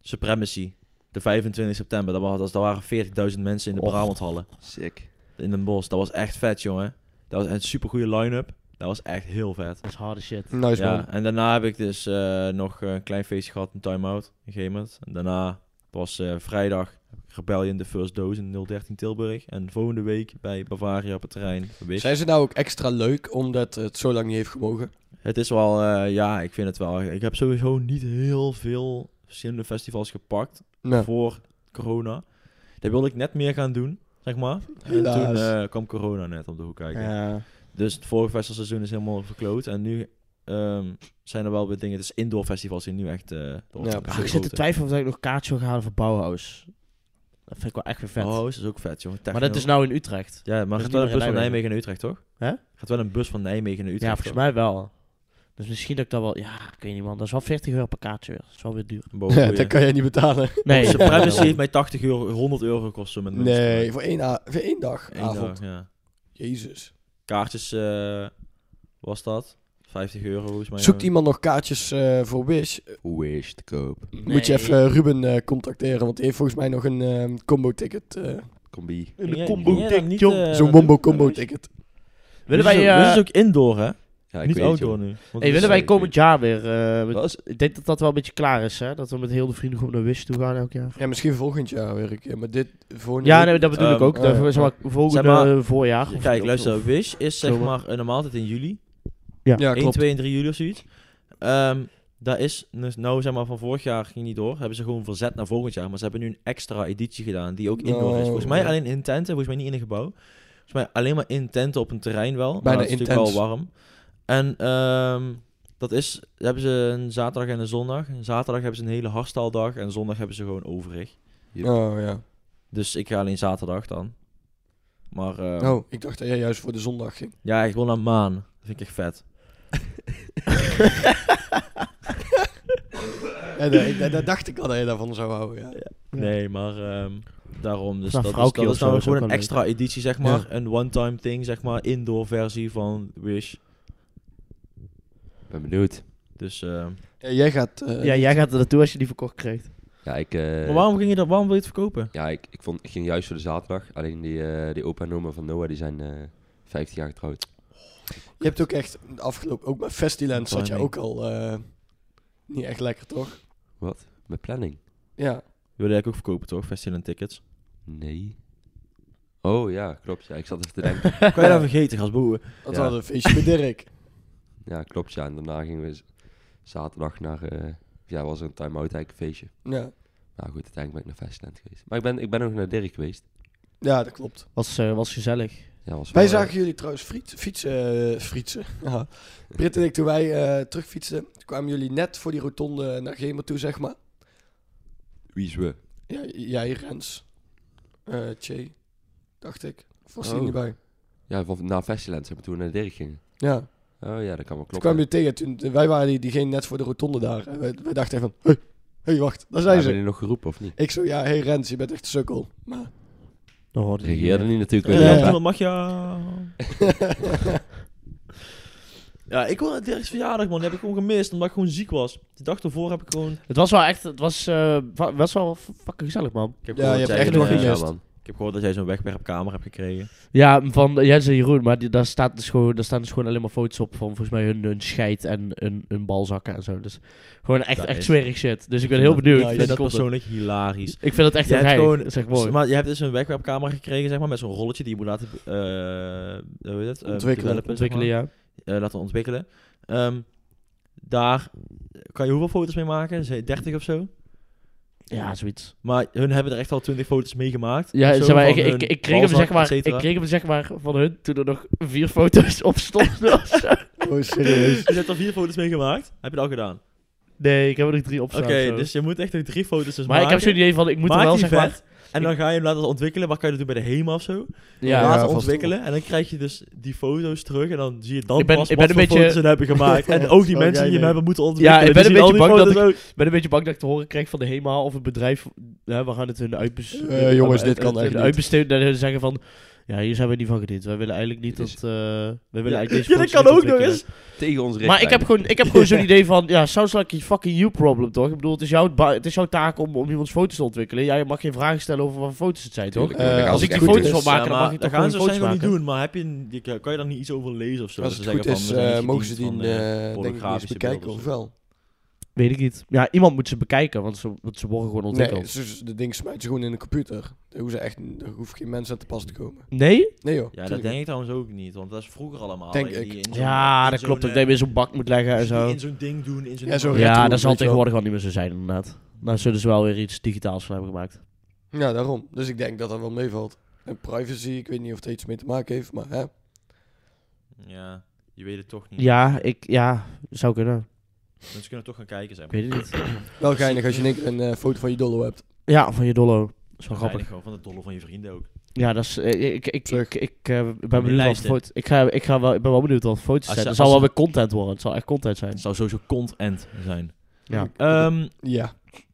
Speaker 1: Supremacy. De 25 september. Dat, was, dat waren 40.000 mensen in de
Speaker 3: Och.
Speaker 1: Brabanthallen.
Speaker 4: Sick.
Speaker 1: In Den Bosch. Dat was echt vet, jongen. Dat was een supergoeie line-up. Dat was echt heel vet.
Speaker 3: Dat is harde shit.
Speaker 2: Nice man.
Speaker 1: Ja, en daarna heb ik dus eh, nog een klein feestje gehad, een time-out in Gemert. En daarna was eh, vrijdag Rebellion de First Dose in 013 Tilburg. En volgende week bij Bavaria op het terrein. Wist.
Speaker 2: Zijn ze nou ook extra leuk omdat het zo lang niet heeft gemogen?
Speaker 1: Het is wel, eh, ja, ik vind het wel. Ik heb sowieso niet heel veel verschillende festivals gepakt
Speaker 2: Nee. <laughs>
Speaker 1: voor corona. Daar wilde ik net meer gaan doen, zeg maar. En
Speaker 2: Helaas.
Speaker 1: toen eh, kwam corona net op de hoek kijken.
Speaker 3: Ja. Ah,
Speaker 1: Dus het vorige festivalseizoen is helemaal verkloot. En nu ehm, zijn er wel weer dingen. Dus indoor festivals die nu echt. eh, de opkomst
Speaker 2: precies.
Speaker 1: zijn.
Speaker 3: ik zit te
Speaker 1: Grote.
Speaker 3: twijfelen of ik nog kaartjes wil gaan halen voor Bauhaus. Dat vind ik wel echt weer vet.
Speaker 1: Oh, dat is ook vet, jongen.
Speaker 3: maar
Speaker 1: Techno.
Speaker 3: dat is nou in Utrecht.
Speaker 1: Ja, maar
Speaker 3: is
Speaker 1: gaat
Speaker 3: niet
Speaker 1: wel
Speaker 3: meer
Speaker 1: een
Speaker 3: in
Speaker 1: bus van
Speaker 3: Nijmegen.
Speaker 1: Nijmegen naar Utrecht, toch?
Speaker 3: Hè?
Speaker 1: Gaat wel een bus van Nijmegen naar Utrecht.
Speaker 3: ja, volgens mij wel. Dus misschien dat ik dat wel... Ja, ik weet niet man. Dat is wel 40 euro per kaartje weer. Dat is wel weer duur.
Speaker 1: Boven,
Speaker 2: Ja, dat kan jij niet betalen.
Speaker 1: <laughs>
Speaker 3: Nee.
Speaker 1: Onze
Speaker 3: ja,
Speaker 1: privacy
Speaker 3: daarom.
Speaker 1: heeft mij 80 euro, 100 euro gekost. zo Met mensen.
Speaker 2: Nee, voor één, a- voor één dag
Speaker 1: Eén
Speaker 2: avond.
Speaker 1: dag, ja.
Speaker 2: Jezus.
Speaker 1: Kaartjes eh, was dat. 50 euro volgens mij.
Speaker 2: Zoekt iemand nog kaartjes eh, voor Wish?
Speaker 4: Wish te koop.
Speaker 3: Nee.
Speaker 2: Moet je even eh, Ruben eh, contacteren, want die heeft volgens mij nog een ehm, combo ticket. eh,
Speaker 4: Combi.
Speaker 1: Ging jij-
Speaker 3: Een
Speaker 1: ging jij
Speaker 3: combo
Speaker 1: dat
Speaker 3: dik,
Speaker 1: niet,
Speaker 3: jong.
Speaker 1: eh,
Speaker 2: Zo'n
Speaker 1: dat
Speaker 2: wombo
Speaker 1: doen?
Speaker 2: combo
Speaker 1: Ja,
Speaker 2: ticket.
Speaker 3: Willen
Speaker 1: Dit
Speaker 3: wij...
Speaker 1: is ook-
Speaker 3: eh,
Speaker 1: dit is dus ook indoor, hè?
Speaker 4: Ja,
Speaker 1: niet
Speaker 4: weet het,
Speaker 1: outdoor
Speaker 4: joh.
Speaker 1: nu. Want
Speaker 3: hey,
Speaker 1: het
Speaker 3: willen
Speaker 1: is-
Speaker 3: wij komend jaar weer... eh, met-
Speaker 4: Dat is-
Speaker 3: ik denk dat dat wel een beetje klaar is, hè? Dat we met heel de vriendengroep naar Wish toe gaan elk jaar.
Speaker 2: Ja, misschien volgend jaar weer een keer, maar dit voor
Speaker 3: Ja, nee, dat
Speaker 1: Ehm,
Speaker 3: bedoel ik ook.
Speaker 2: eh,
Speaker 1: oh
Speaker 3: Dat we, zeg maar, volgende
Speaker 1: Zeg maar-
Speaker 3: eh, voorjaar. of-
Speaker 1: Kijk,
Speaker 3: of-
Speaker 1: luister. Wish is zeg
Speaker 3: zomer.
Speaker 1: maar eh, normaal altijd in juli.
Speaker 2: Ja,
Speaker 1: 1,
Speaker 2: klopt.
Speaker 1: 2 en 3 juli of zoiets. Ehm daar is, dus nou zeg maar, van vorig jaar ging niet door. Hebben ze gewoon verzet naar volgend jaar. Maar ze hebben nu een extra editie gedaan, die ook indoor
Speaker 2: Nou,
Speaker 1: is. Volgens mij
Speaker 2: ja.
Speaker 1: alleen in tenten, volgens mij niet in een gebouw. Volgens mij alleen maar in tenten op een terrein wel. Maar
Speaker 2: Bijna
Speaker 1: het is natuurlijk wel warm. En ehm, dat is, hebben ze een zaterdag en een zondag. En zaterdag hebben ze een hele harstaldag en zondag hebben ze gewoon overig.
Speaker 2: Oh ja.
Speaker 1: Dus ik ga alleen zaterdag dan. Maar ehm,
Speaker 2: Oh, ik dacht dat jij juist voor de zondag ging.
Speaker 1: ja, ik wil naar Maan. Dat vind ik echt <laughs> vet.
Speaker 2: Ja, nee, ik- dat, dat dacht ik al dat je daarvan zou houden. Ja.
Speaker 3: Ja.
Speaker 1: Nee, maar ehm, daarom. Dus dat,
Speaker 3: Nou,
Speaker 1: is-
Speaker 3: vrouwkie
Speaker 1: dat
Speaker 3: of
Speaker 1: is
Speaker 3: zo
Speaker 1: nou
Speaker 3: is ook
Speaker 1: gewoon een
Speaker 3: wel leuk.
Speaker 1: extra editie, zeg maar. Een one-time thing, zeg maar. Indoor versie van Wish.
Speaker 4: Ik ben benieuwd.
Speaker 1: Dus, ehm,
Speaker 2: Ja, jij gaat. eh,
Speaker 3: Ja, jij gaat er naartoe als je die verkocht krijgt.
Speaker 4: Ja, ik, eh,
Speaker 1: maar waarom, ging je dat, waarom wil je het verkopen?
Speaker 4: ja ik, ik, vond, ik ging juist voor de zaterdag. Alleen die, eh, die opa en oma van Noah, die zijn eh 15 jaar getrouwd.
Speaker 2: Je hebt ook echt de afgelopen, ook met Festiland zat jij
Speaker 1: Planning.
Speaker 2: ook al eh, niet echt lekker, toch?
Speaker 4: Wat? Met planning?
Speaker 2: Ja.
Speaker 1: Wilde jij ook verkopen, toch? Festival en <laughs> tickets.
Speaker 4: Nee. Oh ja, klopt. Ja, ik zat even te
Speaker 2: <laughs>
Speaker 4: denken.
Speaker 1: kan je dat vergeten, gasboer?
Speaker 2: Want we
Speaker 4: Ja.
Speaker 2: hadden een feestje met Dirk.
Speaker 4: ja, klopt. Ja, en daarna gingen we z- zaterdag naar... eh, ja, was er een time-out eigenlijk een feestje.
Speaker 2: Ja.
Speaker 4: Nou goed, uiteindelijk ben ik naar Festland geweest. Maar ik ben, ik ben ook naar Dirk geweest.
Speaker 2: ja, dat klopt.
Speaker 3: Was, eh, was gezellig.
Speaker 4: Ja, was
Speaker 2: Wij
Speaker 4: wel, eh,
Speaker 2: zagen jullie trouwens friet- fietsen. eh, fietsen. Ja. Britt en ik, toen wij eh, terugfietsten, kwamen jullie net voor die rotonde naar Gemer toe, zeg maar.
Speaker 4: Wie is we?
Speaker 2: Ja, jij, Rens. eh Che, dacht ik. Of was die
Speaker 4: Oh.
Speaker 2: niet bij?
Speaker 4: Ja, van, na Festiland zeg maar, toen we naar Dirk gingen.
Speaker 2: Ja, toen
Speaker 4: Oh ja, dat kan wel kloppen.
Speaker 2: kwamen jullie tegen. Toen, wij waren die, diegene net voor de rotonde daar. En wij, wij dachten even, hé, hey, hey, wacht, daar zijn
Speaker 4: Hebben
Speaker 2: ze.
Speaker 4: jullie nog geroepen of niet?
Speaker 2: Ik zo, ja, hey Rens, je bent echt een sukkel. Maar,
Speaker 3: Dan hoorde je
Speaker 4: Reageerde niet natuurlijk.
Speaker 1: Ja,
Speaker 4: weer
Speaker 2: Ja.
Speaker 4: niet op, hè?
Speaker 1: mag je... <laughs> ja, ik wil naar Dirk's verjaardag, man. Die heb ik gewoon gemist, omdat ik gewoon ziek was. De dag ervoor heb ik gewoon... Ik
Speaker 3: Het was wel echt, het was, eh, wa- was wel f- fucking gezellig, man.
Speaker 1: heb
Speaker 2: Ja,
Speaker 1: gehoord
Speaker 2: je
Speaker 1: dat jij
Speaker 2: hebt echt nog
Speaker 1: een, eh,
Speaker 2: gemist.
Speaker 4: Ja, man.
Speaker 1: Ik heb gehoord dat jij zo'n wegwerpkamer hebt gekregen.
Speaker 3: Ja, van Jens en Jeroen, maar die, daar, staat dus gewoon, daar staan dus gewoon alleen maar foto's op van volgens mij hun, hun scheid en hun, hun balzakken en zo. Dus gewoon echt,
Speaker 1: Dat
Speaker 3: echt
Speaker 1: is-
Speaker 3: smerig shit. Dus ik ben heel benieuwd.
Speaker 2: Ja,
Speaker 1: Ik
Speaker 2: je
Speaker 1: vind dat
Speaker 3: vind ik, dat
Speaker 1: persoonlijk hilarisch.
Speaker 3: ik vind het echt
Speaker 1: Je
Speaker 3: een
Speaker 1: hebt
Speaker 3: rij.
Speaker 1: gewoon-
Speaker 3: Dat is echt mooi.
Speaker 1: Maar je hebt dus een wegwerpcamera gekregen, zeg maar, met zo'n rolletje die je moet laten eh, hoe heet het? Eh,
Speaker 2: Ontwikkelen.
Speaker 1: developen, zeg maar.
Speaker 3: Ontwikkelen, ja.
Speaker 1: Eh, laten ontwikkelen. Ehm, daar kan je hoeveel foto's mee maken? Zeg, 30 of zo?
Speaker 3: Ja, zoiets.
Speaker 1: Maar hun hebben er echt al 20 foto's mee gemaakt.
Speaker 3: Ja,
Speaker 1: Zo
Speaker 3: zeg maar, ik,
Speaker 1: van
Speaker 3: ik,
Speaker 1: hun
Speaker 3: ik, kreeg hem,
Speaker 1: balzak,
Speaker 3: zeg maar,
Speaker 1: et
Speaker 3: ik
Speaker 1: cetera.
Speaker 3: kreeg hem zeg maar van hun toen er nog vier foto's op stonden. of zo.
Speaker 2: oh, serieus.
Speaker 1: <laughs> Je hebt al vier foto's mee gemaakt. Heb je dat al gedaan?
Speaker 3: <laughs> nee, ik heb er nog drie op
Speaker 1: Oké,
Speaker 3: staan, zo.
Speaker 1: dus je moet echt nog drie foto's dus
Speaker 3: Maar ik
Speaker 1: maken.
Speaker 3: heb zo'n idee van, ik moet er
Speaker 1: Maak
Speaker 3: wel
Speaker 1: die
Speaker 3: zeg maar...
Speaker 1: vet. En dan ga je hem laten ontwikkelen. Wat kan je dat doen bij de HEMA of zo?
Speaker 3: Ja,
Speaker 2: Ja,
Speaker 1: laten
Speaker 2: vast.
Speaker 1: ontwikkelen. En dan krijg je dus die foto's terug. En dan zie je dan
Speaker 3: Ik ben-
Speaker 1: pas
Speaker 3: ik
Speaker 1: wat
Speaker 3: ben
Speaker 1: voor
Speaker 3: een beetje-
Speaker 1: foto's ze hebben gemaakt. En ook die
Speaker 2: Oh,
Speaker 1: mensen
Speaker 2: jij
Speaker 1: die hem
Speaker 2: nee.
Speaker 1: hebben moeten ontwikkelen.
Speaker 3: ik ben
Speaker 1: die
Speaker 3: een
Speaker 1: zien
Speaker 3: beetje
Speaker 1: al die
Speaker 3: bang
Speaker 1: foto's
Speaker 3: dat
Speaker 1: ook.
Speaker 3: Ik ben een beetje bang dat ik te horen krijg van de HEMA of het bedrijf. Hè, we gaan het hun uitbes-
Speaker 2: Eh, jongens, dit kan
Speaker 3: hun
Speaker 2: echt niet.
Speaker 3: uitbesteden. Dat hun zeggen van. Ja, hier zijn we niet van gediend. Wij willen eigenlijk niet
Speaker 4: Dit
Speaker 3: dat. eh
Speaker 4: is-
Speaker 3: wij willen <laughs> eigenlijk deze
Speaker 1: Ja, dat
Speaker 3: foto's
Speaker 1: kan
Speaker 3: niet
Speaker 1: ook nog
Speaker 3: ontwikkelen.
Speaker 1: eens.
Speaker 4: Tegen ons richting.
Speaker 3: Maar ik heb gewoon, ik heb gewoon zo'n idee van. Ja, sounds like a fucking you problem toch? Ik bedoel, het is, jouw ba- het is jouw taak om, om iemands foto's te ontwikkelen. Jij mag geen vragen stellen over wat voor foto's het zijn toch?
Speaker 4: Tuurlijk.
Speaker 2: Eh,
Speaker 4: Als
Speaker 3: Als
Speaker 4: het
Speaker 3: ik die
Speaker 4: goed
Speaker 3: foto's
Speaker 4: is.
Speaker 3: wil maken,
Speaker 1: Ja,
Speaker 3: dan mag ik
Speaker 1: dat
Speaker 3: toch
Speaker 1: gaan
Speaker 3: gewoon
Speaker 1: ze
Speaker 3: foto's
Speaker 1: waarschijnlijk
Speaker 3: maken.
Speaker 1: wel niet doen, maar heb je een, je- kan je daar niet iets over lezen of zo?
Speaker 2: Als
Speaker 1: Ze
Speaker 2: het
Speaker 1: zeggen
Speaker 2: goed
Speaker 1: van,
Speaker 2: is,
Speaker 1: we zijn
Speaker 2: eh,
Speaker 1: niet
Speaker 2: mogen ze die
Speaker 1: gediend
Speaker 2: eh,
Speaker 1: van, eh,
Speaker 2: denk ik niet eens
Speaker 1: pornografische
Speaker 2: bekijken,
Speaker 1: beelden
Speaker 2: of wel?
Speaker 3: Weet ik niet. Ja, iemand moet ze bekijken, want ze, want ze worden gewoon
Speaker 2: Nee,
Speaker 3: ontwikkeld.
Speaker 2: ze- ze- de ding smijt ze gewoon in de computer. Daar hoeven ze echt, daar hoeft geen mensen aan te pas te komen.
Speaker 3: Nee?
Speaker 2: Nee joh.
Speaker 1: Ja, dat
Speaker 2: tuurlijk
Speaker 1: denk ik trouwens ook niet, want dat is vroeger allemaal.
Speaker 2: Denk
Speaker 1: dat je
Speaker 2: ik.
Speaker 1: die in zo'n-
Speaker 3: Ja,
Speaker 1: in
Speaker 3: dat
Speaker 1: zo'n,
Speaker 3: klopt. Dat
Speaker 1: eh,
Speaker 3: ik dat je weer zo'n bak moet leggen en
Speaker 1: dat je die
Speaker 3: zo.
Speaker 1: In zo'n ding doen, in zo'n...
Speaker 2: Ja, zo recht-
Speaker 3: Ja,
Speaker 2: Rechthoek,
Speaker 3: dat zal
Speaker 2: weet je
Speaker 3: tegenwoordig wel niet meer zo zijn, inderdaad. Daar zullen ze wel weer iets digitaals van hebben gemaakt.
Speaker 2: niet. Ja, daarom. Dus ik denk dat dat wel meevalt. En privacy, ik weet niet of het er iets mee te maken heeft, maar hè.
Speaker 1: Ja. Je weet het toch niet.
Speaker 3: Ja, ik, ja, zou kunnen.
Speaker 1: Mensen kunnen toch gaan kijken, zeg
Speaker 3: Ik
Speaker 1: maar.
Speaker 3: weet het niet.
Speaker 2: Wel geinig als je in één keer een eh, foto van je dollo hebt.
Speaker 3: Ja, van je dollo. Dat is wel grappig.
Speaker 1: Gewoon van de dolle van je vrienden ook.
Speaker 3: Ja, dat is. eh, Ik, ik,
Speaker 2: Terug.
Speaker 3: ik, ik eh, ben benieuwd wat
Speaker 1: lijsten.
Speaker 3: voor foto's. Ik, ga, ik, ga wel, ik ben wel benieuwd wat voor foto's
Speaker 1: Als
Speaker 3: zijn.
Speaker 1: je-
Speaker 3: Het zal
Speaker 1: als
Speaker 3: wel
Speaker 1: je-
Speaker 3: weer content worden. Het zal echt content zijn.
Speaker 1: Het zou sowieso content zijn.
Speaker 3: Ja.
Speaker 1: Ehm,
Speaker 2: Ja.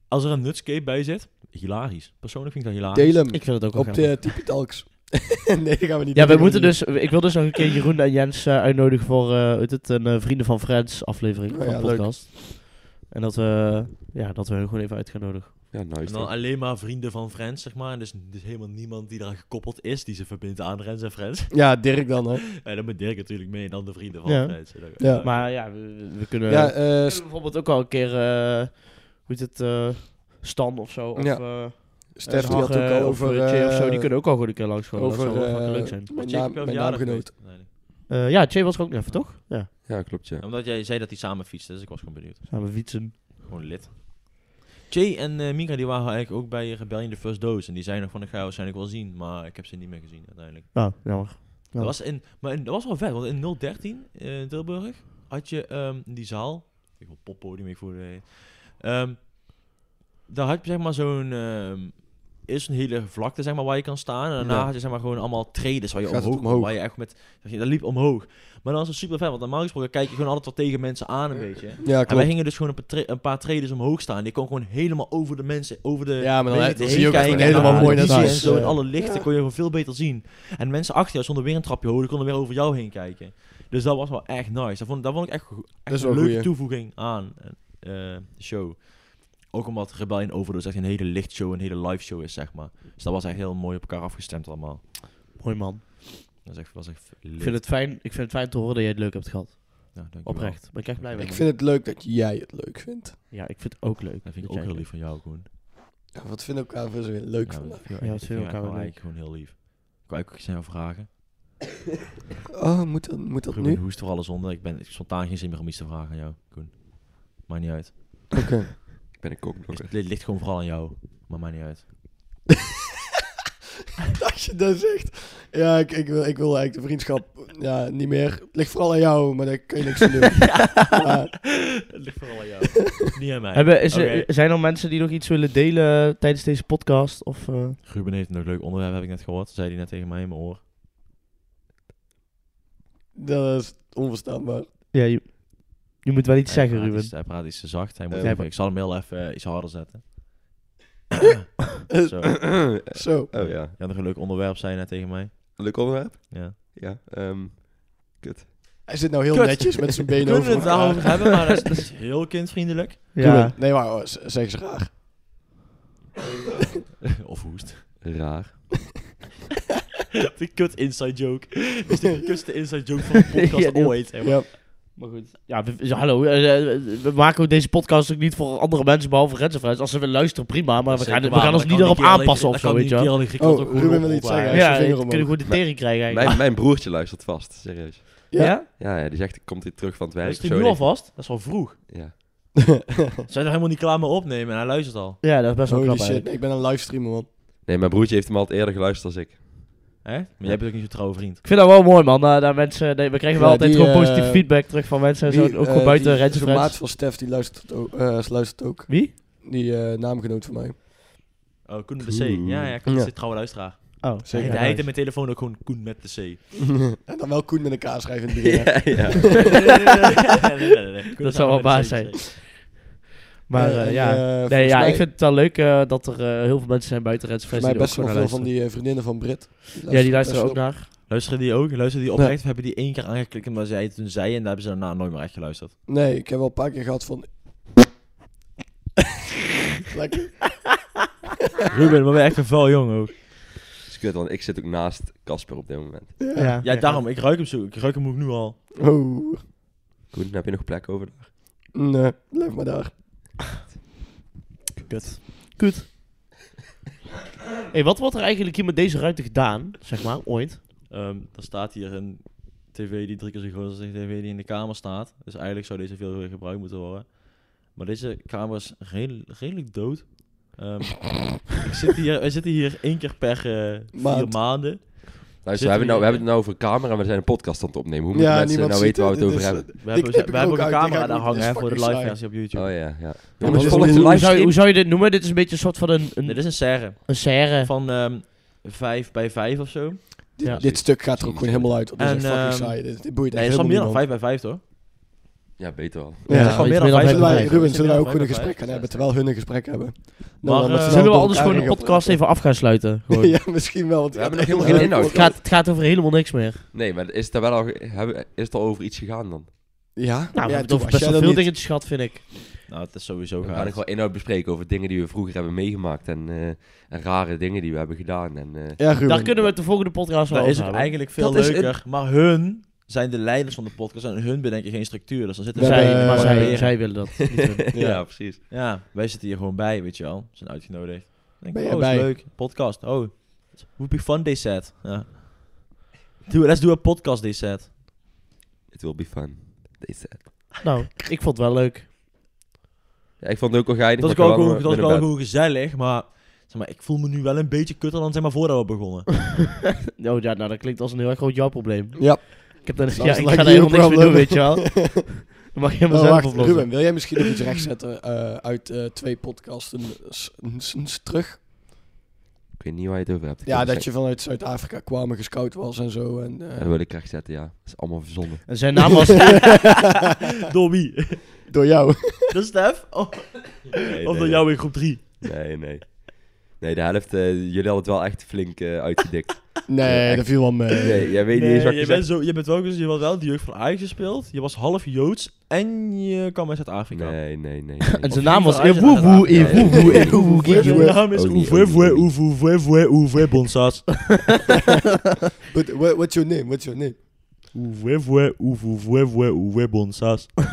Speaker 1: als er een nutscape bij zit, hilarisch. Persoonlijk vind ik dat hilarisch.
Speaker 2: Deel hem
Speaker 3: ah, Ik vind het ook wel
Speaker 2: op
Speaker 3: grappig.
Speaker 2: de Tipi Talks. <laughs> nee, dat gaan we niet
Speaker 3: Ja,
Speaker 2: doen.
Speaker 3: we moeten dus. Ik wil dus nog een keer Jeroen en Jens eh, uitnodigen voor eh, hoe heet het, een eh, Vrienden van Friends aflevering
Speaker 2: Oh
Speaker 3: van
Speaker 2: ja,
Speaker 3: de
Speaker 2: leuk.
Speaker 3: podcast. En dat we, ja, dat we hun gewoon even uit gaan nodigen.
Speaker 4: Ja,
Speaker 1: En
Speaker 4: nice.
Speaker 1: dan
Speaker 4: toch?
Speaker 1: alleen maar vrienden van Friends, zeg maar. En dus, dus helemaal niemand die eraan gekoppeld is, die ze verbindt aan Rens en Friends. <laughs>
Speaker 2: Ja, Dirk dan,
Speaker 3: Eh,
Speaker 2: hè.
Speaker 1: En dan ben Dirk natuurlijk mee en dan de vrienden van
Speaker 3: Ja.
Speaker 1: Friends. En dan-
Speaker 2: Ja.
Speaker 1: eh,
Speaker 3: Maar ja, we, we kunnen, we
Speaker 2: Ja,
Speaker 3: kunnen
Speaker 2: eh, S-
Speaker 3: bijvoorbeeld ook al een keer. eh, hoe heet het? eh, Stan of zo. Of,
Speaker 2: Ja.
Speaker 3: eh,
Speaker 2: Stef die
Speaker 3: Hag,
Speaker 2: had ook
Speaker 3: eh,
Speaker 2: al
Speaker 3: of,
Speaker 2: over...
Speaker 3: eh, Jay of zo.
Speaker 2: eh,
Speaker 3: Die kunnen ook al goed een keer langs komen.
Speaker 2: over,
Speaker 3: dat zou wel fucking
Speaker 2: eh,
Speaker 3: leuk zijn.
Speaker 1: wat
Speaker 2: Mijn,
Speaker 1: Jake
Speaker 2: naam,
Speaker 1: op jouw
Speaker 2: mijn
Speaker 1: verjaardag
Speaker 2: naamgenoot.
Speaker 1: geweest? Nee, nee.
Speaker 3: Eh, ja, Jay was er ook nog even, toch? Ja.
Speaker 4: Ja, klopt,
Speaker 3: Oh.
Speaker 4: ja.
Speaker 1: Omdat jij zei dat hij samen fietste, dus ik was gewoon benieuwd.
Speaker 3: Samen fietsen.
Speaker 1: Gewoon lid. Jay en eh, Mika die waren eigenlijk ook bij eh, Rebellion the First Dose. En die zijn nog van, ik ga waarschijnlijk wel zien. Maar ik heb ze niet meer gezien uiteindelijk.
Speaker 3: Nou, jammer. Ja.
Speaker 1: Dat, was in, maar in- dat was wel vet, want in 013 eh, in Tilburg had je ehm, die zaal. Ik wil poppodium, ik voelde heet. Ehm, daar had je zeg maar zo'n. ehm eerst een hele vlakte zeg maar, waar je kan staan. En daarna
Speaker 2: Ja.
Speaker 1: had je zeg maar, gewoon allemaal tredes waar je
Speaker 2: Gaat het
Speaker 1: omhoog, kon,
Speaker 2: omhoog?
Speaker 1: Waar je echt met. zeg je, Dat liep omhoog. Maar dan was het super vet, want normaal gesproken kijk je gewoon altijd wel tegen mensen aan een beetje.
Speaker 3: Ah,
Speaker 2: Ja,
Speaker 1: En wij
Speaker 2: klopt.
Speaker 1: gingen dus gewoon een paar, tre- een paar tredes omhoog staan. Die kon gewoon helemaal over de mensen, over de...
Speaker 2: Ja, maar dan
Speaker 1: weet
Speaker 2: he-
Speaker 1: het,
Speaker 2: zie
Speaker 1: heen
Speaker 2: je ook
Speaker 1: kijken
Speaker 2: gewoon
Speaker 1: en
Speaker 3: Ah,
Speaker 2: helemaal
Speaker 1: naar
Speaker 2: mooi
Speaker 1: de
Speaker 2: naar
Speaker 1: visie
Speaker 2: huis.
Speaker 1: En zo, en
Speaker 2: Ja.
Speaker 1: alle lichten kon je gewoon veel beter zien. En mensen achter jou stonden weer een trapje hoog. Die konden weer over jou heen kijken. Dus dat was wel echt nice. Dat vond, dat vond ik echt, go-
Speaker 2: Dat is
Speaker 1: echt
Speaker 2: wel
Speaker 1: een leuke
Speaker 2: goeie.
Speaker 1: toevoeging aan eh, de show. Ook omdat Rebellion Overdose echt een hele lichtshow, een hele live show is, zeg maar. Dus dat was echt heel mooi op elkaar afgestemd allemaal.
Speaker 3: Mooi man.
Speaker 1: Dat is echt, was echt
Speaker 3: Ik vind, het fijn, ik vind het fijn te horen dat jij het leuk hebt gehad. Oprecht. Ben ik echt blij mee.
Speaker 2: Ik vind het leuk dat jij het leuk vindt.
Speaker 3: Ja, ik vind het ook leuk.
Speaker 1: Dat vind ik
Speaker 3: jij
Speaker 1: ook heel
Speaker 3: het
Speaker 1: lief van jou, Koen.
Speaker 2: Ja, wat vinden elkaar voor zo weer leuk
Speaker 1: Ja,
Speaker 2: vandaag?
Speaker 1: dat vind ik echt-
Speaker 3: Ja, dat
Speaker 1: ik
Speaker 3: vinden we
Speaker 1: vind
Speaker 3: elkaar wel
Speaker 1: eigenlijk
Speaker 3: leuk.
Speaker 1: eigenlijk gewoon heel lief. Ik wou eigenlijk zijn vragen.
Speaker 2: Oh, moet dat, moet dat
Speaker 1: Ruben
Speaker 2: nu?
Speaker 1: hoest voor alles onder. Ik ben spontaan geen zin meer om iets te vragen aan jou, Koen. Maakt niet uit.
Speaker 2: Oké.
Speaker 4: Ik ben een kokblokker.
Speaker 1: Het li- ligt gewoon vooral aan jou. Maar maakt niet <laughs> uit.
Speaker 2: Als je dat zegt. Ja, ik, ik, wil, ik wil eigenlijk de vriendschap ja, niet meer. Het ligt vooral aan jou, maar daar kun je niks aan doen.
Speaker 3: <laughs>
Speaker 2: Ja.
Speaker 1: Het ligt vooral aan jou. niet aan mij.
Speaker 3: Hebben, is,
Speaker 1: Oké.
Speaker 3: er- zijn er mensen die nog iets willen delen tijdens deze podcast? Of, eh,
Speaker 1: Ruben heeft een leuk onderwerp, heb ik net gehoord. Zei hij net tegen mij in mijn oor.
Speaker 2: Dat is onverstaanbaar.
Speaker 3: ja, je, je moet wel iets
Speaker 1: Hij
Speaker 3: zeggen,
Speaker 1: praat
Speaker 3: Ruben.
Speaker 1: iets- hij praat iets te zacht. Hij moet
Speaker 4: Eh,
Speaker 1: even- ik zal hem heel even eh, iets harder zetten. <coughs> Zo. Je
Speaker 2: Zo.
Speaker 4: <coughs> oh ja.
Speaker 1: had nog een leuk onderwerp, zei je net tegen mij.
Speaker 4: Leuk onderwerp?
Speaker 1: Ja.
Speaker 4: Ja. ehm, kut.
Speaker 2: Hij zit nou heel
Speaker 1: Kut.
Speaker 2: netjes met zijn
Speaker 1: We
Speaker 2: benen
Speaker 1: kunnen
Speaker 2: over
Speaker 1: het
Speaker 2: elkaar.
Speaker 1: daarover hebben, maar dat is, dat <laughs> is heel kindvriendelijk.
Speaker 3: Ja.
Speaker 2: Ruben, Nee, maar oh, z- zeg eens raar.
Speaker 1: <laughs> of hoest.
Speaker 4: Raar.
Speaker 1: <laughs> de kut inside joke. Dit is de kutste inside joke
Speaker 3: <laughs>
Speaker 1: van de podcast
Speaker 3: Ja, die-
Speaker 1: ooit. zeg maar.
Speaker 2: Ja.
Speaker 3: Maar goed. Ja, we- we- hallo. eh, eh, we maken ook deze podcast ook niet voor andere mensen, behalve Rens en Friends. Als ze willen luisteren, prima. Maar we
Speaker 1: Zeker
Speaker 3: gaan, we
Speaker 1: waar,
Speaker 3: gaan
Speaker 1: maar
Speaker 3: ons
Speaker 1: dan
Speaker 3: niet
Speaker 1: kan
Speaker 3: erop
Speaker 1: die kerel in-
Speaker 3: aanpassen of
Speaker 1: dan
Speaker 3: zo,
Speaker 1: kan
Speaker 3: weet
Speaker 1: die
Speaker 3: je wel.
Speaker 1: kerel in Griekenland
Speaker 2: Oh,
Speaker 1: ook gewoon
Speaker 2: Ruben wil
Speaker 1: op-
Speaker 2: iets
Speaker 1: op-
Speaker 2: zeggen.
Speaker 1: op-
Speaker 2: Hij is
Speaker 3: Ja,
Speaker 2: zijn
Speaker 3: je
Speaker 2: vinger
Speaker 3: kunt
Speaker 2: omhoog.
Speaker 3: gewoon de tering krijgen. eigenlijk.
Speaker 4: Mijn, mijn broertje luistert vast, serieus.
Speaker 2: Ja. <laughs>
Speaker 3: Ja?
Speaker 4: Ja, ja, die zegt, komt hier terug van het werk.
Speaker 1: Is
Speaker 4: of
Speaker 1: die
Speaker 4: zo.
Speaker 1: nu
Speaker 4: En ik-
Speaker 1: alvast? Dat is al vroeg.
Speaker 4: Ja.
Speaker 1: Zijn er helemaal niet klaar mee opnemen en hij luistert al.
Speaker 3: Ja, dat is best wel
Speaker 2: Holy
Speaker 3: knap
Speaker 2: shit,
Speaker 3: eigenlijk.
Speaker 2: ik ben een livestreamer, man.
Speaker 4: Nee, mijn broertje heeft hem altijd eerder geluisterd als ik.
Speaker 1: Hè? Maar jij bent ook niet zo'n trouwe vriend.
Speaker 3: Ik vind dat wel mooi, man. Eh, dat mensen, nee, we krijgen wel
Speaker 2: Ja,
Speaker 3: altijd
Speaker 2: die,
Speaker 3: gewoon
Speaker 2: eh,
Speaker 3: positief feedback terug van mensen. en zo,
Speaker 2: Die,
Speaker 3: ook
Speaker 2: eh,
Speaker 3: gewoon buiten
Speaker 2: die-
Speaker 3: Rens en
Speaker 2: Zo'n maat
Speaker 3: Friends.
Speaker 2: van Stef, die luistert ook. eh, luistert ook.
Speaker 3: Wie?
Speaker 2: Die eh, naamgenoot van mij.
Speaker 1: Oh, Koen met de
Speaker 4: Cool.
Speaker 1: C. Ja, ja, Koen is
Speaker 2: Ja.
Speaker 1: een trouwe luisteraar.
Speaker 3: Oh,
Speaker 1: Hij
Speaker 2: Zeker.
Speaker 1: heet- hij
Speaker 3: ja, nice.
Speaker 1: heet in mijn telefoon ook gewoon Koen met de C. Nee,
Speaker 2: en dan wel Koen met een K schrijven in het begin, hè.
Speaker 4: ja.
Speaker 1: nee, nee, nee, nee, nee. <laughs> Koen
Speaker 3: Dat
Speaker 1: is
Speaker 3: zou wel
Speaker 1: met de
Speaker 3: baas
Speaker 1: C.
Speaker 3: zijn. <laughs> Maar
Speaker 2: Eh,
Speaker 3: eh,
Speaker 2: en,
Speaker 3: ja,
Speaker 2: eh,
Speaker 3: nee,
Speaker 2: volgens
Speaker 3: ja
Speaker 2: mij-
Speaker 3: ik vind het wel leuk eh, dat er eh, heel veel mensen zijn buiten Reds en
Speaker 2: Volgens
Speaker 3: Friends
Speaker 2: mij
Speaker 3: die
Speaker 2: best
Speaker 3: ook
Speaker 2: wel veel
Speaker 3: gewoon
Speaker 2: van
Speaker 3: naar
Speaker 2: die eh, vriendinnen van Brit.
Speaker 3: luisteren. Ja, die luisteren ook
Speaker 2: best wel.
Speaker 3: naar.
Speaker 1: Luisteren die ook? Luisteren die oprecht? Of hebben die één keer aangeklikt omdat zij het toen zei en daar hebben ze daarna nooit meer echt geluisterd?
Speaker 2: Nee, ik heb wel een paar keer gehad van... Lekker.
Speaker 1: Ruben, maar ben je echt een vuil jong ook.
Speaker 4: Dat is kut, want ik zit ook naast Casper op dit moment.
Speaker 3: Ja,
Speaker 1: Ja, daarom. Ik ruik hem zo. Ik ruik hem ook nu al.
Speaker 2: <laughs> Oh.
Speaker 4: Koen, heb je nog plek over?
Speaker 2: Nee, blijf maar daar.
Speaker 3: Kut. Kut. hey, wat wordt er eigenlijk hier met deze ruimte gedaan, zeg maar, ooit?
Speaker 1: Ehm er staat hier een tv die drie keer zo groot is als de tv die in de kamer staat. Dus eigenlijk zou deze veel gebruikt moeten worden. Maar deze kamer is redel- redelijk dood.
Speaker 2: <laughs>
Speaker 1: Ehm, ik zit hier, wij zitten hier één keer per eh, vier
Speaker 2: Maand. <laughs>
Speaker 1: maanden.
Speaker 4: Luister,
Speaker 1: Zitten
Speaker 4: we
Speaker 1: we
Speaker 4: hebben, nou,
Speaker 1: hier-
Speaker 4: we hebben het nou over een camera en we zijn een podcast aan het opnemen. Hoe moeten mensen nou weten waar we het over hebben?
Speaker 1: We hebben,
Speaker 2: knip
Speaker 1: we
Speaker 2: er
Speaker 1: hebben
Speaker 2: ook
Speaker 1: ook een
Speaker 2: uit, die
Speaker 1: camera
Speaker 2: gaat
Speaker 1: daar
Speaker 2: niet-
Speaker 1: hangen
Speaker 2: dit is
Speaker 1: hè, voor de
Speaker 2: fucking
Speaker 1: live
Speaker 2: saai.
Speaker 1: versie op YouTube.
Speaker 4: Oh ja, ja.
Speaker 2: maar
Speaker 4: Jongens,
Speaker 2: dit
Speaker 4: volg
Speaker 2: is-
Speaker 4: de
Speaker 3: Hoe zou, je,
Speaker 4: livestream.
Speaker 3: hoe zou je dit noemen? Dit is een beetje een soort van een, een,
Speaker 1: Dit is een serre
Speaker 3: een serre.
Speaker 1: van ehm 5 bij 5 of zo.
Speaker 3: Ja.
Speaker 2: Dit stuk gaat er ook gewoon helemaal uit. want Dit is
Speaker 1: En,
Speaker 2: echt fucking
Speaker 1: ehm,
Speaker 2: saai. Dit, dit boeit
Speaker 1: Nee,
Speaker 2: echt
Speaker 1: het is van
Speaker 2: helemaal
Speaker 1: meer dan
Speaker 2: niemand.
Speaker 1: 5 bij 5 hoor.
Speaker 4: Ja, beter wel.
Speaker 1: Ja, het is
Speaker 2: Ja,
Speaker 1: gewoon
Speaker 3: weet
Speaker 1: meer
Speaker 3: je,
Speaker 1: dan
Speaker 3: meer
Speaker 1: 5 bij
Speaker 3: dan
Speaker 2: Zullen wij,
Speaker 1: 5.
Speaker 2: Ruben, zullen wij ook gewoon een gesprek gaan hebben terwijl hun een gesprek hebben? Dan,
Speaker 1: Maar,
Speaker 2: eh,
Speaker 1: eh,
Speaker 2: met z'n allen
Speaker 3: Zullen we
Speaker 2: door
Speaker 3: anders
Speaker 2: elkaar
Speaker 3: gewoon een
Speaker 2: heen
Speaker 3: podcast even af gaan
Speaker 2: <laughs>
Speaker 3: sluiten? Gewoon.
Speaker 2: Ja, misschien wel. Want
Speaker 4: We
Speaker 2: het
Speaker 4: hebben
Speaker 2: gaat echt
Speaker 4: nog helemaal
Speaker 2: heel
Speaker 4: geen
Speaker 2: erg
Speaker 4: inhoud.
Speaker 3: Het gaat, het gaat over helemaal niks meer.
Speaker 4: Nee, maar is het daar wel al, ge- hebben, is het al over iets gegaan dan?
Speaker 2: Ja,
Speaker 3: Nou, we
Speaker 2: ja,
Speaker 3: hebben het
Speaker 2: doe,
Speaker 3: over
Speaker 2: als jij
Speaker 3: best wel veel
Speaker 2: dat niet-
Speaker 3: dingetjes gehad, vind ik.
Speaker 1: Nou, het is sowieso
Speaker 4: We gaan
Speaker 1: gaaf.
Speaker 4: nog wel inhoud bespreken over dingen die we vroeger hebben meegemaakt en, eh, en rare dingen die we hebben gedaan. En, eh,
Speaker 2: Ja, Ruben.
Speaker 3: Daar kunnen we het de volgende podcast wel
Speaker 1: Dat is
Speaker 3: over
Speaker 1: ook
Speaker 2: nou.
Speaker 3: hebben.
Speaker 1: eigenlijk veel
Speaker 2: Dat is het.
Speaker 1: leuker. Maar hun zijn de leiders van de podcast en hun bedenken geen structuur. Dus dan zitten
Speaker 2: We
Speaker 1: zij,
Speaker 2: hebben-
Speaker 3: Zij, maar
Speaker 2: eh,
Speaker 3: zij,
Speaker 1: proberen.
Speaker 3: zij willen <laughs> dat. niet doen.
Speaker 4: <laughs> ja.
Speaker 2: Ja.
Speaker 4: precies.
Speaker 1: Ja, wij zitten hier gewoon bij, weet je wel. Zijn uitgenodigd. Denk,
Speaker 2: Ben
Speaker 1: oh,
Speaker 2: jij
Speaker 1: is
Speaker 2: bij?
Speaker 1: leuk. Podcast. Oh, would be fun they said. Ja. Doe, let's do a podcast they said.
Speaker 4: It will be fun. They said.
Speaker 3: nou, ik vond het wel leuk.
Speaker 4: Ja, ik vond het ook wel geinig.
Speaker 1: Dat is
Speaker 4: maar
Speaker 1: wel
Speaker 4: ik ben
Speaker 1: gewoon, dat is
Speaker 4: wel
Speaker 1: wel
Speaker 4: met- met
Speaker 1: gewoon gezellig, maar, zeg maar ik voel me nu wel een beetje kutter dan zeg maar voordat we
Speaker 2: <laughs>
Speaker 1: begonnen.
Speaker 3: Oh ja, nou dat klinkt als een heel erg groot jouw probleem.
Speaker 2: Ja, Nou,
Speaker 3: Ik, heb daar,
Speaker 2: Sounds
Speaker 3: ja, ik
Speaker 2: like
Speaker 3: ga daar
Speaker 2: you
Speaker 3: helemaal niks mee doen,
Speaker 2: problem.
Speaker 3: weet je wel.
Speaker 2: <laughs>
Speaker 3: Dan mag je <laughs> helemaal
Speaker 2: Oh,
Speaker 3: zelf
Speaker 2: wacht,
Speaker 3: oplossen.
Speaker 2: Ruben, wil jij misschien nog iets rechtzetten eh uit eh, twee podcasten s- s- s- terug?
Speaker 4: Ik weet niet waar je het over hebt. Ik
Speaker 2: Ja,
Speaker 4: heb
Speaker 2: dat
Speaker 4: het
Speaker 2: je vanuit Zuid-Afrika kwam en gescout was en zo. En, eh,
Speaker 4: gezegd. Ja, dat wil ik recht zetten, ja. Dat is allemaal verzonnen.
Speaker 3: En zijn naam was...
Speaker 2: eh,
Speaker 1: door wie?
Speaker 2: <laughs>
Speaker 1: <laughs>
Speaker 2: Door jou.
Speaker 1: door Stef? Of,
Speaker 4: Nee,
Speaker 1: of
Speaker 4: nee,
Speaker 1: door jou in groep 3?
Speaker 4: Nee, nee. Nee, de helft, eh, jullie hadden het wel echt flink eh, uitgedikt.
Speaker 2: Nee, dat viel wel mee.
Speaker 4: Nee, jij weet
Speaker 1: <laughs>
Speaker 4: niet
Speaker 1: Nee,
Speaker 4: eens wat
Speaker 1: je,
Speaker 4: je
Speaker 1: bent
Speaker 4: zegt.
Speaker 1: zo, je bent wel, je was wel de jeugd van Ajax gespeeld. Je was half Joods en je kwam uit Zuid-Afrika.
Speaker 4: Nee, nee, nee.
Speaker 3: en
Speaker 4: nee.
Speaker 3: zijn naam was...
Speaker 1: Of-
Speaker 3: Ewoewoe,
Speaker 4: Ja, ja.
Speaker 3: Ewoewoe, Ewoewoe,
Speaker 1: Je
Speaker 3: Gigi.
Speaker 1: naam is
Speaker 4: Oh, niet,
Speaker 1: Oeve,
Speaker 4: oh, niet,
Speaker 1: Oeve,
Speaker 4: oh, niet.
Speaker 1: Oeve, Oeve, Oeve, Oeve, Bonsas.
Speaker 2: But, what, what's your name? What's your name?
Speaker 1: Oeve, Oeve, Oeve, Oeve, Oeve, Bonsas.